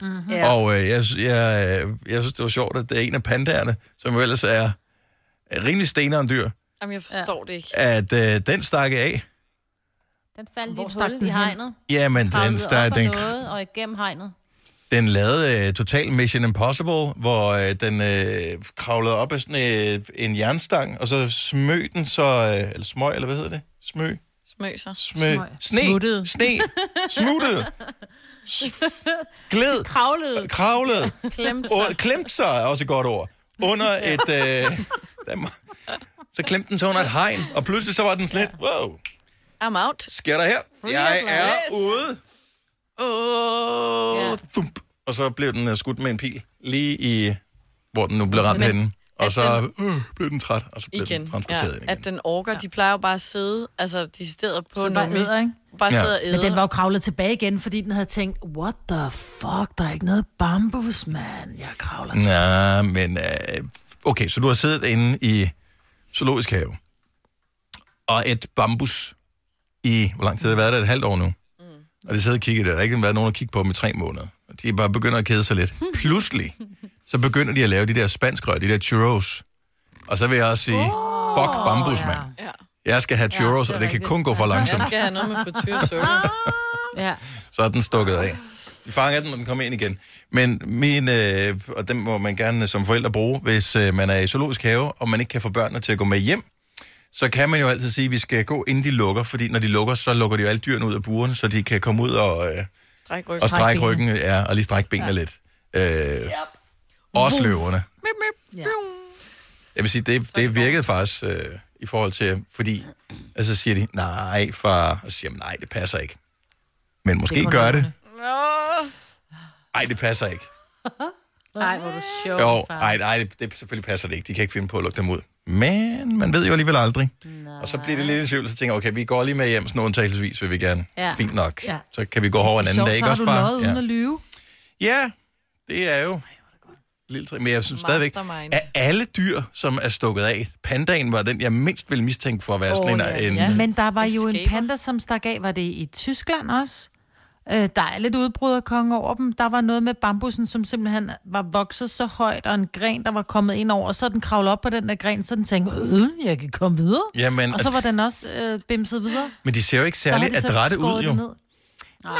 [SPEAKER 21] Mm-hmm.
[SPEAKER 1] Ja. Og øh, jeg, sy- jeg, øh, jeg synes, det var sjovt, at det er en af pandaerne, som jo ellers er er rimelig steneren dyr,
[SPEAKER 3] Jamen, jeg forstår ja. det ikke.
[SPEAKER 1] at øh, den stakke af.
[SPEAKER 2] Den faldt i
[SPEAKER 3] Hvor
[SPEAKER 2] et
[SPEAKER 3] stak
[SPEAKER 2] hul
[SPEAKER 3] den
[SPEAKER 2] i
[SPEAKER 3] hen?
[SPEAKER 2] hegnet.
[SPEAKER 1] Jamen, den,
[SPEAKER 2] Kravlede
[SPEAKER 1] der,
[SPEAKER 2] op ad
[SPEAKER 1] den,
[SPEAKER 2] noget og igennem hegnet.
[SPEAKER 1] den lavede øh, total Mission Impossible, hvor øh, den øh, kravlede op af sådan øh, en jernstang, og så smøg den så, øh, eller smøg, eller hvad hedder det? Smøg?
[SPEAKER 3] Smøser.
[SPEAKER 1] Smøg. Sne. Smuttede. Sne. Smuttede. Gled.
[SPEAKER 2] Kravlede.
[SPEAKER 1] Kravlede.
[SPEAKER 2] Klemte
[SPEAKER 1] Og-
[SPEAKER 2] sig.
[SPEAKER 1] Klemte sig er også et godt ord. Under et... Øh, der må- så klemte den sig under et hegn, og pludselig så var den sådan lidt, wow,
[SPEAKER 3] I'm out.
[SPEAKER 1] sker der her?
[SPEAKER 3] Free
[SPEAKER 1] Jeg
[SPEAKER 3] at
[SPEAKER 1] er
[SPEAKER 3] last.
[SPEAKER 1] ude. Åh, thump. Og så blev den øh, skudt med en pil, lige i, hvor den nu blev ramt henne. Og så øh, blev den træt, og så blev
[SPEAKER 3] Igen.
[SPEAKER 1] den transporteret ind.
[SPEAKER 3] ja, at den orker. Ja. De plejer jo bare at sidde, altså de sidder på
[SPEAKER 4] Så den bare
[SPEAKER 3] Nomi.
[SPEAKER 4] æder, ikke?
[SPEAKER 3] Bare
[SPEAKER 1] Ja.
[SPEAKER 3] ja. sidder og æder.
[SPEAKER 4] Men den var jo kravlet tilbage igen, fordi den havde tænkt, what the fuck, der er ikke noget bambus, man. Jeg kravler tilbage.
[SPEAKER 1] Nej, men øh, okay, så du har siddet inde i zoologisk have, og et bambus i, hvor lang tid har det været der? Et halvt år nu. Mm. Og de sidder og kigger der. Der har ikke været nogen at kigge på dem i tre måneder. Og De bare begynder at kede sig lidt. Pludselig, så begynder de at lave de der spanskrøg, de der churros. Og så vil jeg også sige, oh, fuck bambus, mand.
[SPEAKER 3] Ja.
[SPEAKER 1] Jeg skal have churros, ja, det og det kan kun gå for langsomt.
[SPEAKER 3] Jeg skal have noget med frityrsukker.
[SPEAKER 2] ja.
[SPEAKER 1] Så er den stukket af. De fanger den, når den kommer ind igen. Men min, øh, og den må man gerne som forældre bruge, hvis øh, man er i zoologisk have, og man ikke kan få børnene til at gå med hjem, så kan man jo altid sige, at vi skal gå, inden de lukker, fordi når de lukker, så lukker de jo alle dyrene ud af burene, så de kan komme ud og, øh,
[SPEAKER 3] Stræk ryggen.
[SPEAKER 1] og strække ryggen, ja, og lige strække benene ja. lidt. Øh, Også løverne.
[SPEAKER 3] Mip, mip.
[SPEAKER 2] Ja.
[SPEAKER 1] Jeg vil sige, det, det virkede faktisk øh, i forhold til, fordi, altså siger de, nej, far, og så siger man, nej, det passer ikke. Men måske
[SPEAKER 2] Det
[SPEAKER 1] det
[SPEAKER 2] er
[SPEAKER 1] gør det.
[SPEAKER 3] Åh.
[SPEAKER 1] Nej, det passer ikke.
[SPEAKER 2] Nej, hvor er du sjov,
[SPEAKER 1] Jo,
[SPEAKER 2] far.
[SPEAKER 1] nej, nej, det, det, selvfølgelig passer det ikke. De kan ikke finde på at lukke dem ud. Men man ved jo alligevel aldrig. Nej. Og så bliver det lidt i tvivl, så tænker jeg, okay, vi går lige med hjem, sådan undtagelsesvis vil vi gerne.
[SPEAKER 4] Ja.
[SPEAKER 1] Ja. Fint nok.
[SPEAKER 4] Ja.
[SPEAKER 1] Ja. Så kan vi gå over en anden
[SPEAKER 4] Sjovt,
[SPEAKER 1] dag,
[SPEAKER 4] så
[SPEAKER 1] ikke
[SPEAKER 4] har
[SPEAKER 1] også,
[SPEAKER 4] du
[SPEAKER 1] far?
[SPEAKER 4] løjet uden
[SPEAKER 1] ja.
[SPEAKER 4] at lyve.
[SPEAKER 1] ja, det er jo... Lille træ. Men jeg synes stadigvæk,
[SPEAKER 4] Mastermind.
[SPEAKER 1] af alle dyr, som er stukket af, pandaen var den, jeg mindst ville mistænke for at være oh, sådan en... Ja. en
[SPEAKER 4] Men der var jo en panda, som stak af. Var det i Tyskland også? Øh, der er lidt udbrud af konge over dem. Der var noget med bambusen, som simpelthen var vokset så højt, og en gren, der var kommet ind over, og så den kravlede op på den der gren, så den tænkte, øh, jeg kan komme videre.
[SPEAKER 1] Jamen,
[SPEAKER 4] og så var den også øh, bimset videre.
[SPEAKER 1] Men de ser jo ikke særlig adrette ud, jo.
[SPEAKER 4] Nej.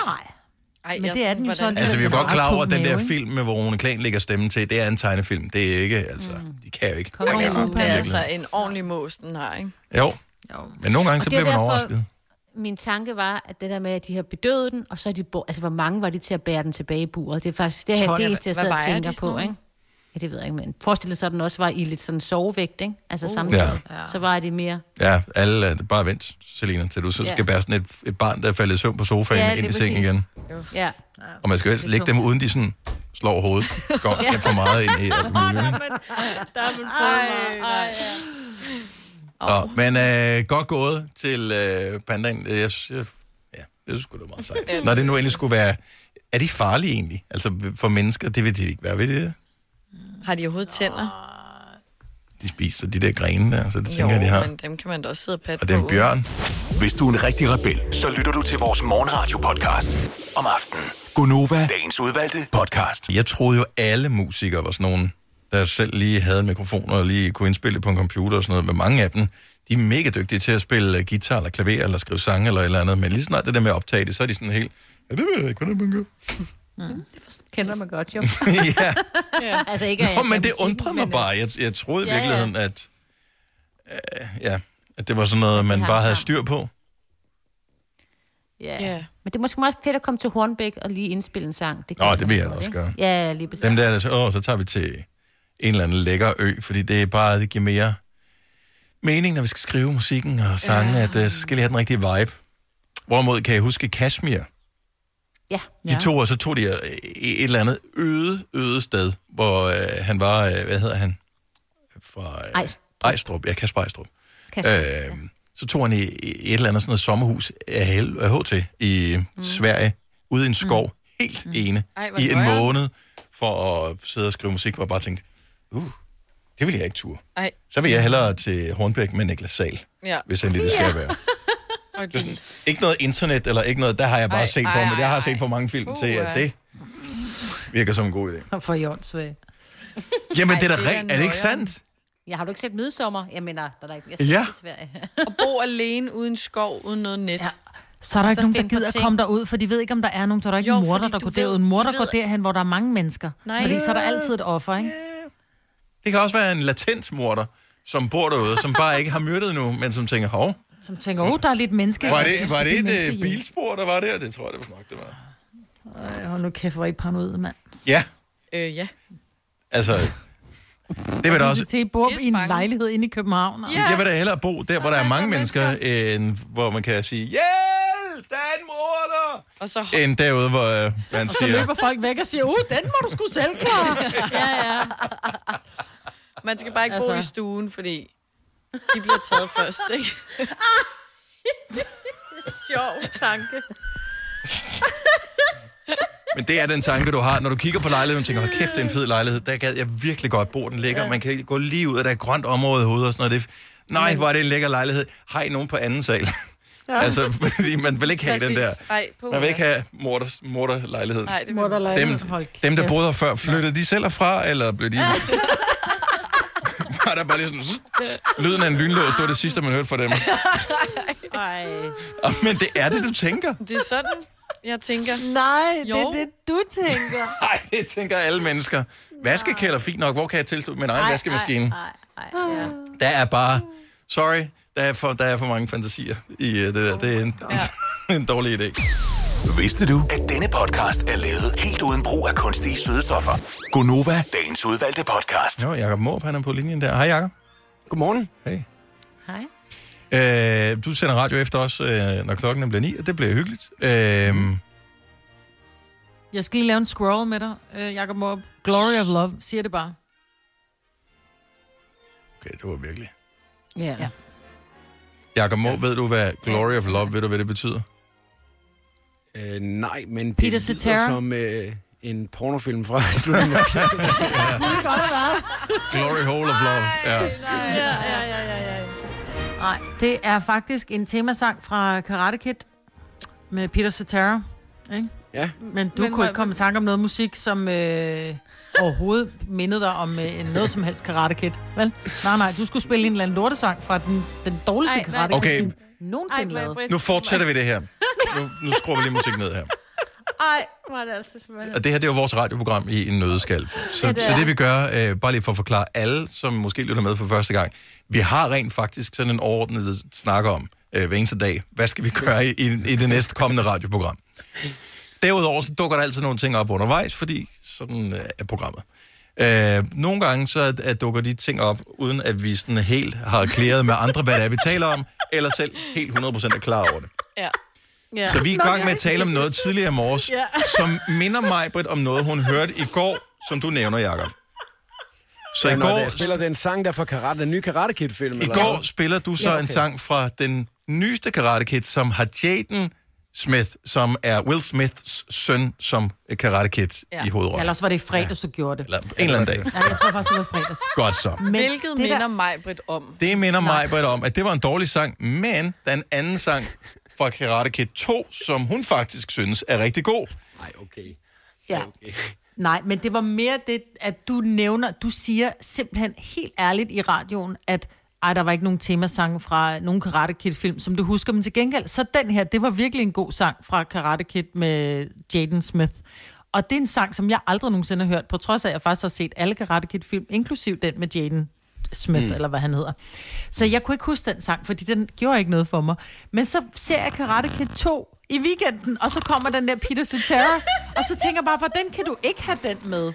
[SPEAKER 4] Ej,
[SPEAKER 3] jeg
[SPEAKER 4] Men det er
[SPEAKER 3] sådan,
[SPEAKER 4] den jo så
[SPEAKER 3] hvordan-
[SPEAKER 1] Altså, vi er jo
[SPEAKER 4] alligevel.
[SPEAKER 1] godt klar over, at den
[SPEAKER 4] Mave,
[SPEAKER 1] der
[SPEAKER 4] ikke?
[SPEAKER 1] film med, hvor Rune Klan lægger stemme til, det er en tegnefilm. Det er ikke, altså... Mm. De kan jo ikke.
[SPEAKER 3] Kom
[SPEAKER 1] Ja,
[SPEAKER 3] ja, det er
[SPEAKER 1] virkelig.
[SPEAKER 3] altså en ordentlig mås, den har, ikke?
[SPEAKER 1] Jo. Men nogle gange,
[SPEAKER 2] Og
[SPEAKER 1] så
[SPEAKER 2] det er
[SPEAKER 1] bliver man
[SPEAKER 2] derfor-
[SPEAKER 1] overrasket.
[SPEAKER 2] Min tanke var, at det der med, at de har bedøvet den, og så er de... Bo- altså, hvor mange var de til at bære den tilbage i buret? Det er faktisk det, her,
[SPEAKER 4] Tolv,
[SPEAKER 2] det eneste, jeg
[SPEAKER 4] hvad
[SPEAKER 2] sidder og
[SPEAKER 4] vejer de
[SPEAKER 2] tænker
[SPEAKER 4] sådan
[SPEAKER 2] på,
[SPEAKER 4] nogle?
[SPEAKER 2] ikke? Ja, det ved jeg ikke, men forestil dig så, at den også var i lidt sådan sovevægt, ikke? Altså
[SPEAKER 1] Uh.
[SPEAKER 2] uh, samtidig.
[SPEAKER 1] Ja.
[SPEAKER 2] Ja. Så var det mere...
[SPEAKER 1] Ja, alle er bare vent, Selina, til du så
[SPEAKER 2] Ja.
[SPEAKER 1] skal bære sådan et, et barn, der er faldet i søvn på sofaen
[SPEAKER 2] Ja,
[SPEAKER 1] ja, ind
[SPEAKER 2] lige
[SPEAKER 1] i sengen
[SPEAKER 2] præcis.
[SPEAKER 1] igen.
[SPEAKER 2] Ja.
[SPEAKER 1] Og man skal jo helst
[SPEAKER 2] Det er
[SPEAKER 1] lægge dem,
[SPEAKER 2] tungt.
[SPEAKER 1] uden de sådan slår hovedet. Går
[SPEAKER 2] Ja.
[SPEAKER 1] ja. for meget ind i alt muligt. ikke?
[SPEAKER 2] Der er man fået mig.
[SPEAKER 1] Nå, men øh, godt gået til øh, pandaen. Øh, Jeg, sy- jeg, ja, jeg synes sgu, det var meget sejt. Når det nu endelig skulle være... Er de farlige egentlig? Altså for mennesker, det vil de ikke være ved det.
[SPEAKER 3] Har de overhovedet tænder?
[SPEAKER 1] De spiser de der grene der, så det tænker jeg, de har.
[SPEAKER 3] men dem kan man da også sidde og patte
[SPEAKER 1] Og det er en
[SPEAKER 3] på.
[SPEAKER 1] bjørn.
[SPEAKER 5] Hvis du er en rigtig rebel, så lytter du til vores morgenradio-podcast om aftenen. Gunova, dagens udvalgte podcast.
[SPEAKER 1] Jeg troede jo, alle musikere var sådan nogen, der selv lige havde en mikrofon og lige kunne indspille det på en computer og sådan noget. Men mange af dem, de er mega dygtige til at spille øh, guitar eller klaver eller skrive sange eller et eller andet. Men lige snart det der med at optage det, så er de sådan helt... Ja, det ved jeg ikke, hvordan man gør.
[SPEAKER 2] Mm. Det forst- kender man godt, jo.
[SPEAKER 1] ja.
[SPEAKER 2] ja. Altså, ikke, at jeg
[SPEAKER 1] Nå,
[SPEAKER 2] kan
[SPEAKER 1] men det
[SPEAKER 2] musikken,
[SPEAKER 1] undrede mig
[SPEAKER 2] men,
[SPEAKER 1] bare. Jeg, jeg troede i
[SPEAKER 2] Ja, ja.
[SPEAKER 1] virkeligheden, at, øh, ja, at det var sådan noget, man
[SPEAKER 2] hang
[SPEAKER 1] bare havde
[SPEAKER 2] sammen.
[SPEAKER 1] styr på.
[SPEAKER 2] Ja. Yeah. Men det er måske meget fedt at komme til Hornbæk og lige indspille en sang. Det
[SPEAKER 1] Nå,
[SPEAKER 2] kan
[SPEAKER 1] det
[SPEAKER 2] man
[SPEAKER 1] vil jeg
[SPEAKER 2] godt,
[SPEAKER 1] også
[SPEAKER 2] ikke?
[SPEAKER 1] gøre.
[SPEAKER 2] Ja, lige præcis.
[SPEAKER 1] Dem der, der så, åh, så tager vi til en eller anden lækker ø, fordi det er bare, det giver mere mening, når vi skal skrive musikken og sange, ja. at uh, så skal lige have den rigtige vibe. Hvorimod kan jeg huske Kashmir.
[SPEAKER 2] Ja.
[SPEAKER 1] De to, og så tog de øh, et eller andet øde, øde sted, hvor øh, han var, øh, hvad hedder han? Fra, øh,
[SPEAKER 2] Ejs-
[SPEAKER 1] Ejstrup. Ja, Kasper Ejstrup.
[SPEAKER 2] Kasper,
[SPEAKER 1] øh, så tog han i, i et eller andet sådan noget sommerhus af Hel- af HT i mm. Sverige, ude i en skov, mm. helt mm. ene,
[SPEAKER 22] Ej, hvor
[SPEAKER 1] i en
[SPEAKER 22] nøjeren.
[SPEAKER 1] måned, for at sidde og skrive musik, hvor jeg bare tænkte, uh, det ville jeg ikke ture.
[SPEAKER 3] Ej,
[SPEAKER 1] Så vil jeg hellere til Hornbæk med Niklas Sal,
[SPEAKER 3] ja.
[SPEAKER 1] hvis endelig det skal
[SPEAKER 3] Ja.
[SPEAKER 1] være.
[SPEAKER 3] Og
[SPEAKER 1] Det er sådan, ikke noget internet eller ikke noget, der har jeg bare
[SPEAKER 4] Ej,
[SPEAKER 1] ej, set
[SPEAKER 4] ej,
[SPEAKER 1] for mig. Jeg har
[SPEAKER 4] ej,
[SPEAKER 1] set for mange film
[SPEAKER 4] ej.
[SPEAKER 1] til, at
[SPEAKER 4] Uha.
[SPEAKER 1] det virker som en god idé.
[SPEAKER 4] For jordsvæg.
[SPEAKER 1] Jamen,
[SPEAKER 2] Ej,
[SPEAKER 1] det er da
[SPEAKER 2] det er
[SPEAKER 1] rigtigt. Er det ikke
[SPEAKER 2] nøjeren.
[SPEAKER 1] sandt?
[SPEAKER 2] Ja, har du ikke set Midsommer? Jeg mener, der er da ikke... Jeg
[SPEAKER 1] Ja.
[SPEAKER 2] ja. Sverige.
[SPEAKER 3] Og bo alene uden skov, uden noget net. Ja.
[SPEAKER 4] Så er der ikke nogen, der
[SPEAKER 3] find på
[SPEAKER 4] gider at
[SPEAKER 3] ting.
[SPEAKER 4] komme derud, for de ved ikke, om der er nogen. Der er der ikke jo, en morder, der går derud. En morder går derhen, hvor der er mange mennesker.
[SPEAKER 3] Nej.
[SPEAKER 4] Nej. Fordi så er der altid et offer, ikke?
[SPEAKER 1] Det kan også være en latent morder, som bor derude, som bare ikke har myrdet nu, men som tænker, hov,
[SPEAKER 4] Som tænker, åh, oh, der er lidt menneske.
[SPEAKER 1] var
[SPEAKER 4] Jeg synes,
[SPEAKER 1] det, var
[SPEAKER 4] de
[SPEAKER 1] det et
[SPEAKER 4] mennesker
[SPEAKER 1] øh, bilspor, der var der? Det tror jeg, det var nok, det var.
[SPEAKER 4] hjem. Ej, hold nu kæft, hvor er I paranoid, mand.
[SPEAKER 1] Ja,
[SPEAKER 3] Øh, ja.
[SPEAKER 1] altså, det vil da også...
[SPEAKER 4] Til at bo i en lejlighed inde i København.
[SPEAKER 1] Ja. Jeg vil da hellere bo der, hvor der er mange mennesker, end hvor man kan sige, ja, Hjælp, der er en morder!
[SPEAKER 3] Og så,
[SPEAKER 1] end derude, hvor øh, man
[SPEAKER 4] og så
[SPEAKER 1] siger...
[SPEAKER 4] løber folk væk og siger, uh, den må du skulle selv klare.
[SPEAKER 3] ja, ja. Man skal bare ikke altså. bo
[SPEAKER 4] Altså.
[SPEAKER 3] i stuen, fordi de bliver taget først, ikke? Sjov tanke.
[SPEAKER 1] Men det er den tanke, du har, når du kigger på lejligheden og tænker, hold kæft, det er en fed lejlighed. Der gad jeg virkelig godt bo, den ligger. Man kan gå lige ud, og der er et grønt område i hovedet og sådan noget. Det er f- Nej, hvor er det en lækker lejlighed. Har I nogen på anden sal? Ja. altså, fordi man vil ikke have den der.
[SPEAKER 3] Præcis. Ej, på
[SPEAKER 1] Man vil ikke have morters, morterlejlighed.
[SPEAKER 3] Nej, det
[SPEAKER 4] vil
[SPEAKER 1] Dem, dem, der boede her før, flyttede de selv herfra, eller blev de... var der bare lige sådan... zzz, Lyden af en lynlås, det var det sidste, man hørte fra dem.
[SPEAKER 3] Ej.
[SPEAKER 1] Men det er det, du tænker.
[SPEAKER 3] Det er sådan, jeg tænker.
[SPEAKER 4] Nej,
[SPEAKER 3] jo. det er
[SPEAKER 4] det, du tænker.
[SPEAKER 1] Nej, det tænker alle mennesker. Vaskekælder, fint nok. Hvor kan jeg tilslutte min egen vaskemaskine?
[SPEAKER 2] Ja.
[SPEAKER 1] Der er bare... øh, Sorry, der er for, der er for mange fantasier i uh, det der. Det er en, ja. en dårlig idé.
[SPEAKER 5] Vidste du, at denne podcast er lavet helt uden brug af kunstige sødestoffer?
[SPEAKER 1] Gonova.
[SPEAKER 5] Dagens udvalgte podcast.
[SPEAKER 1] Jo, Jacob Måb, han er på linjen der. Hej, Jacob. Godmorgen. Hej.
[SPEAKER 2] Hej.
[SPEAKER 1] Øh, du sender radio efter os, øh, når klokken bliver ni, og det bliver hyggeligt. Øh,
[SPEAKER 4] Jeg skal lige lave en scroll med dig, øh, Jacob Måb. Glory of Love, siger det bare.
[SPEAKER 1] okay, det var virkelig.
[SPEAKER 2] Ja. ja.
[SPEAKER 1] Jacob Måb, ved du, hvad Glory of Love, ved du, hvad det betyder?
[SPEAKER 22] Øh, nej, men det
[SPEAKER 4] Peter
[SPEAKER 22] lyder
[SPEAKER 4] Cetera?
[SPEAKER 22] som øh, en pornofilm fra slutningen af 80'erne.
[SPEAKER 4] Godt at være.
[SPEAKER 1] Glory Hole of Love. Ja.
[SPEAKER 4] Ja, ja, ja, ja, ja. Nej, det er faktisk en temasang fra Karate Kid med Peter Cetera. Ikke?
[SPEAKER 22] Ja.
[SPEAKER 4] Men du
[SPEAKER 22] Men
[SPEAKER 4] men, kunne
[SPEAKER 22] hvad-
[SPEAKER 4] ikke komme i tanke om noget musik, som øh, overhovedet mindede dig om øh, noget som helst Karate Kid, vel? Nej, nej, du skulle spille en eller anden lortesang fra den, den dårligste
[SPEAKER 2] Ej, nej.
[SPEAKER 4] Karate
[SPEAKER 1] Okay.
[SPEAKER 4] Kid, nogensinde lavet.
[SPEAKER 1] Nu fortsætter vi det her. Nu, nu skruer vi lige musik ned her.
[SPEAKER 2] Ej, hvor er det altså svært.
[SPEAKER 1] Og det her, det er jo vores radioprogram i en nødeskal. Så,
[SPEAKER 2] Ja,
[SPEAKER 1] ja,
[SPEAKER 2] det
[SPEAKER 1] det
[SPEAKER 2] er.
[SPEAKER 1] så det vi gør, øh, bare lige for at forklare alle, som måske lytter med for første gang, vi har rent faktisk sådan en overordnet snak om øh, hver eneste dag, hvad skal vi gøre i, i, i det næste kommende radioprogram. Derudover så dukker der altid nogle ting op undervejs, fordi sådan øh, er programmet. Øh, nogle gange så at, at dukker de ting op, uden at vi sådan helt har klæret med andre, hvad det er, vi taler om, eller selv helt 100% er klar over det.
[SPEAKER 3] Ja.
[SPEAKER 1] Ja. Så vi er i gang med at tale om noget tidligere i morges,
[SPEAKER 3] Ja.
[SPEAKER 1] ja. som minder mig, Britt, om noget, hun hørte i går, som du nævner, Jacob. Så
[SPEAKER 22] Ja,
[SPEAKER 1] i
[SPEAKER 22] når
[SPEAKER 1] går,
[SPEAKER 22] det- spiller den sang der fra karate, den nye Karate Kid-film.
[SPEAKER 1] i
[SPEAKER 22] eller
[SPEAKER 1] går
[SPEAKER 22] hvad?
[SPEAKER 1] spiller du så
[SPEAKER 22] Ja,
[SPEAKER 1] ja,
[SPEAKER 22] okay.
[SPEAKER 1] okay. en sang fra den nyeste Karate Kid, som har Jaden Smith, som er Will Smiths søn, som er Karate Kid ja. i hovedrollen.
[SPEAKER 4] Eller også var det i fredags, du gjorde det.
[SPEAKER 1] Eller en eller anden dag.
[SPEAKER 4] Ja, jeg tror faktisk, det var fredags.
[SPEAKER 1] Godt så.
[SPEAKER 4] Men
[SPEAKER 3] Hvilket
[SPEAKER 4] det der-
[SPEAKER 3] minder mig, Britt, om.
[SPEAKER 1] Det minder mig Britt, om, at det var en dårlig sang, men den anden sang fra Karate Kid 2, som hun faktisk synes er rigtig god. Nej, okay.
[SPEAKER 4] Ja. Nej, men det var mere det, at du nævner, du siger simpelthen helt ærligt i radioen, at ej, der var ikke nogen temasange fra nogen Karate Kid-film, som du husker, men til gengæld, så den her, det var virkelig en god sang fra Karate Kid med Jaden Smith. Og det er en sang, som jeg aldrig nogensinde har hørt, på trods af, at jeg faktisk har set alle Karate Kid-film, inklusiv den med Jaden Smith,
[SPEAKER 21] Mm.
[SPEAKER 4] mm. eller hvad han hedder. Så jeg kunne ikke huske den sang, fordi den gjorde ikke noget for mig. Men så ser jeg Karate Kid 2 i weekenden, og så kommer den der Peter Cetera, og så tænker jeg bare, hvordan kan du ikke have den med,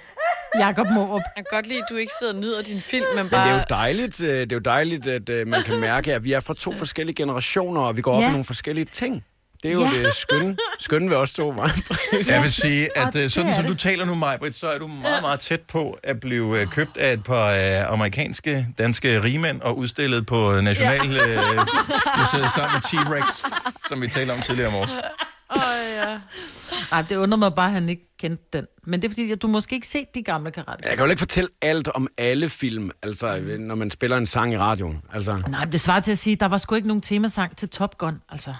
[SPEAKER 4] Jakob Morup?
[SPEAKER 3] Jeg kan godt lide, at du ikke sidder og nyder din film, men
[SPEAKER 22] Men det er
[SPEAKER 3] bare...
[SPEAKER 22] jo dejligt, øh, det er jo dejligt at øh, man kan mærke, at vi er fra to forskellige generationer, og vi går op
[SPEAKER 4] Ja.
[SPEAKER 22] ja. i nogle forskellige ting. Det er jo
[SPEAKER 4] Ja.
[SPEAKER 22] ja. det skønne, skønne ved os to, var.
[SPEAKER 1] Jeg vil sige, at
[SPEAKER 22] Og
[SPEAKER 1] øh,
[SPEAKER 22] det
[SPEAKER 1] sådan
[SPEAKER 22] er
[SPEAKER 1] som
[SPEAKER 22] det.
[SPEAKER 1] du taler nu, Majbrit, så er du meget, meget tæt på at blive øh, købt af et par øh, amerikanske, danske rigmænd og udstillet på øh, National
[SPEAKER 9] Ja.
[SPEAKER 1] øh, Museet sammen med T-Rex, som vi talte om tidligere om års.
[SPEAKER 4] Åh, ja. Ej, det undrer mig bare, at han ikke kendte den. Men det er fordi, at du måske ikke set de gamle Karate
[SPEAKER 22] Jeg kan jo ikke fortælle alt om alle film, altså når man spiller en sang i radioen. Altså,
[SPEAKER 4] Nej, men det svarer til at sige, at der var sgu ikke nogen temasang til Top Gun, altså.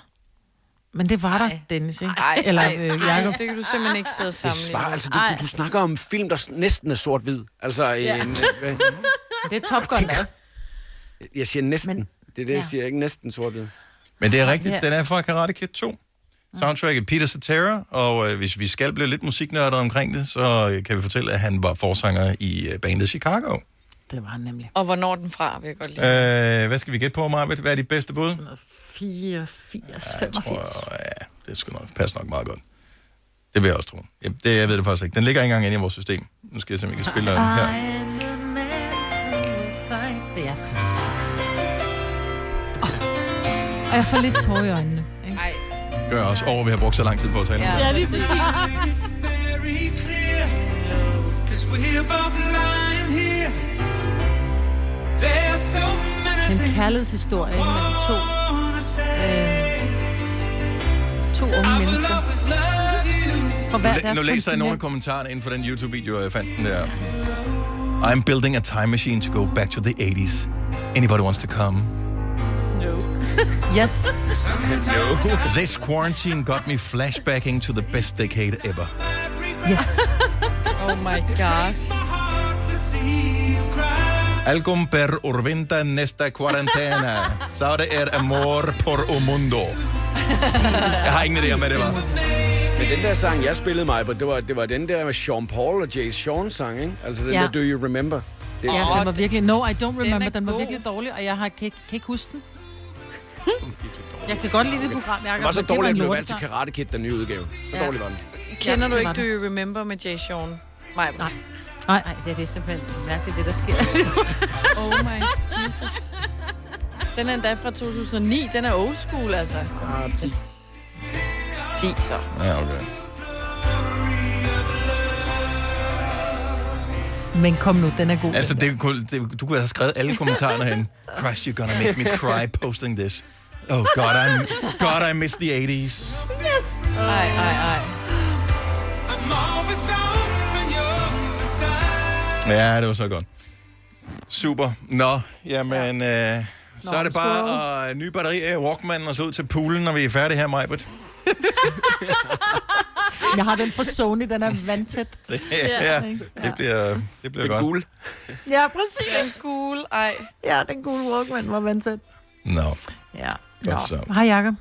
[SPEAKER 4] Men det var der, Dennis, ikke?
[SPEAKER 3] Ej,
[SPEAKER 4] Eller
[SPEAKER 3] ej,
[SPEAKER 4] øh,
[SPEAKER 3] det-
[SPEAKER 4] Jacob.
[SPEAKER 3] Det kan du simpelthen ikke sidde og
[SPEAKER 22] det
[SPEAKER 3] sammenligne.
[SPEAKER 22] svarer, altså du, du, du snakker om film, der s- næsten er sort-hvid. Altså,
[SPEAKER 3] Ja.
[SPEAKER 22] ja. en, øh,
[SPEAKER 4] Det er Top Gun også.
[SPEAKER 22] jeg siger næsten. Men, det er det, jeg
[SPEAKER 4] ja.
[SPEAKER 22] siger, ikke næsten sort-hvid.
[SPEAKER 1] Men det er rigtigt,
[SPEAKER 22] Ja.
[SPEAKER 1] den er fra Karate Kid 2. Soundtracket Peter Cetera, og øh, hvis vi skal blive lidt musiknørder omkring det, så øh, kan vi fortælle, at han var forsanger i øh, bandet Chicago.
[SPEAKER 4] Det var han nemlig.
[SPEAKER 3] Og hvornår er den fra, vil jeg godt lide.
[SPEAKER 1] Øh, hvad skal vi gætte på, Majbrit? Hvad er dit bedste bud?
[SPEAKER 4] 84, 85.
[SPEAKER 1] Ja, det skal nok passe nok meget godt. Det vil jeg også tro. Jamen, det, jeg ved det faktisk ikke. Den ligger ikke engang inde i vores system. Nu skal jeg se, om jeg kan spille den her.
[SPEAKER 4] Det er præcis. Og jeg får lidt tår i øjnene.
[SPEAKER 3] Nej.
[SPEAKER 1] Gør jeg også over, at vi har brugt så lang tid på at tale om det.
[SPEAKER 4] Ja, lige præcis. Det er en kærlighedshistorie ikke, mellem to, øh, to unge mennesker. For hver
[SPEAKER 1] Nu, læ-
[SPEAKER 4] deres
[SPEAKER 1] nu læser jeg nogle af
[SPEAKER 4] kontinent.
[SPEAKER 1] kommentarerne inden for den YouTube-video, jeg fandt den der. I'm building a time machine to go back to the 80s. Anybody wants to come?
[SPEAKER 4] Yes.
[SPEAKER 1] This quarantine got me flashbacking to the best decade ever.
[SPEAKER 4] Yes.
[SPEAKER 3] oh my god.
[SPEAKER 1] Algum per urventa nesta quarantena. Så det er amor por un mundo. Jeg har ingen idé om, hvad det var.
[SPEAKER 22] Men den der sang, jeg spillede mig på, det var, det var den der med Sean Paul og Jay Sean sang, ikke? Altså den
[SPEAKER 4] Ja.
[SPEAKER 22] ja. der Do You Remember? Det,
[SPEAKER 4] Ja, den var virkelig... No, I don't remember. Den var virkelig dårlig, og jeg har, kan, ikke- kan ikke huske den. Jeg kan godt lide det program, Jacob.
[SPEAKER 22] Det var så
[SPEAKER 4] men det var
[SPEAKER 22] dårligt,
[SPEAKER 4] en
[SPEAKER 22] at den blev valgt til
[SPEAKER 4] lortesang.
[SPEAKER 22] Karate Kid, den nye udgave. Så
[SPEAKER 4] Ja.
[SPEAKER 22] dårlig var den.
[SPEAKER 3] Kender
[SPEAKER 4] Ja,
[SPEAKER 3] du
[SPEAKER 4] det
[SPEAKER 3] ikke
[SPEAKER 4] var
[SPEAKER 3] Do You Remember med Jay Sean? Nej.
[SPEAKER 4] Nej.
[SPEAKER 2] Nej, det er det simpelthen mærkeligt, det der sker.
[SPEAKER 3] oh my Jesus. Den er endda fra 2009. Den er old school, altså.
[SPEAKER 22] Ah, 10.
[SPEAKER 3] 10 så.
[SPEAKER 1] Ja, okay.
[SPEAKER 4] Men kom nu, den er god.
[SPEAKER 1] Altså, det, kunne- det, du kunne have skrevet alle kommentarerne hen. Christ, you're gonna make me cry posting this. Oh god, I'm, god, I miss the 80s.
[SPEAKER 9] Yes!
[SPEAKER 3] Ej, ej, ej.
[SPEAKER 9] I'm always down when you're beside.
[SPEAKER 1] Ja, det var så godt. Super. Nå, jamen, øh, så
[SPEAKER 9] Nå,
[SPEAKER 1] er det bare at øh, nye batterier i Walkman og så ud til poolen, når vi er færdige her, Majbert.
[SPEAKER 4] Jeg har den fra Sony, den er vandtæt.
[SPEAKER 1] Det, ja, det bliver, det bliver godt. Gul.
[SPEAKER 4] Ja, præcis.
[SPEAKER 3] Den gule, ej.
[SPEAKER 4] Ja, den gule Walkman var vandtæt.
[SPEAKER 1] Nå.
[SPEAKER 4] Ja.
[SPEAKER 22] Godt så.
[SPEAKER 4] Hej, Jacob.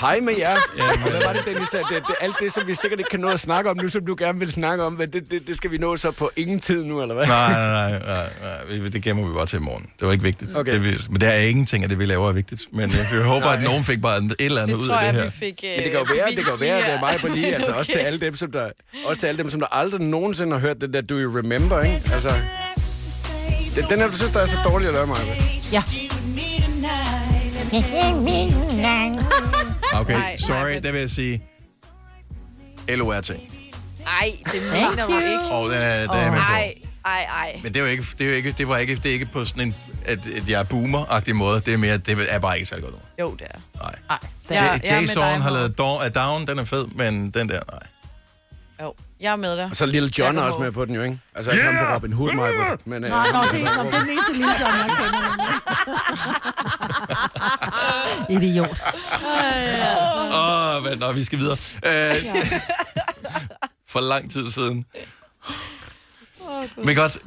[SPEAKER 22] Hej med jer. Og hvad var det, Dennis, at det, det, alt det, som vi sikkert ikke kan nå at snakke om nu, som du gerne vil snakke om, men det, det, det skal vi nå så på ingen tid nu, eller hvad?
[SPEAKER 1] Nej, nej, nej, nej, nej. vi- Det gemmer vi bare til i morgen. Det var ikke vigtigt.
[SPEAKER 22] Okay.
[SPEAKER 1] Det, vi- men det er ingenting af det, vi laver, er vigtigt. Men øh, vi håber,
[SPEAKER 22] Nej.
[SPEAKER 1] at nogen fik bare et eller andet ud af det her.
[SPEAKER 22] Men det kan jo være, det kan jo være, at det er mig på lige,
[SPEAKER 1] bevist øh, lige
[SPEAKER 22] altså
[SPEAKER 1] her.
[SPEAKER 22] også til alle dem, som der, også til alle dem, som der aldrig nogensinde har hørt den der Do You Remember, ikke? Altså, det, den her, du synes, der er så dårlig at lave mig.
[SPEAKER 4] Ja.
[SPEAKER 1] Okay, sorry, det vil jeg sige. LORT.
[SPEAKER 3] Ej, det mener du ikke.
[SPEAKER 1] Åh, den er- den er jeg med på.
[SPEAKER 3] Ej, ej, ej.
[SPEAKER 1] Men det er jo ikke, det er jo ikke, det var ikke, det er ikke på sådan en, at, at jeg er boomer-agtig måde. Det er mere, det er bare ikke særlig godt ord.
[SPEAKER 3] Jo, det er.
[SPEAKER 1] Nej.
[SPEAKER 3] Ja,
[SPEAKER 1] Ja,
[SPEAKER 3] jeg er med
[SPEAKER 1] Jason
[SPEAKER 3] dig,
[SPEAKER 1] har
[SPEAKER 3] Mo.
[SPEAKER 1] lavet Dawn, uh, Down, den er fed, men den der, nej.
[SPEAKER 3] Jo, jeg er med dig.
[SPEAKER 22] Og så er Lille John
[SPEAKER 3] Jeg
[SPEAKER 22] er
[SPEAKER 3] er
[SPEAKER 22] også
[SPEAKER 3] på.
[SPEAKER 22] med på den jo, ikke? Altså, yeah! han på Robin Hood, mig på. Men, øh,
[SPEAKER 4] Nej, nå, det er, nå, det er den eneste lille John, jeg kender. nemlig. Idiot.
[SPEAKER 1] Åh, oh, nå, vi skal videre. Uh, for lang tid siden. Men også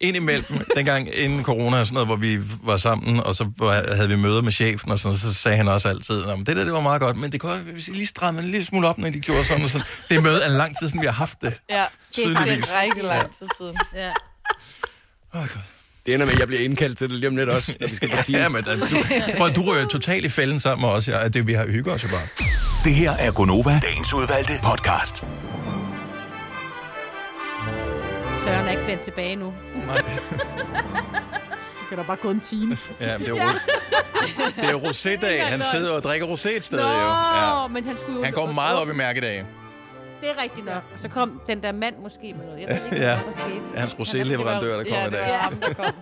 [SPEAKER 1] indimellem, dengang inden corona og sådan noget, hvor vi var sammen, og så var- havde vi møder med chefen og sådan noget, så sagde han også altid, om det der, det var meget godt, men det kunne også- hvis I lige stramme en lille smule op, når de gjorde sådan og sådan. Det møde er lang tid siden, vi har haft det.
[SPEAKER 3] Ja, det er
[SPEAKER 1] Tydeligvis.
[SPEAKER 3] faktisk rigtig lang tid siden. Ja.
[SPEAKER 22] det ender med, at jeg bliver indkaldt til det lige om lidt også, når vi skal på Teams.
[SPEAKER 1] Ja, men da, du, prøv, du rører totalt i fælden sammen med os. Ja, det, vi har hygget os jo bare.
[SPEAKER 5] Det her er Gonova, dagens udvalgte podcast.
[SPEAKER 2] Søren er ikke vendt tilbage nu.
[SPEAKER 1] Nej.
[SPEAKER 4] Du kan da bare gå en time.
[SPEAKER 1] Ja, men det er jo Det er jo rosé-dag. Han sidder og drikker rosé et sted, jo. Ja.
[SPEAKER 2] Nå, men han skulle jo...
[SPEAKER 1] Han går meget op i mærkedagen.
[SPEAKER 2] Det er rigtigt nok. Så kom den der mand måske med noget. Jeg ved ikke,
[SPEAKER 1] Ja.
[SPEAKER 2] hvad der skete.
[SPEAKER 1] Hans rosé-leverandør, der kom
[SPEAKER 2] Ja,
[SPEAKER 1] i
[SPEAKER 2] det
[SPEAKER 1] dag.
[SPEAKER 2] var ham, der kom.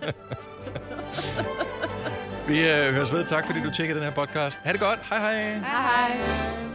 [SPEAKER 1] Vi øh, høres ved. Tak, fordi du tjekkede den her podcast. Ha' det godt. Hej hej.
[SPEAKER 3] Hej.